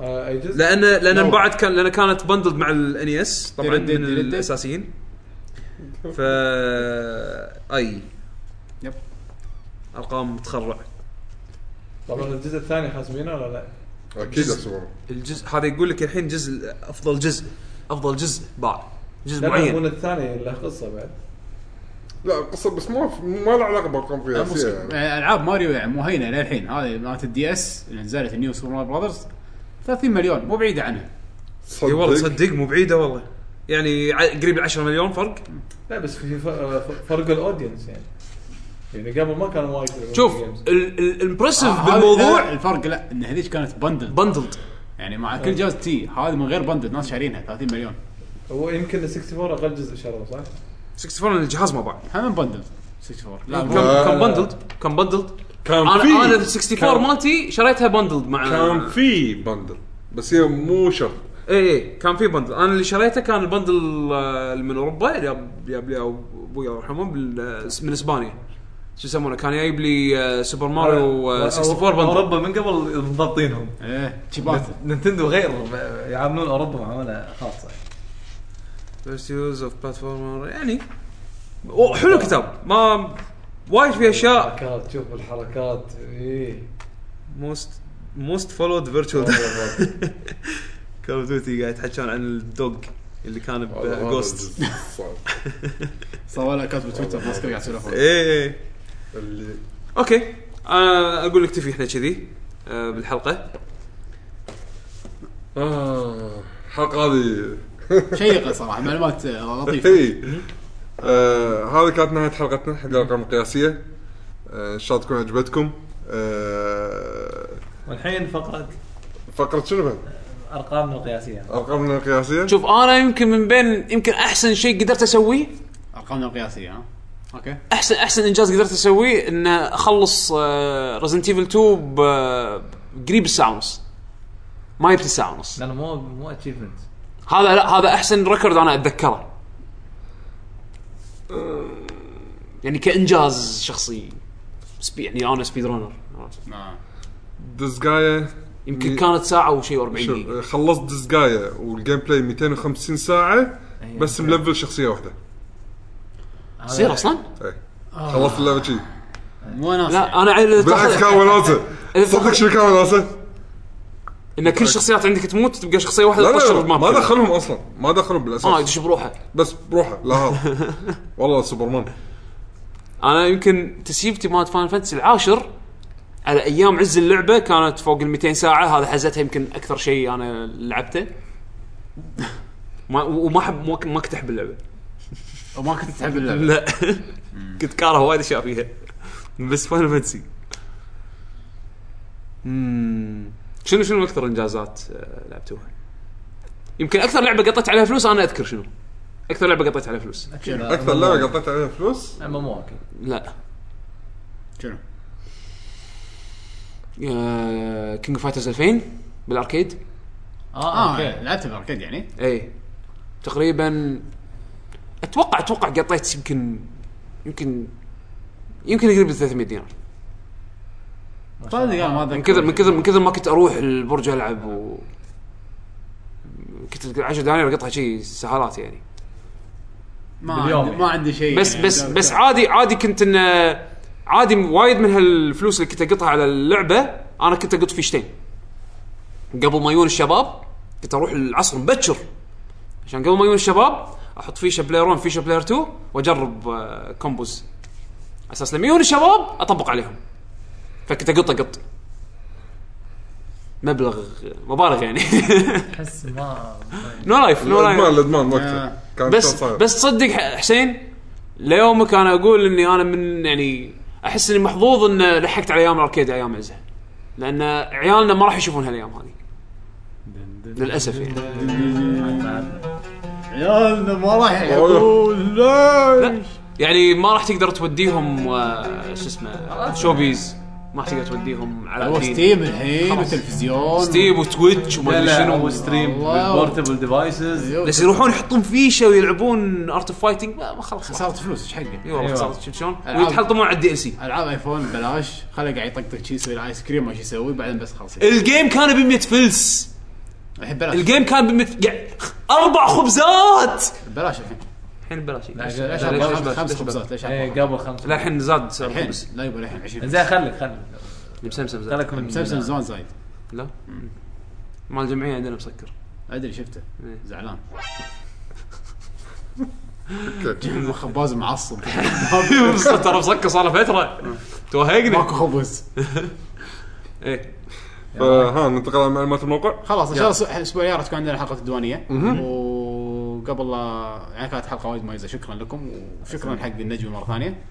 آه،
لان لان انباعت كان لان كانت بندلد مع الان اس طبعا
ديريد-
من
ديريد- ديريد.
الاساسيين ف اي
يب.
ارقام تخرع
طبعا الجزء الثاني حاسبينه ولا لا؟
اكيد احسبهم
الجزء هذا يقول لك الحين جزء افضل جزء افضل جزء باع جزء
لا
معين
مو الثاني له قصه بعد
لا قصه بس ما ما له علاقه بارقام قياسيه يعني
آه، العاب ماريو يعني مو هينه للحين هذه مالت الدي اس اللي نزلت النيو سوبر ماريو براذرز 30 مليون مو بعيده عنها
اي والله صدق مو بعيده والله يعني ع- قريب ال 10 مليون فرق
لا بس في ف- فرق الاودينس يعني يعني قبل ما كان وايد
شوف
games.
الامبرسيف
آه،
هذه-
بالموضوع
لا، الفرق لا ان هذيك كانت بندل
بندلد
يعني مع كل جهاز تي هذه من غير بندل ناس شارينها 30 مليون
هو يمكن 64 اقل جزء شروه صح؟
64 الجهاز ما باع
هم من بندل 64 لا
كان
مو-
كان بندلد كان بندلد
كان
انا
في
انا ال 64
كان-
مالتي شريتها بندلد مع
كان في بندل بس هي مو شرط
اي اي إيه، كان في بندل انا اللي شريته كان البندل آه، اللي من اوروبا اللي جاب- جاب لي أبو- ابوي الله يرحمه بال- آه، من اسبانيا شو يسمونه كان جايب لي آه، سوبر ماريو آه، 64 بندل
اوروبا من قبل مضبطينهم
ايه تشيبات
نينتندو غيرهم يعاملون اوروبا معامله خاصه
فيرست يوز اوف بلاتفورمر يعني أوه، حلو الكتاب ما وايد في اشياء
حركات شوف الحركات ايه
موست موست فولود فيرتشوال كول اوف ديوتي قاعد يتحكون عن الدوج اللي كان
هذا
بجوست
الجزء الصعب.
صار لها كاتب تويتر ناس كل قاعد يسولفون
اي اي
اللي
اوكي انا اقول آه، لك تفي احنا كذي آه، بالحلقه
آه، الحلقه هذه
شيقه صراحه معلومات آه، لطيفه
اي آه، هذه كانت نهايه حلقتنا حق الارقام القياسيه آه، ان شاء الله تكون عجبتكم آه،
والحين فقره
فقره شنو بعد؟
ارقامنا القياسيه
ارقامنا القياسيه
شوف انا يمكن من بين يمكن احسن شيء قدرت اسويه
ارقامنا القياسيه ها اوكي
احسن احسن انجاز قدرت اسويه ان اخلص ريزنت ايفل 2 ب- قريب الساعه ونص ما جبت الساعه ونص
لانه مو مو اتشيفمنت
هذا لا هذا احسن ريكورد انا اتذكره يعني كانجاز شخصي سبي يعني انا سبيد رانر عرفت؟
ما-
دزقايه
يمكن كانت ساعه وشيء 40 دقيقه
شوف، خلصت دزقايه والجيم بلاي 250 ساعه بس ملفل شخصية واحدة إيه.
زين اصلا
خلصت اللعبة شي
مو ناس
لا انا عيل
بالعكس كان وناسة صدق شنو كان وناسة؟
ان كل الشخصيات عندك تموت تبقى شخصيه
لا
واحده
لا
تطشر
لا،
الماب
ما
كله.
دخلهم اصلا ما دخلهم
اه
بالاساس
يدش بروحه
بس بروحه لا هذا والله سوبرمان
انا يمكن تسيبتي مالت فاين فانتسي العاشر على ايام عز اللعبه كانت فوق ال 200 ساعه هذا حزتها يمكن اكثر شيء انا لعبته ما وما حب ما, ما كنت احب اللعبه
وما كنت تحب اللعبه
لا كنت كاره وايد اشياء فيها بس فاينل فانتسي مم. شنو شنو اكثر انجازات آه، لعبتوها؟ يمكن اكثر لعبه قطيت عليها فلوس انا اذكر شنو اكثر لعبه قطيت عليها فلوس
اكثر لعبة قطعت عليها فلوس
اما مو اكيد
لا
شنو؟
كينج فايترز 2000 بالاركيد آه،
اه
اه
اوكي
لعبت الاركيد يعني
اي تقريبا اتوقع اتوقع قطيت يمكن يمكن يمكن يقرب ال 300 دينار
صدق انا ما
من
اذكر
كثر من كثر من كثر ما كنت اروح البرج العب و كنت 10 دنانير اقطها شيء سهرات يعني
ما
باليوم
عندي
يعني.
ما عندي شيء
بس
يعني.
بس بس عادي عادي كنت انه عادي وايد من هالفلوس اللي كنت اقطها على اللعبه انا كنت اقط في شتين قبل ما يجون الشباب كنت اروح العصر مبكر عشان قبل ما يجون الشباب احط فيشه بلاير 1 فيشه بلاير 2 واجرب آه، كومبوز على اساس لما يجون الشباب اطبق عليهم فكنت اقط اقط مبلغ مبالغ يعني
احس ما
نو لايف نو لايف
الادمان الادمان وقتها
آه.
كان
بس
صاير.
بس صدق ح- حسين ليومك انا اقول اني انا من يعني احس اني محظوظ ان لحقت على ايام الاركيد ايام عزه لان عيالنا ما راح يشوفون هالايام هذه للاسف يعني
عيالنا ما راح
والله.
يحبون لا
لا يعني ما راح تقدر توديهم آه، شو اسمه شوبيز ما راح تقدر توديهم على
هو
الدين.
ستيم الحين
خلاص.
وتلفزيون
ستيم وتويتش وما ادري
لا
شنو
هو ستريم
والله.
بالبورتبل ديفايسز
أيوه.
بس يروحون يحطون فيشه ويلعبون ارت اوف فايتنج ما ما خلاص خلاص
خساره فلوس ايش حقه؟
اي والله خلاص شفت شلون؟
ألعاب.
ويتحلطمون على الدي ال سي
العاب ايفون ببلاش خله قاعد يطقطق شي يسوي الايس كريم ما شي يسوي بعدين بس خلاص
الجيم كان ب 100 فلس
الحين بلاش
الجيم كان بمت... قاعد- اربع خبزات
بلاش الحين
الحين ببلاش
ليش-
لا،
ليش
لا،
أربعة-
ليش- ليش-
خمس
ليش-
خبزات ليش
إيه،
أربعة؟
قبل خمسة
لا الحين زاد سعر
الحين
الخبز
لا يبا الحين 20
زين خليك خليك
مسمسم زاد
خليك من
مسلسل زمان زايد
لا مال الجمعيه عندنا مسكر
ادري شفته
إيه.
زعلان
أوكي.
جيب خباز معصب
ترى مسكر صار له فتره توهقني
ماكو خبز
ايه
فها آه، ننتقل على معلومات الموقع
خلاص ان شاء الله الاسبوع الجاي راح تكون عندنا حلقه الديوانيه وقبل لا يعني كانت حلقه وايد مميزه شكرا لكم وشكرا حق النجم مره ثانيه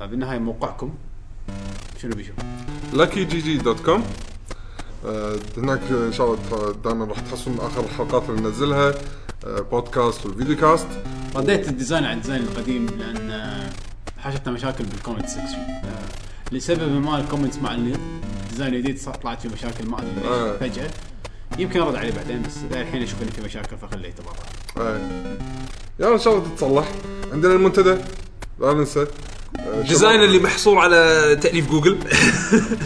آه، بالنهايه موقعكم شنو بيشوف؟
لاكي جي جي دوت كوم آه، هناك ان شاء الله دائما راح تحصلون اخر الحلقات اللي ننزلها آه، بودكاست والفيديو كاست
رديت الديزاين عن الديزاين القديم لان آه، حاشتنا مشاكل بالكومنت سكشن آه، لسبب ما الكومنتس مع ال- الديزاين الجديد صار- طلعت فيه مشاكل ما ادري
آه.
ليش فجاه يمكن ارد عليه بعدين بس الحين اشوف ان في مشاكل فخليته برا
آه. يلا ان شاء الله تتصلح عندنا المنتدى لا ننسى آه،
ديزاين
شباب-
اللي محصور على تاليف جوجل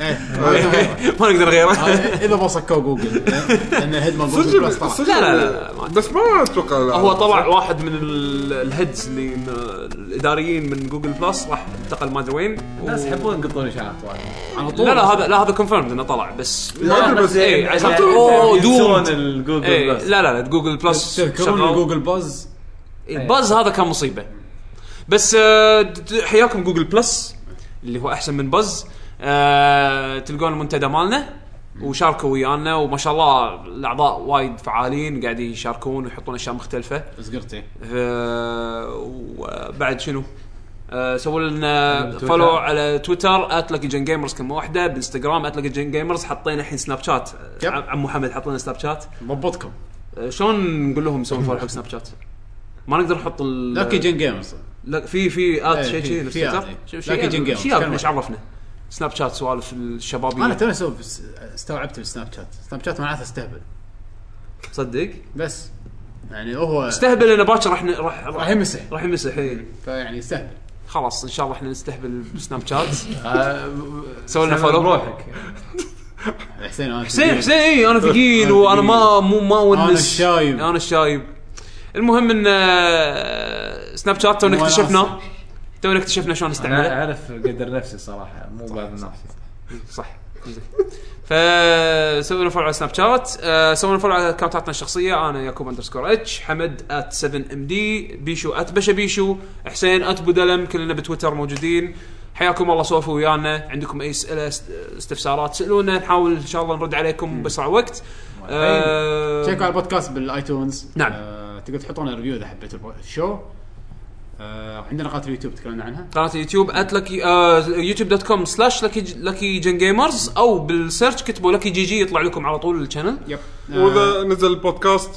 إيه.
ما نقدر غيره
آه، اذا ما صكوا جوجل لان هدمه جوجل بلس
سجل
طلع
سجل
لا، لا، لا، ما
بس ما اتوقع لا.
هو طلع واحد من ال- الهيدز اللي من الاداريين من جوجل بلس راح انتقل ما ادري وين
الناس يحبون يقطون اشاعات وايد
على طول
لا لا هذا لا هذا كونفيرمد انه طلع بس
يعني
ما-
بس-
إيه، عشان-
يعني
اوه
يلبسون
دوم
الجوجل
إيه،
بلس.
لا لا لا جوجل بلس
تذكرون
شغال.
جوجل باز
الباز هذا كان مصيبه بس آه، د- د- حياكم جوجل بلس اللي هو احسن من باز آه، تلقون المنتدى مالنا وشاركوا ويانا وما شاء الله الاعضاء وايد فعالين قاعدين يشاركون ويحطون اشياء مختلفه
زقرتي
آه، وبعد شنو؟ آه، سووا لنا فولو على تويتر @luckygengamers جيمرز كلمه واحده بانستغرام @luckygengamers جيمرز حطينا الحين سناب شات
يب.
عم عمو محمد حط لنا سناب شات
ضبطكم
آه، شلون نقول لهم يسوون فولو حق سناب شات؟ ما نقدر نحط ال
لاكي جين جيمرز
لا في في آه، ات
إيه،
شيء
في-
شيء
في آت، إيه. لكن جن جيمز.
شيء
كان
ايش
واحد.
عرفنا؟ سناب شات سوالف الشبابيه
انا توني سو- استوعبت السناب شات سناب شات معناته استهبل
تصدق
بس يعني هو
استهبل انه باكر راح ن- راح
راح
راح
يمسح
راح يمسح إيه.
فيعني يستهبل
خلاص ان شاء الله احنا نستهبل بسناب شات
آه،
سوي لنا
سلم
فولو
بروحك
حسين انا
حسين حسين اي انا ثقيل وانا ما مو ما ونس
أنا الشايب.
انا الشايب المهم ان آه، سناب شات تونا
وناسة.
اكتشفناه تونا اكتشفنا شلون
انا
نستعمله
اعرف قدر نفسي صراحه مو
طيب.
بعد نفسي
صح فسوينا فولو على سناب شات آه، سوينا فولو على اكونتاتنا الشخصيه انا يعقوب اندرسكور اتش حمد ات 7 ام دي بيشو ات بشا بيشو حسين ات بودلم كلنا بتويتر موجودين حياكم الله سولفوا ويانا عندكم اي اسئله است- استفسارات سالونا نحاول ان شاء الله نرد عليكم باسرع وقت آه،
تشيكوا على البودكاست بالايتونز
نعم.
آه، تقدر تحطون ريفيو اذا حبيتوا الشو آه، عندنا قناه اليوتيوب تكلمنا عنها
قناه اليوتيوب @lucky آه، يوتيوب دوت كوم سلاش لكي جن جيمرز او بالسيرش كتبوا لكي جي جي يطلع لكم على طول الشانل
يب آه،
واذا نزل البودكاست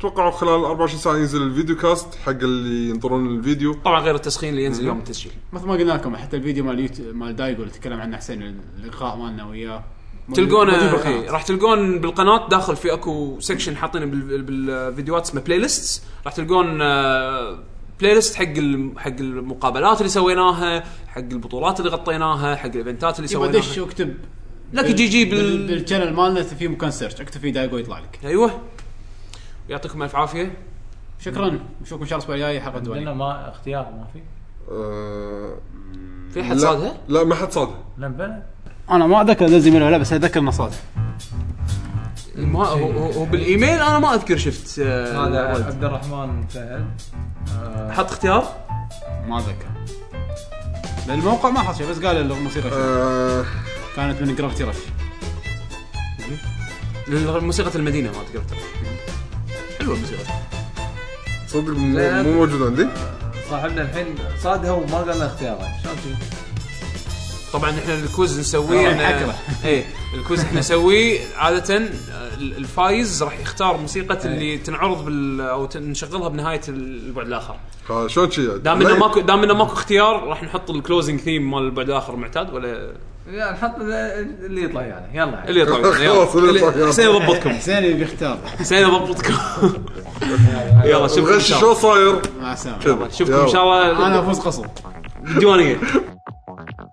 توقعوا خلال 24 ساعه ينزل الفيديو كاست حق اللي ينطرون الفيديو
طبعا غير التسخين اللي ينزل يوم التسجيل
مثل ما قلنا لكم حتى الفيديو مال يوتيوب مال دايجو اللي تكلم عنه حسين اللقاء مالنا وياه موجود- موجود
تلقونه
بالقناة.
إيه، راح تلقون بالقناه داخل في اكو سكشن حاطينه بال- بالفيديوهات اسمه بلاي ليست راح تلقون آه، بلاي ليست حق الم- حق المقابلات اللي سويناها حق البطولات اللي غطيناها حق الايفنتات اللي
يبا
سويناها
دش واكتب
لك يجي يجي بال-
بال... بالشانل مالنا في مكان سيرش اكتب فيه دايجو يطلع لك
ايوه يعطيكم الف عافيه
شكرا نشوفكم ان شاء الله الاسبوع الجاي حلقه
عندنا
دوانية
ما اختيار ما في
آه،
في حد
لا-
صادها؟
لا ما حد صادها
لا بلى
انا ما اتذكر دزي منه لا بس اتذكر انه صادف
ما هو, هو- هو بالايميل انا ما اذكر شفت آه،
هذا
الوالد.
عبد الرحمن آه، فهد
حط اختيار
ما اتذكر لان الموقع ما حط شيء بس قال الموسيقى شيء.
آه،
كانت من جرافيتي رش
موسيقى المدينه ما تقدر تعرف. حلوه الموسيقى
صدق مو مو موجود عندي
صاحبنا الحين صادها وما قال لنا اختياره شلون شي؟
طبعا احنا الكوز نسويه احنا ايه الكوز احنا نسويه عاده آه، الفايز راح يختار موسيقى اللي تنعرض بال او تن- نشغلها بنهايه البعد الاخر
آه، شلون شي يعني؟
دام انه
لا،
ماكو دام انه ماكو اختيار راح نحط الكلوزنج ثيم مال البعد الاخر معتاد ولا
لا نحط اللي يطلع يعني يلا
اللي يطلع منه، يلا.
خلاص، اللي يطلع،
اللي-
يلا.
حسين يضبطكم
حسين بيختار
حسين يضبطكم يلا شوفكم ان
الغش
شاء الله
شلون صاير
مع السلامه
كذا.
شوفكم ان شاء الله
انا افوز قصر
بالديوانيه